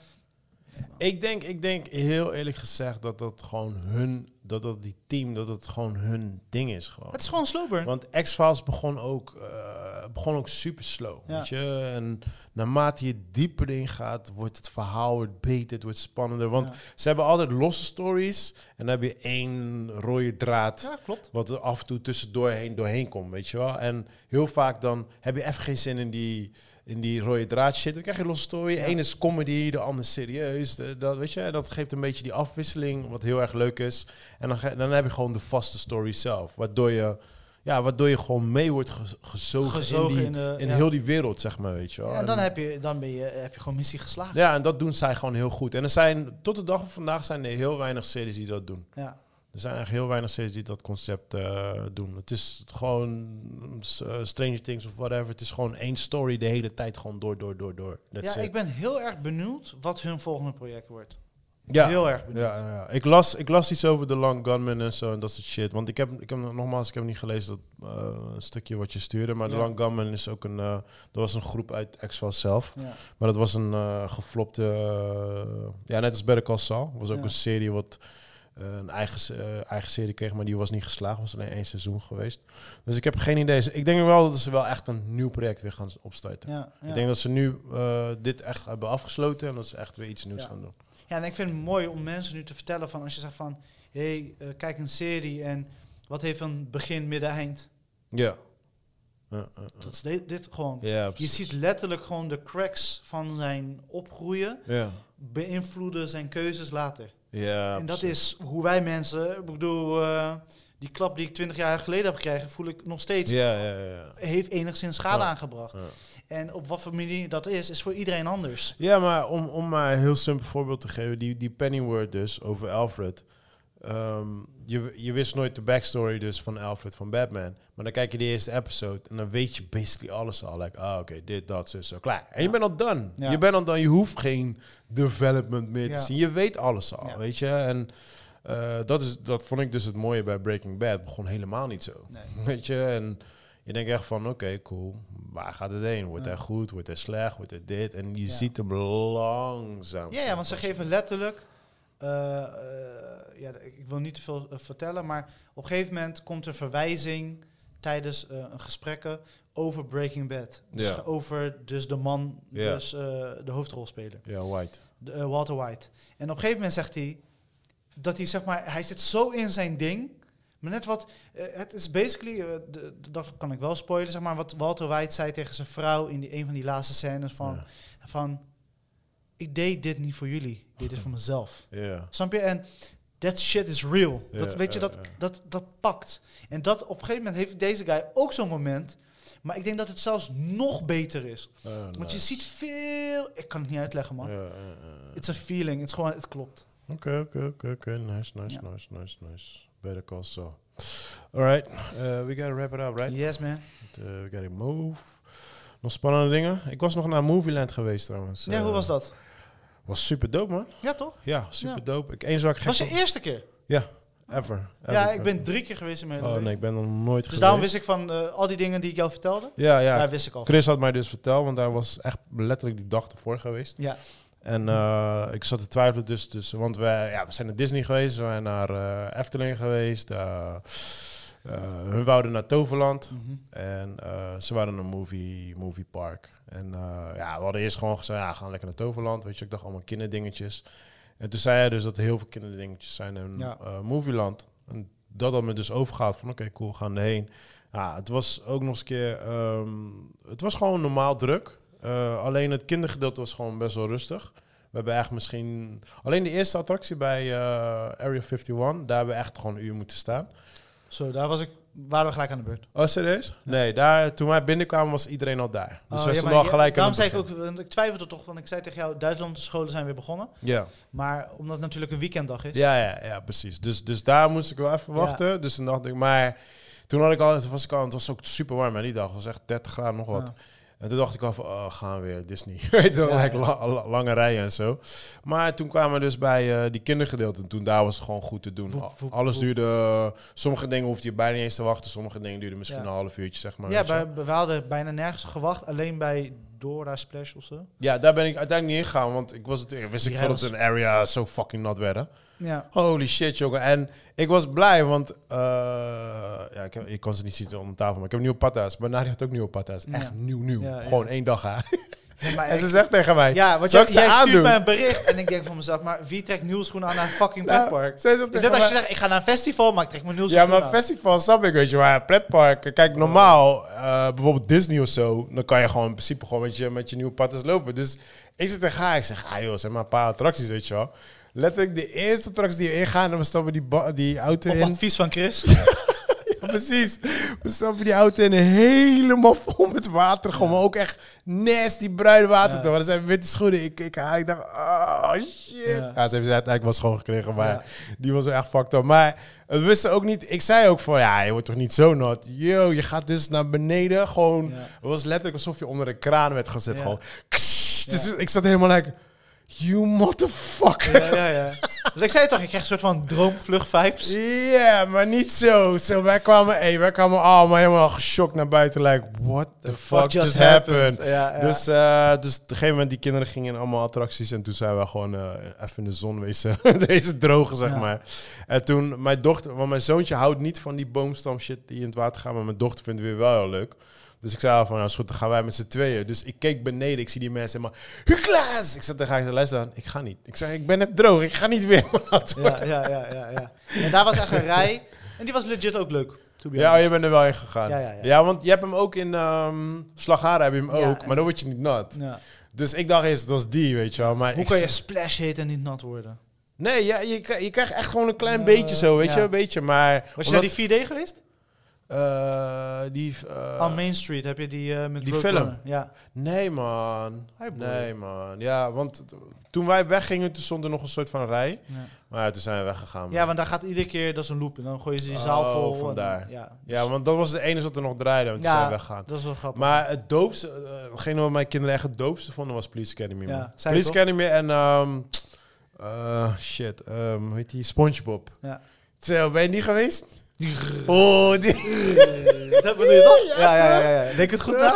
B: Ik denk, ik denk heel eerlijk gezegd dat dat gewoon hun dat dat die team, dat het gewoon hun ding is gewoon.
A: Het is gewoon sloper.
B: Want X-Files begon ook, eh, begon ook super slow,
A: Ja.
B: weet je. En naarmate je dieper in gaat, wordt het verhaal wordt beter, het wordt spannender. Want
A: Ja.
B: ze hebben altijd losse stories en dan heb je één rode draad
A: Ja, klopt.
B: wat er af en toe tussendoor heen, doorheen komt, weet je wel. En heel vaak dan heb je even geen zin in die, in die rode draad shit. Dan krijg je een losse story. Eén is comedy, de ander is serieus. De- dat, weet je, en dat geeft een beetje die afwisseling, wat heel erg leuk is. En dan, ga- dan heb je gewoon de vaste story zelf, waardoor je... Ja, waardoor je gewoon mee wordt ge- gezogen,
A: Gezogen
B: in, die,
A: in de-
B: in,
A: ja.
B: heel die wereld, zeg maar, weet je wel.
A: Ja, en dan heb je, dan ben je, heb je gewoon missie geslaagd.
B: ja, en dat doen zij gewoon heel goed. En er zijn, tot de dag van vandaag zijn er heel weinig series die dat doen.
A: Ja.
B: Er zijn eigenlijk heel weinig series die dat concept eh, doen. Het is gewoon mm, s- eh, Stranger Things of whatever. Het is gewoon één story de hele tijd gewoon door, door, door, door. That's
A: Ja,
B: it.
A: ik ben heel erg benieuwd wat hun volgende project wordt.
B: ja.
A: Heel erg benieuwd.
B: Ja, ja. Ik, las, ik las iets over The Long Gunman en zo en dat soort shit. Want ik heb, ik heb nogmaals, ik heb niet gelezen dat eh, stukje wat je stuurde. Maar The
A: Ja.
B: Long Gunman is ook een. eh, dat was een groep uit X-Files zelf.
A: Ja.
B: Maar dat was een eh, geflopte... eh, ja, net als Better Call Saul. was ook
A: Ja.
B: een serie wat eh, een eigen, se- eh, eigen serie kreeg, maar die was niet geslaagd. was alleen één seizoen geweest. Dus ik heb geen idee. Ik denk wel dat ze wel echt een nieuw project weer gaan opstarten.
A: Ja, ja.
B: Ik denk dat ze nu eh, dit echt hebben afgesloten en dat ze echt weer iets nieuws
A: Ja.
B: gaan doen.
A: Ja, en ik vind het mooi om mensen nu te vertellen van als je zegt van, hé, hey, eh, kijk een serie en wat heeft een begin, midden, eind.
B: Ja. Ja, ja, ja.
A: Dat is dit, dit gewoon.
B: Ja,
A: Je
B: precies.
A: ziet letterlijk gewoon de cracks van zijn opgroeien
B: Ja.
A: beïnvloeden zijn keuzes later.
B: Ja,
A: en dat
B: precies.
A: is hoe wij mensen, ik bedoel, eh, die klap die ik twintig jaar geleden heb gekregen, voel ik nog steeds,
B: Ja, ja, ja, ja.
A: heeft enigszins schade
B: Ja.
A: aangebracht.
B: Ja.
A: En op wat voor manier dat is, is voor iedereen anders.
B: Ja, maar om, om maar een heel simpel voorbeeld te geven, die, die Pennyworth dus over Alfred. Ehm, je, je wist nooit de backstory dus van Alfred van Batman. Maar dan kijk je de eerste episode en dan weet je basically alles al. Like, ah, oké, dit, dat, zo, zo, klaar. En je bent al done.
A: Ja.
B: Je bent al done. Je hoeft geen development meer te
A: Ja.
B: zien. Je weet alles al,
A: Ja.
B: weet je. En eh, dat, is, dat vond ik dus het mooie bij Breaking Bad. Het begon helemaal niet zo.
A: Nee.
B: Weet je, en je denkt echt van, oké, cool, waar gaat het heen? Wordt
A: Ja.
B: hij goed, wordt hij slecht, wordt hij dit? En je
A: Ja.
B: ziet hem langzaam.
A: Ja, ja, want ze geven letterlijk, eh, eh, ja, ik ik wil niet te veel eh, vertellen, maar op een gegeven moment komt er verwijzing tijdens eh, een gesprekken over Breaking Bad. Dus
B: Ja.
A: over dus de man,
B: Ja.
A: dus eh, de hoofdrolspeler.
B: Ja, White.
A: de, eh, Walter White. En op een gegeven moment zegt hij dat hij zeg maar, hij zit zo in zijn ding. Maar net wat, eh, het is basically, eh, de- de- dat kan ik wel spoilen, zeg maar, wat Walter White zei tegen zijn vrouw in die, een van die laatste scènes van,
B: Ja.
A: van, ik deed dit niet voor jullie, ik deed dit voor mezelf.
B: Ja.
A: Snap je? En that shit is real.
B: Ja,
A: dat, weet je,
B: ja,
A: dat,
B: ja.
A: Dat, dat pakt. En dat op een gegeven moment heeft deze guy ook zo'n moment. Maar ik denk dat het zelfs nog beter is.
B: Eh,
A: Want je
B: nice.
A: ziet veel... Ik kan het niet uitleggen, man.
B: Ja, ja, ja.
A: Het is een feeling. Het is gewoon, het klopt.
B: Oké, oké, oké, oké. Nice, nice,
A: Ja.
B: nice, nice, nice. Better call Saul. All right, eh, we gotta wrap it up, right?
A: Yes, man.
B: Eh, we gotta move. Nog spannende dingen? Ik was nog naar Movieland geweest trouwens.
A: ja, hoe
B: Eh,
A: was dat?
B: Was super dope, man.
A: Ja, toch?
B: Ja, super dope. Ik, eens waar ik gek
A: was je
B: van-
A: eerste keer?
B: Ever.
A: ja,
B: ever.
A: ik ben drie keer geweest in mijn hele
B: Oh
A: leven.
B: nee, ik ben nog nooit
A: Dus
B: geweest.
A: daarom wist ik van eh, al die dingen die ik jou vertelde.
B: Ja,
A: Ja,
B: ja.
A: wist ik al.
B: Chris had mij dus verteld, want hij was echt letterlijk die dag ervoor geweest.
A: Ja.
B: En eh, ik zat te twijfelen dus, dus want we, ja, we zijn naar Disney geweest, we zijn naar eh, Efteling geweest. eh, eh, hun wouden naar Toverland
A: Mhm.
B: en eh, ze waren een movie, movie park. En eh, ja, we hadden eerst gewoon gezegd, ja, we gaan lekker naar Toverland. Weet je, ik dacht allemaal kinderdingetjes. En toen zei hij dus dat er heel veel kinderdingetjes zijn in
A: Ja.
B: eh, Movieland. En dat had me dus overgehaald van, oké, cool, we gaan erheen. Ja, het was ook nog eens een keer... ehm, het was gewoon normaal druk. Eh, alleen het kindergedeelte was gewoon best wel rustig. We hebben echt misschien... Alleen de eerste attractie bij eh, Area 51, daar hebben we echt gewoon een uur moeten staan.
A: Zo, daar was ik, waren we gelijk aan de beurt.
B: Oh, serieus? Nee, daar, toen wij binnenkwamen was iedereen al daar. Dus
A: Oh,
B: wij stonden al gelijk aan
A: Daarom
B: het
A: zei ik ook,
B: begin.
A: want ik twijfelde toch, want ik zei tegen jou, Duitslandse scholen zijn weer begonnen.
B: Ja.
A: Maar omdat het natuurlijk een weekenddag is.
B: Ja, ja, ja, precies. Dus, dus daar moest ik wel even
A: Ja.
B: wachten. Dus toen dacht ik, maar toen had ik al, toen was ik al, het was ook super warm hè, die dag. Het was echt 30 graden, nog wat.
A: Ja.
B: En toen dacht ik al van, oh, gaan we weer, Disney. Weet je wel,
A: Ja,
B: like,
A: ja.
B: la- la- lange rijen en zo. Maar toen kwamen we dus bij eh, die kindergedeelte. En toen daar was het gewoon goed te doen.
A: Woep,
B: Al-
A: woep,
B: Alles
A: woep.
B: duurde, eh, sommige dingen hoefde je bijna niet eens te wachten. Sommige dingen duurden misschien
A: Ja.
B: een half uurtje, zeg maar.
A: Ja,
B: weet je wel.
A: bij, we hadden bijna nergens gewacht. Alleen bij Pandora Splash of zo.
B: Ja, daar ben ik uiteindelijk niet ingegaan, want ik was het, wist ik
A: Die
B: veel dat
A: rails.
B: een area zo fucking nat werden.
A: Ja.
B: Holy shit, jongen. En ik was blij, want eh, ja, ik, heb, ik kon ze niet zien onder tafel, maar ik heb nieuwe patas. Maar Nadia had ook nieuwe patas. Echt
A: Ja.
B: nieuw, nieuw.
A: Ja, ja.
B: Gewoon één dag, hè.
A: Ja, maar
B: En ze
A: ik-
B: zegt tegen mij,
A: ja, want
B: zal
A: jij,
B: ik ze
A: jij stuurt
B: aandoen?
A: mij een bericht en ik denk van mezelf, maar wie trekt nieuwschoenen aan naar een fucking
B: Nou,
A: pretpark?
B: zij zegt
A: Het is
B: tegen
A: net als je
B: mij-
A: zegt, ik ga naar een festival, maar ik trek mijn
B: Ja,
A: nieuwschoenen
B: maar
A: aan.
B: festival snap ik, weet je. Maar pretpark, kijk, normaal, eh, bijvoorbeeld Disney of zo, dan kan je gewoon in principe gewoon met je, met je nieuwe patas lopen. Dus ik zit tegen haar, ik zeg, ah joh, zeg maar een paar attracties, weet je wel. Letterlijk de eerste attractie die we ingaan, en we stappen die, ba- die auto
A: Op
B: in.
A: advies van Chris.
B: Ja, precies. We stappen die auto in helemaal vol met water. Gewoon maar ook echt nasty bruin water.
A: Ja.
B: toch? Dat zijn witte schoenen. Ik, ik, ik dacht, oh shit. Ja.
A: Ja.
B: ze heeft ze uiteindelijk wel schoongekregen, maar
A: Ja.
B: die was wel echt fucked up. Maar we wisten ook niet, ik zei ook van, ja, je wordt toch niet zo nat. Yo, je gaat dus naar beneden. Gewoon,
A: Ja.
B: het was letterlijk alsof je onder een kraan werd gezet.
A: Ja.
B: Gewoon, kss. dus ik zat helemaal like, you motherfucker.
A: ja, ja, ja. Want ik zei toch, ik krijg een soort van droomvlucht vibes.
B: Ja, maar niet zo. zo wij, kwamen, hey, wij kwamen allemaal helemaal geschokt naar buiten. Like, what the, fuck, just, happened?
A: Ja, ja.
B: Dus, eh, dus op een gegeven moment, die kinderen gingen in allemaal attracties. En toen zijn we gewoon eh, even in de zon wezen. Deze droge, zeg
A: Ja.
B: maar. En toen, mijn dochter... Want mijn zoontje houdt niet van die boomstam shit die in het water gaat. Maar mijn dochter vindt het weer wel heel leuk. Dus ik zei al van, nou is goed, dan gaan wij met z'n tweeën. Dus ik keek beneden, ik zie die mensen helemaal... Huklaas! Ik zat tegen haar, ik zei, luister dan, ik ga niet. Ik zei, ik ben net droog, ik ga niet weer. maat."
A: ja, ja, ja, ja, ja. En daar was echt een rij. En die was legit ook leuk. to be
B: Ja, oh,
A: honest.
B: je bent er wel in gegaan.
A: Ja, ja, ja.
B: want je hebt hem ook in ehm Slagharen heb je hem
A: Ja,
B: ook,
A: en-
B: maar dan word je niet nat.
A: Ja.
B: Dus ik dacht eerst, het was die, weet je wel. Maar
A: Hoe
B: ik
A: kan je
B: zeg-
A: splash heten en niet nat worden?
B: Nee, ja, je, kri- je krijgt echt gewoon een klein
A: Eh,
B: beetje zo, weet
A: ja.
B: je, een beetje. Maar
A: Was je
B: omdat-
A: naar die 4D geweest?
B: eh, die, eh,
A: Aan Main Street heb je die eh, met
B: die
A: Roadrunner.
B: film.
A: Ja.
B: nee man,
A: Hi, boy.
B: nee man. Ja, want t- toen wij weggingen, toen stond er nog een soort van rij.
A: ja.
B: Maar ja, toen zijn we weggegaan.
A: Ja,
B: man.
A: want daar gaat iedere keer, dat is een loop. En dan gooi je die
B: Oh,
A: zaal vol. en-
B: vandaar.
A: ja.
B: ja, want dat was de enige wat er nog draaide, want toen
A: Ja.
B: zijn we weggegaan.
A: Dat is wel grappig.
B: Maar het doopste, eh, hetgene wat mijn kinderen echt het doopste vonden was Police Academy.
A: Ja,
B: man.
A: zei
B: Police
A: ik toch?
B: Academy en ehm, eh, shit, ehm, hoe heet die? SpongeBob.
A: Ja.
B: Zo, ben je niet geweest? Oh, die.
A: dat bedoel je toch?
B: Ja,
A: Ja, ja, ja. ja. Denk het goed na?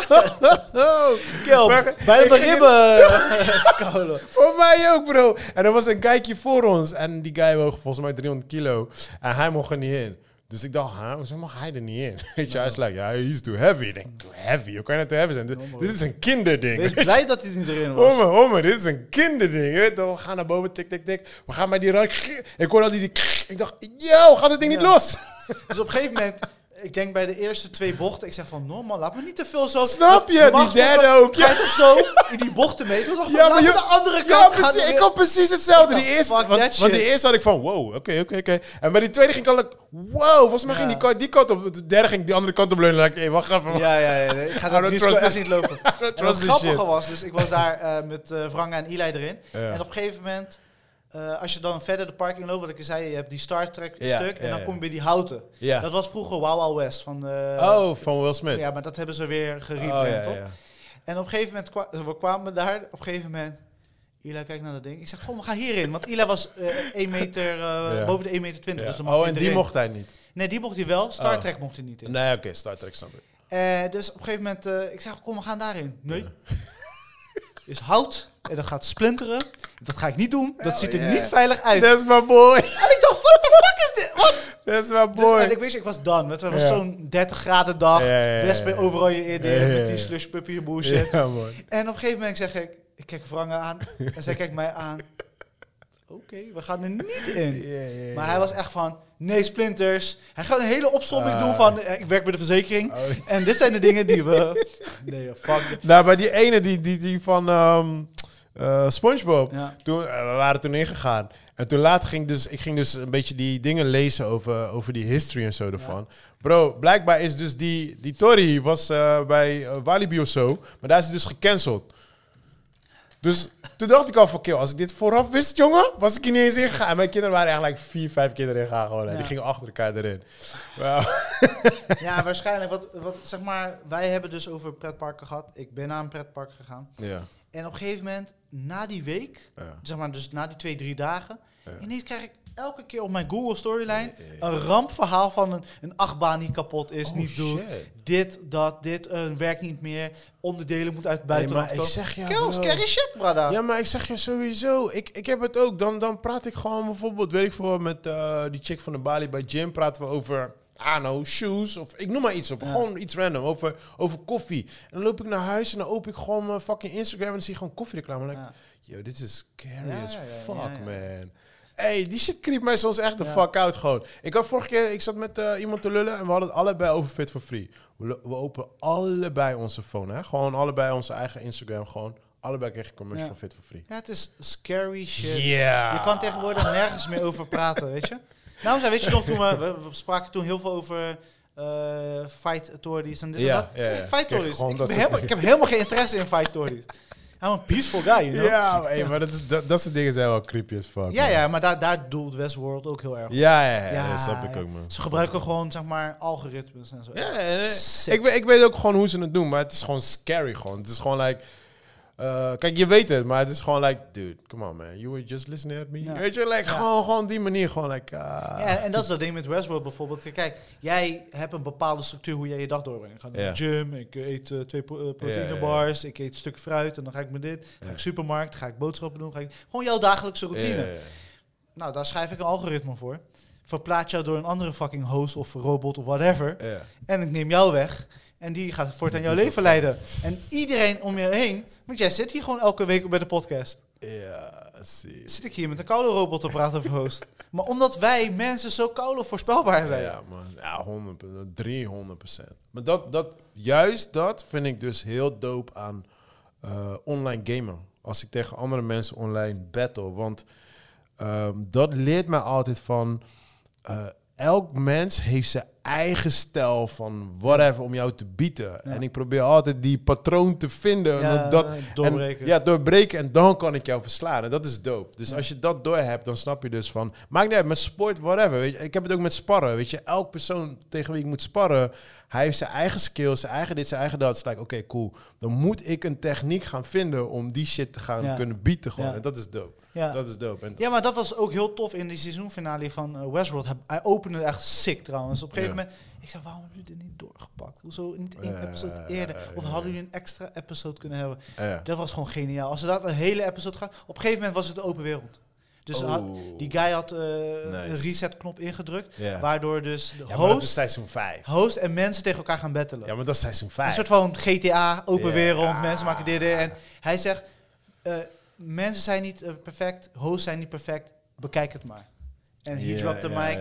B: Oh,
A: Kelp,
B: Maar-
A: bij
B: ik
A: de
B: ging-
A: ribben. Koude.
B: voor mij ook, bro. En er was een kijkje voor ons. En die guy woog volgens mij 300 kilo. En hij mocht er niet in. Dus ik dacht, huh, hoezo mag hij er niet in? Weet je, hij is like, ja, he's too heavy. Ik denk, too heavy? Hoe kan je nou too heavy zijn? Dit, dit is een kinderding.
A: Wees blij dat hij niet erin was.
B: Homme, homme, dit is een kinderding. Je weet toch? We gaan naar boven, tik, tik, tik. We gaan bij die rank. Ik hoorde al die... die- Ik dacht, yo, gaat dit ding niet
A: Ja.
B: los?
A: Dus op een gegeven moment, ik denk bij de eerste twee bochten, ik zeg van normaal, laat me niet te veel zo.
B: Snap je?
A: Normaal
B: Die derde
A: gesproken
B: ook.
A: Ga je toch zo in die bochten mee? Toen dacht ik
B: Ja,
A: van,
B: maar
A: laat me
B: je-
A: de andere
B: Ja,
A: kant gaan.
B: precies. Ik had precies hetzelfde. Die
A: Ja,
B: eerste,
A: fuck that
B: want, want die
A: shit.
B: eerste had ik van, wow, oké, oké, oké. En bij die tweede ging ik al, like, wow, volgens mij
A: Ja.
B: ging die kant, die kant op. De derde ging die andere kant op leunen. Like, hey, wacht even. man.
A: Ja, ja, ja. nee, Ik ga
B: don't
A: dat risico
B: trust
A: echt niet lopen. En
B: trust
A: wat
B: this
A: grappiger
B: shit.
A: was, dus ik was daar eh, met eh Wranga en Eli erin.
B: Ja.
A: En op een gegeven moment, eh, als je dan verder de parking loopt, wat ik je zei, je hebt die Star Trek
B: Ja,
A: stuk
B: ja,
A: en dan
B: ja.
A: kom je bij die houten.
B: Ja.
A: Dat was vroeger Wow Wow West van de...
B: Oh, van Will Smith.
A: Ja, maar dat hebben ze weer
B: Oh,
A: gerebrand,
B: ja,
A: toch?
B: ja, ja.
A: En op een gegeven moment kwa- we kwamen daar. Op een gegeven moment. Ila kijkt naar dat ding. Ik zeg, kom, we gaan hierin. Want Ila was eh 1 meter, eh, boven de 1,20 meter.
B: Ja.
A: Dus dan mag
B: Oh,
A: hij
B: en die
A: erin.
B: mocht hij niet.
A: Nee, die mocht hij wel. Star
B: Oh.
A: Trek mocht hij niet in.
B: Nee, oké, Star Trek, snap ik.
A: Eh, dus op een gegeven moment, eh, ik zeg, kom, we gaan daarin. Nee. Is hout. En dat gaat splinteren. Dat ga ik niet doen. Dat
B: Hell
A: ziet er
B: yeah.
A: niet veilig uit.
B: That's my boy.
A: En ik dacht, what the fuck is dit? Wat?
B: That's my
A: Dus, en
B: boy.
A: ik wist, ik was done. Het was
B: Ja.
A: zo'n 30 graden dag.
B: Ja, ja, ja, ja.
A: Wespen overal je eer
B: Ja, ja, ja.
A: met die slush puppy bullshit.
B: Ja, man.
A: En op een gegeven moment zeg ik, ik kijk Frank aan en zij kijkt mij aan. Oké, we gaan er niet in.
B: Ja, ja,
A: Maar
B: ja.
A: hij was echt van, nee splinters. Hij gaat een hele opsomming
B: Ah.
A: doen van, eh, ik werk bij de verzekering.
B: Oh.
A: En dit zijn de dingen die we... Nee, fuck.
B: Nou, maar die ene, die, die, die van ehm, eh, Spongebob,
A: Ja.
B: toen, eh, we waren toen ingegaan. En toen later ging ik dus, ik ging dus een beetje die dingen lezen over, over die history en zo ervan. Bro, blijkbaar is dus die, die Tory was eh, bij eh, Walibi of zo, maar daar is hij dus gecanceld. Dus toen dacht ik al van, kill, als ik dit vooraf wist, jongen, was ik hier niet eens ingegaan. En mijn kinderen waren eigenlijk vier, vijf keer erin gegaan gewoon. En
A: Ja.
B: die gingen achter elkaar erin. Wauw.
A: Ja, waarschijnlijk. Wat, wat, zeg maar, wij hebben dus over pretparken gehad. Ik ben naar een pretpark gegaan.
B: Ja.
A: En op een gegeven moment, na die week,
B: Ja.
A: zeg maar dus na die twee, drie dagen...
B: Ja.
A: ineens krijg ik elke keer op mijn Google storyline een rampverhaal van een, een achtbaan die kapot is,
B: Oh,
A: niet doet.
B: shit.
A: Dit, dat, dit, eh, werkt niet meer. Onderdelen moet uit het buitenland
B: maar ik
A: komen.
B: zeg jou,
A: Chaos,
B: bro.
A: scary shit, brada.
B: Ja, maar ik zeg je sowieso. Ik, ik heb het ook. Dan, dan praat ik gewoon bijvoorbeeld, weet ik veel, wat, met eh, die chick van de Bali bij Jim praten we over. I know, shoes, of ik noem maar iets op. Gewoon iets random, over, over koffie. En dan loop ik naar huis en dan open ik gewoon mijn fucking Instagram en dan zie ik gewoon koffiereclame. En dan denk ik, yo, dit is scary
A: Ja,
B: as
A: ja, ja,
B: fuck,
A: ja, ja.
B: man. Hey, die shit creept mij soms echt de
A: Ja.
B: fuck out gewoon. Ik had vorige keer, ik zat met eh, iemand te lullen en we hadden het allebei over Fit for Free. We, lo- we openen allebei onze phone, hè. Gewoon allebei onze eigen Instagram, gewoon. Allebei kreeg ik commercial
A: Ja.
B: van Fit for Free.
A: Ja, het is scary shit.
B: Ja.
A: Je kan tegenwoordig nergens meer over praten, weet je? Nou, zei, weet je nog, toen we, we, we spraken toen heel veel over eh, fight authorities en dit
B: Ja,
A: en dat.
B: ja, ja.
A: Ik- Fight
B: Kijk,
A: authorities.
B: gewoon
A: Ik,
B: dat
A: ben
B: soort
A: helemaal- ik heb helemaal geen interesse in fight authorities. I'm a peaceful guy, you know?
B: Ja, maar, hey, maar dat, is- dat, dat soort dingen zijn wel creepy as fuck.
A: Ja,
B: man.
A: ja, maar daar, daar doelt Westworld ook heel erg op.
B: Ja, ja, ja,
A: Ja,
B: dat snap ik
A: ja.
B: ook, man.
A: Ze gebruiken gewoon, zeg maar, algoritmes en zo.
B: Ja,
A: Echt
B: ja, ja.
A: sick.
B: Ik, weet- ik weet ook gewoon hoe ze het doen, maar het is gewoon scary gewoon. Het is gewoon like... eh, kijk, je weet het, maar het is gewoon like... Dude, come on, man. You were just listening at me.
A: Ja.
B: Weet je, like,
A: Ja.
B: gewoon, gewoon die manier. Gewoon like... ah.
A: Ja, en dat is dat ding met Westworld bijvoorbeeld. Kijk, jij hebt een bepaalde structuur hoe jij je dag doorbrengt. Ik ga naar
B: Ja.
A: de gym, ik eh, eet eh, twee pro- eh,
B: Ja,
A: proteïnebars, ik eet een stuk fruit en dan ga ik met dit. Ga
B: Ja.
A: ik supermarkt, ga ik boodschappen doen. Ga ik... Gewoon jouw dagelijkse routine.
B: Ja, ja, ja.
A: Nou, daar schrijf ik een algoritme voor. Verplaats jou door een andere fucking host of robot of whatever.
B: Ja.
A: En ik neem jou weg. En die gaat voortaan jouw leven leiden. En iedereen om je heen. Want jij zit hier gewoon elke week bij de podcast.
B: Ja, zie.
A: Zit ik hier met een koude robot te praten over host. Maar omdat wij mensen zo koude voorspelbaar zijn.
B: Ja, man. Ja, 100%. 300 Maar dat, dat, juist dat vind ik dus heel dope aan eh, online gamen. Als ik tegen andere mensen online battle. Want ehm, dat leert mij altijd van... eh, elk mens heeft zijn eigen stijl van whatever om jou te bieden. En ik probeer altijd die patroon te vinden.
A: Ja,
B: en dat,
A: doorbreken.
B: en- ja, doorbreken. En dan kan ik jou verslaan. En dat is dope. Dus als je dat doorhebt, dan snap je dus van... Maakt niet uit, met sport, whatever. Weet je, ik heb het ook met sparren. Weet je, elk persoon tegen wie ik moet sparren... Hij heeft zijn eigen skills, zijn eigen dit, zijn eigen dat. Het is like, oké, cool. Dan moet ik een techniek gaan vinden om die shit te gaan
A: Ja.
B: kunnen bieden. Gewoon.
A: Ja.
B: En dat is dope.
A: Ja.
B: Dat is dope. En
A: Ja, maar dat was ook heel tof in die seizoenfinale van eh, Westworld. Heb- Hij opende echt sick trouwens. Op een gegeven
B: Ja.
A: moment, ik zei, waarom hebben jullie dit niet doorgepakt? Hoezo niet één
B: Ja,
A: episode
B: ja,
A: eerder?
B: ja,
A: Of
B: ja.
A: hadden jullie een extra episode kunnen hebben?
B: ja.
A: Dat was gewoon geniaal. Als ze dat een hele episode gaan, op een gegeven moment was het de open wereld. Dus
B: Oh.
A: had- die guy had eh, een reset-knop ingedrukt,
B: Ja.
A: waardoor dus de
B: Ja, maar dat is
A: host,
B: seizoen 5.
A: host en mensen tegen elkaar gaan battelen.
B: Ja, maar dat is seizoen
A: Een
B: 5.
A: soort van GTA, open
B: Ja.
A: wereld, mensen maken dit dit. en hij zegt, eh, mensen zijn niet eh, perfect, hosts zijn niet perfect, bekijk het maar. En hij dropt de mic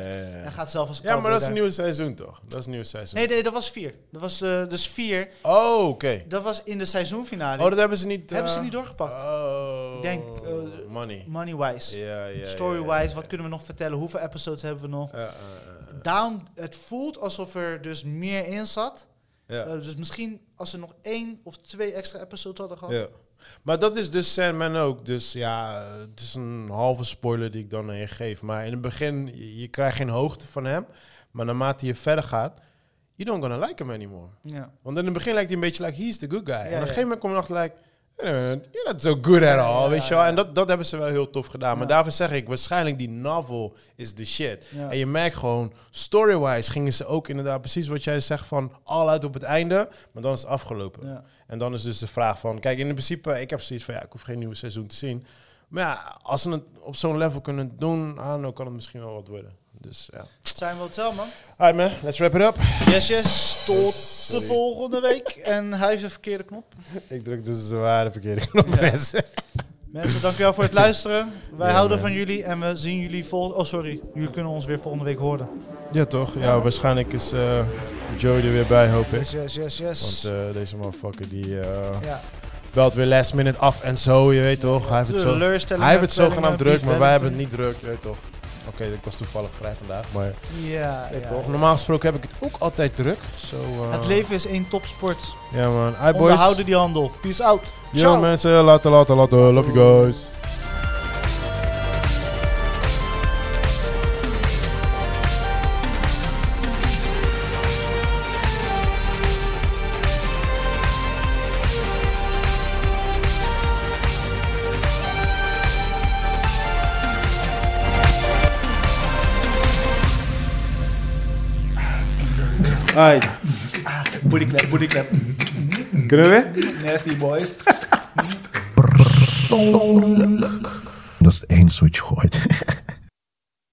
A: en gaat zelf als
B: Ja, maar
A: cowboy
B: dat is een
A: daar.
B: nieuw seizoen toch? Dat is een nieuw seizoen.
A: Nee, nee, dat was vier. Dat was eh, dus vier.
B: Oh, oké.
A: Dat was in de seizoenfinale.
B: Oh, dat hebben ze niet.
A: Hebben
B: eh,
A: ze niet doorgepakt.
B: Oh,
A: Ik denk, eh,
B: money.
A: Money-wise,
B: Ja, ja. ja,
A: story-wise,
B: ja, ja.
A: wat kunnen we nog vertellen? Hoeveel episodes hebben we nog?
B: Eh, eh, eh,
A: Down, het voelt alsof er dus meer in zat.
B: ja.
A: Eh, dus misschien als ze nog één of twee extra episodes hadden gehad.
B: Ja. Maar dat is dus Sandman ook. Dus ja, het is een halve spoiler die ik dan aan je geef. Maar in het begin, je, je krijgt geen hoogte van hem. Maar naarmate je verder gaat, you don't gonna like him anymore.
A: Ja.
B: Want in het begin lijkt hij een beetje like, he's the good guy. en op een
A: ja.
B: gegeven moment kom je achter, like, wait a minute, you're not so good at all,
A: ja,
B: weet je wel. En dat, dat hebben ze wel heel tof gedaan. Maar
A: Ja.
B: daarvoor zeg ik, waarschijnlijk die novel is the shit.
A: Ja.
B: En je merkt gewoon, story-wise gingen ze ook inderdaad precies wat jij zegt van all out op het einde. Maar dan is het afgelopen.
A: Ja.
B: En dan is dus de vraag van, kijk, in principe, ik heb zoiets van, ja, ik hoef geen nieuwe seizoen te zien. Maar ja, als ze het op zo'n level kunnen doen, ah, dan kan het misschien wel wat worden. Dus ja.
A: Zijn we het wel, man?
B: Alright man, let's wrap it up.
A: Yes, yes. Tot de volgende week. En hij heeft de verkeerde knop.
B: ik druk dus de ware verkeerde knop,
A: Ja.
B: mensen.
A: Mensen, dankjewel voor het luisteren. Wij
B: Ja,
A: houden
B: man.
A: van jullie en we zien jullie volgende... Oh, sorry. Jullie kunnen ons weer volgende week horen.
B: Ja, toch? Ja, waarschijnlijk is eh Joey er weer bij, hoop ik.
A: Yes, yes, yes, yes.
B: Want eh, deze motherfucker die eh,
A: ja.
B: belt weer last minute af en zo, je weet toch? Hij heeft het, zo,
A: Teleurstellingen,
B: hij heeft het zogenaamd
A: kwellingen,
B: druk, maar wij hebben het
A: briefbellen.
B: niet druk, je weet toch? Oké, ik was toevallig vrij vandaag, maar
A: Ja, ja,
B: weet toch?
A: ja.
B: normaal gesproken heb ik het ook altijd druk. Zo, eh,
A: Het leven is één topsport.
B: Ja man, hi boys.
A: Onderhouden die handel. Peace out.
B: Yo
A: Ciao.
B: mensen, later, later, later. Love you guys.
C: Alright,
A: Bodyclap, bodyclap.
C: kunnen we weer?
A: Nasty boys.
D: Dat is één switch gooit.